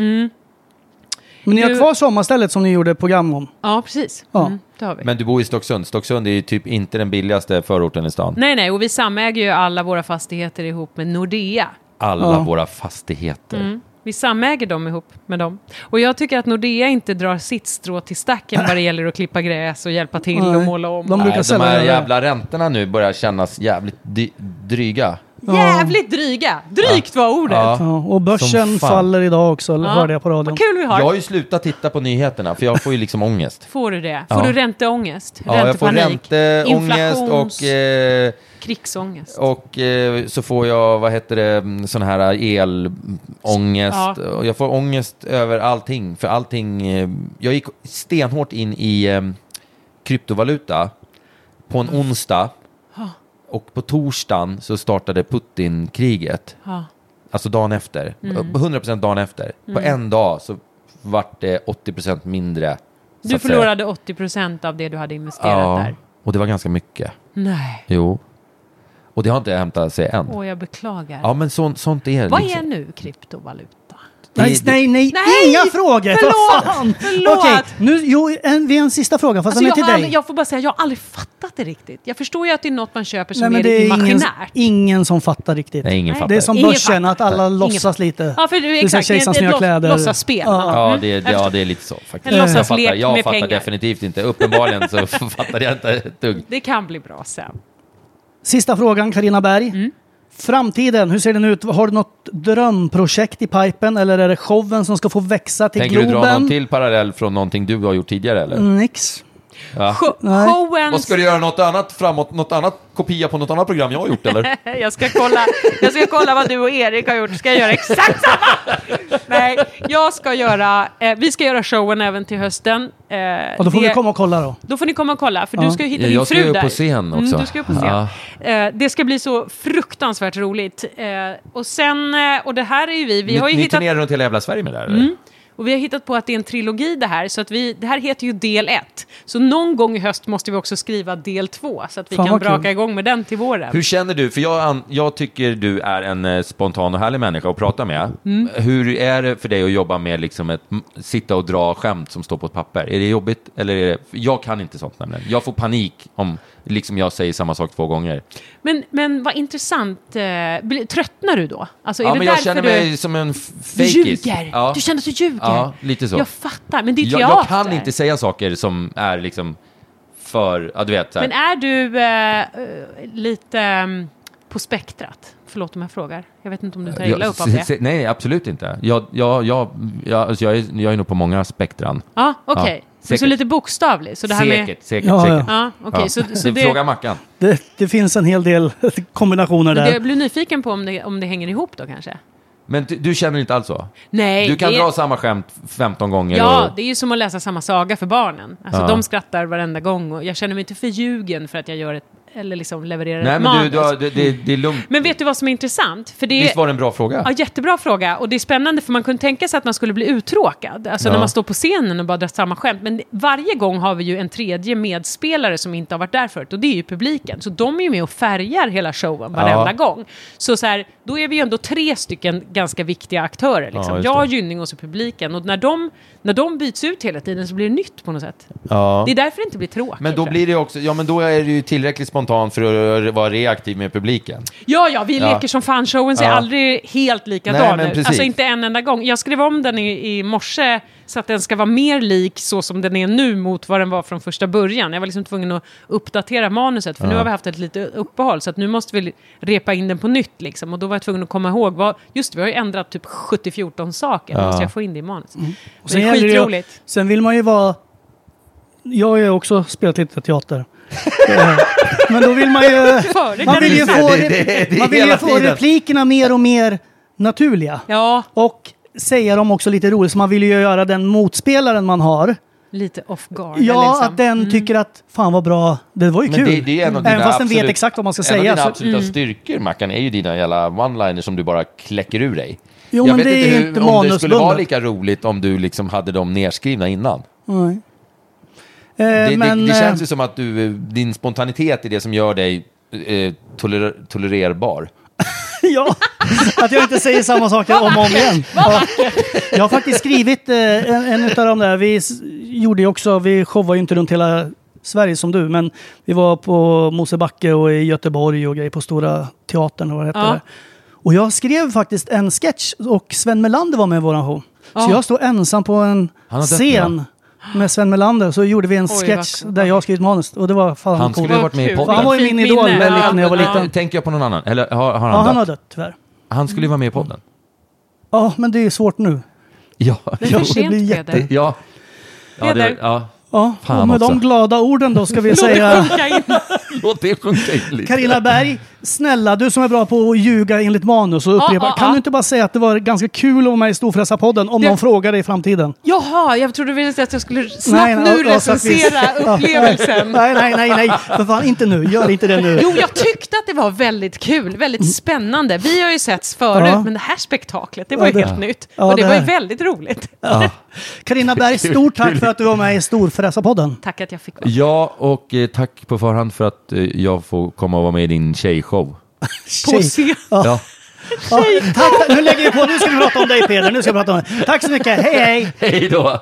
[SPEAKER 1] Men ni har
[SPEAKER 6] Nu-
[SPEAKER 1] kvar sommarstället som ni gjorde program om.
[SPEAKER 6] ja, precis.
[SPEAKER 1] Ja.
[SPEAKER 6] Mm, det har vi.
[SPEAKER 7] Men du bor i Stocksund. Stocksund är ju typ inte den billigaste förorten i stan.
[SPEAKER 6] Nej, nej, och vi samäger ju alla våra fastigheter ihop med Nordea.
[SPEAKER 7] Alla
[SPEAKER 1] Ja.
[SPEAKER 7] våra fastigheter.
[SPEAKER 6] Vi samäger dem ihop med dem. Och jag tycker att Nordea inte drar sitt strå till stacken vad det gäller att klippa gräs och hjälpa till och
[SPEAKER 1] Nej.
[SPEAKER 6] måla om.
[SPEAKER 1] De brukar
[SPEAKER 5] Nej, de
[SPEAKER 1] sällan
[SPEAKER 5] här
[SPEAKER 1] göra det.
[SPEAKER 5] jävla räntorna nu börjar kännas jävligt dy- dryga.
[SPEAKER 6] Jävligt dryga! Drygt var ordet.
[SPEAKER 5] Ja.
[SPEAKER 1] Ja, och börsen
[SPEAKER 5] Som fan.
[SPEAKER 1] faller idag också,
[SPEAKER 6] Ja.
[SPEAKER 1] hörde jag på radion.
[SPEAKER 6] Vad kul vi
[SPEAKER 5] Jag
[SPEAKER 6] har.
[SPEAKER 5] har ju slutat titta på nyheterna för jag får ju liksom ångest.
[SPEAKER 6] Får du det? Får
[SPEAKER 5] Ja.
[SPEAKER 6] du ränteångest?
[SPEAKER 5] Ja, jag får
[SPEAKER 6] Räntepanik?
[SPEAKER 5] ränteångest
[SPEAKER 6] Inflations-
[SPEAKER 5] och, eh,
[SPEAKER 6] Krigsångest?
[SPEAKER 5] och eh, så får jag, vad heter det, mm, sån här elångest.
[SPEAKER 6] Ja.
[SPEAKER 5] Och jag får ångest över allting. För allting, eh, jag gick stenhårt in i eh, kryptovaluta på
[SPEAKER 6] Mm.
[SPEAKER 5] en onsdag. Och på torsdagen så startade Putin-kriget.
[SPEAKER 6] Ja.
[SPEAKER 5] Alltså dagen efter.
[SPEAKER 6] Mm.
[SPEAKER 5] På 100% dagen efter. På en dag så vart det 80% mindre. så
[SPEAKER 6] Du
[SPEAKER 5] att säga.
[SPEAKER 6] förlorade 80 procent av det du hade investerat
[SPEAKER 5] Ja,
[SPEAKER 6] där.
[SPEAKER 5] och det var ganska mycket.
[SPEAKER 6] Nej,
[SPEAKER 5] Jo. Och det har inte hämtat sig än.
[SPEAKER 6] åh jag beklagar.
[SPEAKER 5] Ja, men sånt, sånt är det.
[SPEAKER 6] Vad
[SPEAKER 5] liksom.
[SPEAKER 6] är nu kryptovaluta?
[SPEAKER 1] Nej,
[SPEAKER 5] Det-
[SPEAKER 1] nej, nej,
[SPEAKER 6] Nej!
[SPEAKER 1] inga frågor!
[SPEAKER 6] Förlåt!
[SPEAKER 1] Vad fan!
[SPEAKER 6] Förlåt!
[SPEAKER 1] Okej, nu, jo, en, vi har en sista fråga, fast
[SPEAKER 6] Alltså,
[SPEAKER 1] den
[SPEAKER 6] jag,
[SPEAKER 1] är till
[SPEAKER 6] har
[SPEAKER 1] dig.
[SPEAKER 6] aldrig, jag får bara säga, jag har aldrig fattat det riktigt. Jag förstår ju att det är något man köper
[SPEAKER 1] nej,
[SPEAKER 6] som
[SPEAKER 1] men
[SPEAKER 6] är,
[SPEAKER 1] det är ingen,
[SPEAKER 6] imaginärt.
[SPEAKER 1] ingen som fattar riktigt.
[SPEAKER 5] Nej, ingen
[SPEAKER 6] Nej.
[SPEAKER 5] fattar.
[SPEAKER 1] det är som
[SPEAKER 6] Ingen
[SPEAKER 1] börsen,
[SPEAKER 6] fattar.
[SPEAKER 1] att alla låtsas lite.
[SPEAKER 6] ja, för det är
[SPEAKER 1] är så här
[SPEAKER 6] exakt. Det är
[SPEAKER 1] kejsarens
[SPEAKER 6] ett
[SPEAKER 1] nya
[SPEAKER 6] låt-
[SPEAKER 1] kläder.
[SPEAKER 6] låtsasspel.
[SPEAKER 1] Ja.
[SPEAKER 6] Mm.
[SPEAKER 5] Ja, det, är- ja, det är lite så. Faktiskt.
[SPEAKER 6] En
[SPEAKER 5] jag
[SPEAKER 6] låtsaslek
[SPEAKER 5] fattar, jag
[SPEAKER 6] med
[SPEAKER 5] fattar
[SPEAKER 6] pengar.
[SPEAKER 5] definitivt inte. Uppenbarligen så fattar jag inte ett dugg.
[SPEAKER 6] Det kan bli bra sen.
[SPEAKER 1] Sista frågan, Karina Berg.
[SPEAKER 6] Mm.
[SPEAKER 1] Framtiden, hur ser den ut? Har du något drömprojekt i pipen eller är det showen som ska få växa till
[SPEAKER 5] Tänker du
[SPEAKER 1] Globen?
[SPEAKER 5] dra någon till parallell från någonting du har gjort tidigare eller?
[SPEAKER 1] Nix.
[SPEAKER 6] Sho-
[SPEAKER 1] Nej.
[SPEAKER 5] Och
[SPEAKER 6] Showens...
[SPEAKER 5] ska du göra något annat framåt, något annat kopia på något annat program jag har gjort eller?
[SPEAKER 6] Jag ska, kolla, jag ska kolla vad du och Erik har gjort. Ska jag göra exakt samma? Nej, jag ska göra... Eh, vi ska göra showen även till hösten. Eh,
[SPEAKER 1] Och då får
[SPEAKER 6] det-
[SPEAKER 1] vi komma och kolla då.
[SPEAKER 6] Då får ni komma och kolla, för du ska ju hitta
[SPEAKER 5] Ja,
[SPEAKER 6] din
[SPEAKER 5] jag ska
[SPEAKER 6] fru
[SPEAKER 5] ju upp
[SPEAKER 6] där.
[SPEAKER 5] på scen också.
[SPEAKER 6] Mm, du ska upp på scen.
[SPEAKER 5] Ja.
[SPEAKER 6] Eh, det ska bli så fruktansvärt roligt. Eh, och sen, eh, och det här är ju vi, vi
[SPEAKER 5] ni
[SPEAKER 6] har ju
[SPEAKER 5] ni
[SPEAKER 6] hittat... Mm.
[SPEAKER 5] turnerar runt hela jävla Sverige med det här eller?
[SPEAKER 6] Och vi har hittat på att det är en trilogi det här, så att vi, det här heter ju del ett. Så någon gång i höst måste vi också skriva del två, så att vi
[SPEAKER 1] Fan,
[SPEAKER 6] kan
[SPEAKER 1] vad kul.
[SPEAKER 6] braka igång med den till våren.
[SPEAKER 5] Hur känner du? För jag, an- jag tycker du är en eh, spontan och härlig människa att prata med.
[SPEAKER 6] Mm.
[SPEAKER 5] Hur är det för dig att jobba med liksom ett, m- sitta och dra skämt som står på ett papper? Är det jobbigt? Eller är det, för jag kan inte sånt nämligen. Jag får panik om liksom jag säger samma sak två gånger.
[SPEAKER 6] Men, men vad intressant, eh, bli- tröttnar du då? Alltså, är
[SPEAKER 5] ja,
[SPEAKER 6] det
[SPEAKER 5] men jag
[SPEAKER 6] därför
[SPEAKER 5] känner
[SPEAKER 6] du...
[SPEAKER 5] mig som en f-
[SPEAKER 6] Du
[SPEAKER 5] fejkis.
[SPEAKER 6] ljuger!
[SPEAKER 5] Ja.
[SPEAKER 6] Du känner att du ljuger!
[SPEAKER 5] Ja, lite så.
[SPEAKER 6] Jag fattar, men det är
[SPEAKER 5] jag,
[SPEAKER 6] teater.
[SPEAKER 5] jag kan inte säga saker som är liksom för, ja du vet. Så här.
[SPEAKER 6] Men är du eh, eh, lite eh, på spektrat? Förlåt om jag frågar. Jag vet inte om du tar illa
[SPEAKER 5] Jag-
[SPEAKER 6] upp av det.
[SPEAKER 5] se- Nej, absolut inte. Jag, jag, jag, jag, alltså jag, är, jag är nog på många spektran.
[SPEAKER 6] Ja, okej.
[SPEAKER 5] Ja,
[SPEAKER 6] så,
[SPEAKER 5] säkert.
[SPEAKER 6] så lite bokstavligt. Så det här
[SPEAKER 5] säkert,
[SPEAKER 6] med...
[SPEAKER 5] säkert,
[SPEAKER 1] Ja,
[SPEAKER 5] säkert.
[SPEAKER 1] ja.
[SPEAKER 6] Ja, okej.
[SPEAKER 5] Ja.
[SPEAKER 6] Så, så det,
[SPEAKER 5] Fråga Mackan.
[SPEAKER 1] Det, det finns en hel del kombinationer
[SPEAKER 6] det,
[SPEAKER 1] där.
[SPEAKER 6] jag blir nyfiken på om det, om det hänger ihop då kanske.
[SPEAKER 5] Men du, du känner inte alls så?
[SPEAKER 6] Nej,
[SPEAKER 5] Du kan
[SPEAKER 6] det,
[SPEAKER 5] dra samma skämt 15 gånger?
[SPEAKER 6] Ja,
[SPEAKER 5] och,
[SPEAKER 6] det är ju som att läsa samma saga för barnen. Alltså,
[SPEAKER 5] Ja.
[SPEAKER 6] De skrattar varenda gång och jag känner mig inte för ljugen för att jag gör ett, eller liksom levererar
[SPEAKER 5] nej,
[SPEAKER 6] ett
[SPEAKER 5] men du,
[SPEAKER 6] manus.
[SPEAKER 5] du, har- det, det, det är lugnt.
[SPEAKER 6] Men vet du vad som är intressant? För det,
[SPEAKER 5] Visst var det en bra fråga?
[SPEAKER 6] Ja, jättebra fråga. Och det är spännande för man kunde tänka sig att man skulle bli uttråkad. Alltså
[SPEAKER 5] Ja.
[SPEAKER 6] när man står på scenen och bara drar samma skämt. Men varje gång har vi ju en tredje medspelare som inte har varit där förut. Och det är ju publiken. Så de är ju med och färgar hela showen varenda gång. Så, så här, då är vi ju ändå tre stycken ganska viktiga aktörer.
[SPEAKER 5] Ja,
[SPEAKER 6] Liksom.
[SPEAKER 5] just
[SPEAKER 6] jag,
[SPEAKER 5] det.
[SPEAKER 6] Gynning och så publiken. Och när de, när de byts ut hela tiden så blir det nytt på något sätt.
[SPEAKER 5] Ja.
[SPEAKER 6] Det är därför det inte blir tråkigt.
[SPEAKER 5] Men då
[SPEAKER 6] tror jag.
[SPEAKER 5] blir det också, ja men då är du ju tillräckligt spontan för att vara reaktiv med publiken.
[SPEAKER 6] Ja, ja, vi
[SPEAKER 5] Ja.
[SPEAKER 6] leker som fan. Showen ser
[SPEAKER 5] Ja.
[SPEAKER 6] aldrig helt
[SPEAKER 5] Nej,
[SPEAKER 6] likadan
[SPEAKER 5] men
[SPEAKER 6] ut.
[SPEAKER 5] precis.
[SPEAKER 6] Alltså inte en enda gång. Jag skrev om den i, i morse så att den ska vara mer lik så som den är nu mot vad den var från första början. Jag var liksom tvungen att uppdatera manuset för nu har vi haft ett litet uppehåll så att nu måste vi repa in den på nytt liksom. Och då var jag tvungen att komma ihåg, vad, just det, vi har ju ändrat typ 70-14 saker. Då måste jag få in det i manuset.
[SPEAKER 1] Mm. Och
[SPEAKER 6] Det är
[SPEAKER 1] gäller ju-
[SPEAKER 6] skitroligt.
[SPEAKER 1] sen vill man ju vara... Jag har ju också spelat lite teater. Eh, Men då vill man ju... Man
[SPEAKER 6] Före kan
[SPEAKER 1] vill
[SPEAKER 6] du
[SPEAKER 1] ju
[SPEAKER 6] säga.
[SPEAKER 1] få,
[SPEAKER 5] Det- det- det är
[SPEAKER 1] man vill ju
[SPEAKER 5] hela
[SPEAKER 1] få
[SPEAKER 5] tiden.
[SPEAKER 1] replikerna mer och mer naturliga.
[SPEAKER 6] Ja,
[SPEAKER 1] Och säga dem också lite roligt, så man vill ju göra den motspelaren man har.
[SPEAKER 6] lite off guard.
[SPEAKER 1] Ja,
[SPEAKER 6] liksom.
[SPEAKER 1] att den tycker att fan vad bra, det var ju
[SPEAKER 5] Men
[SPEAKER 1] kul.
[SPEAKER 5] det, det är en av dina
[SPEAKER 1] Även fast den vet
[SPEAKER 5] absolut-
[SPEAKER 1] exakt vad man ska
[SPEAKER 5] En av
[SPEAKER 1] säga.
[SPEAKER 5] dina
[SPEAKER 1] så-
[SPEAKER 5] absoluta
[SPEAKER 6] Mm.
[SPEAKER 5] styrkor, Mackan, är ju dina jävla one-liners som du bara kläcker ur dig.
[SPEAKER 1] Jo,
[SPEAKER 5] jag
[SPEAKER 1] men
[SPEAKER 5] vet
[SPEAKER 1] det är
[SPEAKER 5] inte,
[SPEAKER 1] ju
[SPEAKER 5] hur,
[SPEAKER 1] inte
[SPEAKER 5] om det skulle vara
[SPEAKER 1] manusbundet.
[SPEAKER 5] lika roligt om du liksom hade dem nerskrivna innan.
[SPEAKER 1] Nej. Eh,
[SPEAKER 5] Det,
[SPEAKER 1] men,
[SPEAKER 5] det, det känns
[SPEAKER 1] eh,
[SPEAKER 5] ju som att du, eh, din spontanitet är det som gör dig eh, toler, tolererbar.
[SPEAKER 1] ja, att jag inte säger samma saker om och om igen. Ja. Jag har faktiskt skrivit eh, en, en av de där. Vi s- gjorde ju också, vi showade ju inte runt hela Sverige som du, men vi var på Mosebacke och i Göteborg och grejer på Stora Teatern och vad det hette.
[SPEAKER 6] Ja.
[SPEAKER 1] där. Och jag skrev faktiskt en sketch och Sven Melander var med i våran show. Så
[SPEAKER 6] Ja.
[SPEAKER 1] jag stod ensam på en
[SPEAKER 7] Han har dött
[SPEAKER 1] scen med Sven Melander så gjorde vi en
[SPEAKER 6] Oj,
[SPEAKER 1] sketch
[SPEAKER 6] vad-
[SPEAKER 1] där jag skrivit manus och det var fan
[SPEAKER 7] Han
[SPEAKER 1] coolt.
[SPEAKER 7] skulle ju varit med i
[SPEAKER 6] Kul.
[SPEAKER 7] podden.
[SPEAKER 1] Han var ju min
[SPEAKER 6] Fint
[SPEAKER 1] idol liksom-
[SPEAKER 6] minne.
[SPEAKER 1] väldigt när jag var
[SPEAKER 6] Ja,
[SPEAKER 1] liten.
[SPEAKER 7] Nu tänker jag på någon annan. Eller har, har
[SPEAKER 1] Ja,
[SPEAKER 7] han
[SPEAKER 1] han har
[SPEAKER 7] dött?
[SPEAKER 1] dött Mm. tyvärr.
[SPEAKER 7] Han skulle ju vara med i podden.
[SPEAKER 1] Ja, men det är ju svårt nu.
[SPEAKER 7] Ja,
[SPEAKER 6] Det är för
[SPEAKER 1] det
[SPEAKER 6] sent,
[SPEAKER 1] blir
[SPEAKER 6] Peder.
[SPEAKER 1] jätte-
[SPEAKER 7] ja. Ja, det,
[SPEAKER 6] Peder.
[SPEAKER 7] ja.
[SPEAKER 1] Ja,
[SPEAKER 7] Fan
[SPEAKER 1] och med
[SPEAKER 7] också.
[SPEAKER 1] de glada orden då ska vi
[SPEAKER 6] Låt det
[SPEAKER 1] säga
[SPEAKER 6] sjunka in.
[SPEAKER 7] Låt det sjunka in lite.
[SPEAKER 1] Carina Berg, snälla du som är bra på att ljuga enligt manus och upprepa.
[SPEAKER 6] ah,
[SPEAKER 1] kan
[SPEAKER 6] ah.
[SPEAKER 1] du inte bara säga att det var ganska kul att vara med i Storfräsarpodden om
[SPEAKER 6] Det-
[SPEAKER 1] någon frågar dig i framtiden?
[SPEAKER 6] Jaha, jag trodde du ville säga att jag skulle snabbt
[SPEAKER 1] Nej, nej,
[SPEAKER 6] nu
[SPEAKER 1] ja, så att vi-
[SPEAKER 6] recensera upplevelsen.
[SPEAKER 1] Nej, nej, nej, nej, för fan inte nu. Gör inte det nu.
[SPEAKER 6] Jo, jag tyckte att det var väldigt kul, väldigt spännande. Vi har ju setts förut,
[SPEAKER 1] Mm. Ja.
[SPEAKER 6] men det här spektaklet, det var ju
[SPEAKER 1] Ja, det-
[SPEAKER 6] helt nytt.
[SPEAKER 1] Ja,
[SPEAKER 6] och det,
[SPEAKER 1] det
[SPEAKER 6] var ju
[SPEAKER 1] här.
[SPEAKER 6] väldigt roligt.
[SPEAKER 1] Carina Berg, stort tack för att du var med i Storfräsarpodden.
[SPEAKER 6] Tack att jag fick vara
[SPEAKER 7] Ja, och eh, tack på förhand för att eh, jag får komma och vara med i din tjejshow.
[SPEAKER 6] på
[SPEAKER 1] Tjej.
[SPEAKER 6] scen.
[SPEAKER 7] Ja.
[SPEAKER 1] Ja, tack, tack. nu lägger vi på. Nu ska vi prata om dig Peder. Nu ska vi prata om dig. Tack så mycket. Hej, hej.
[SPEAKER 7] Hej då!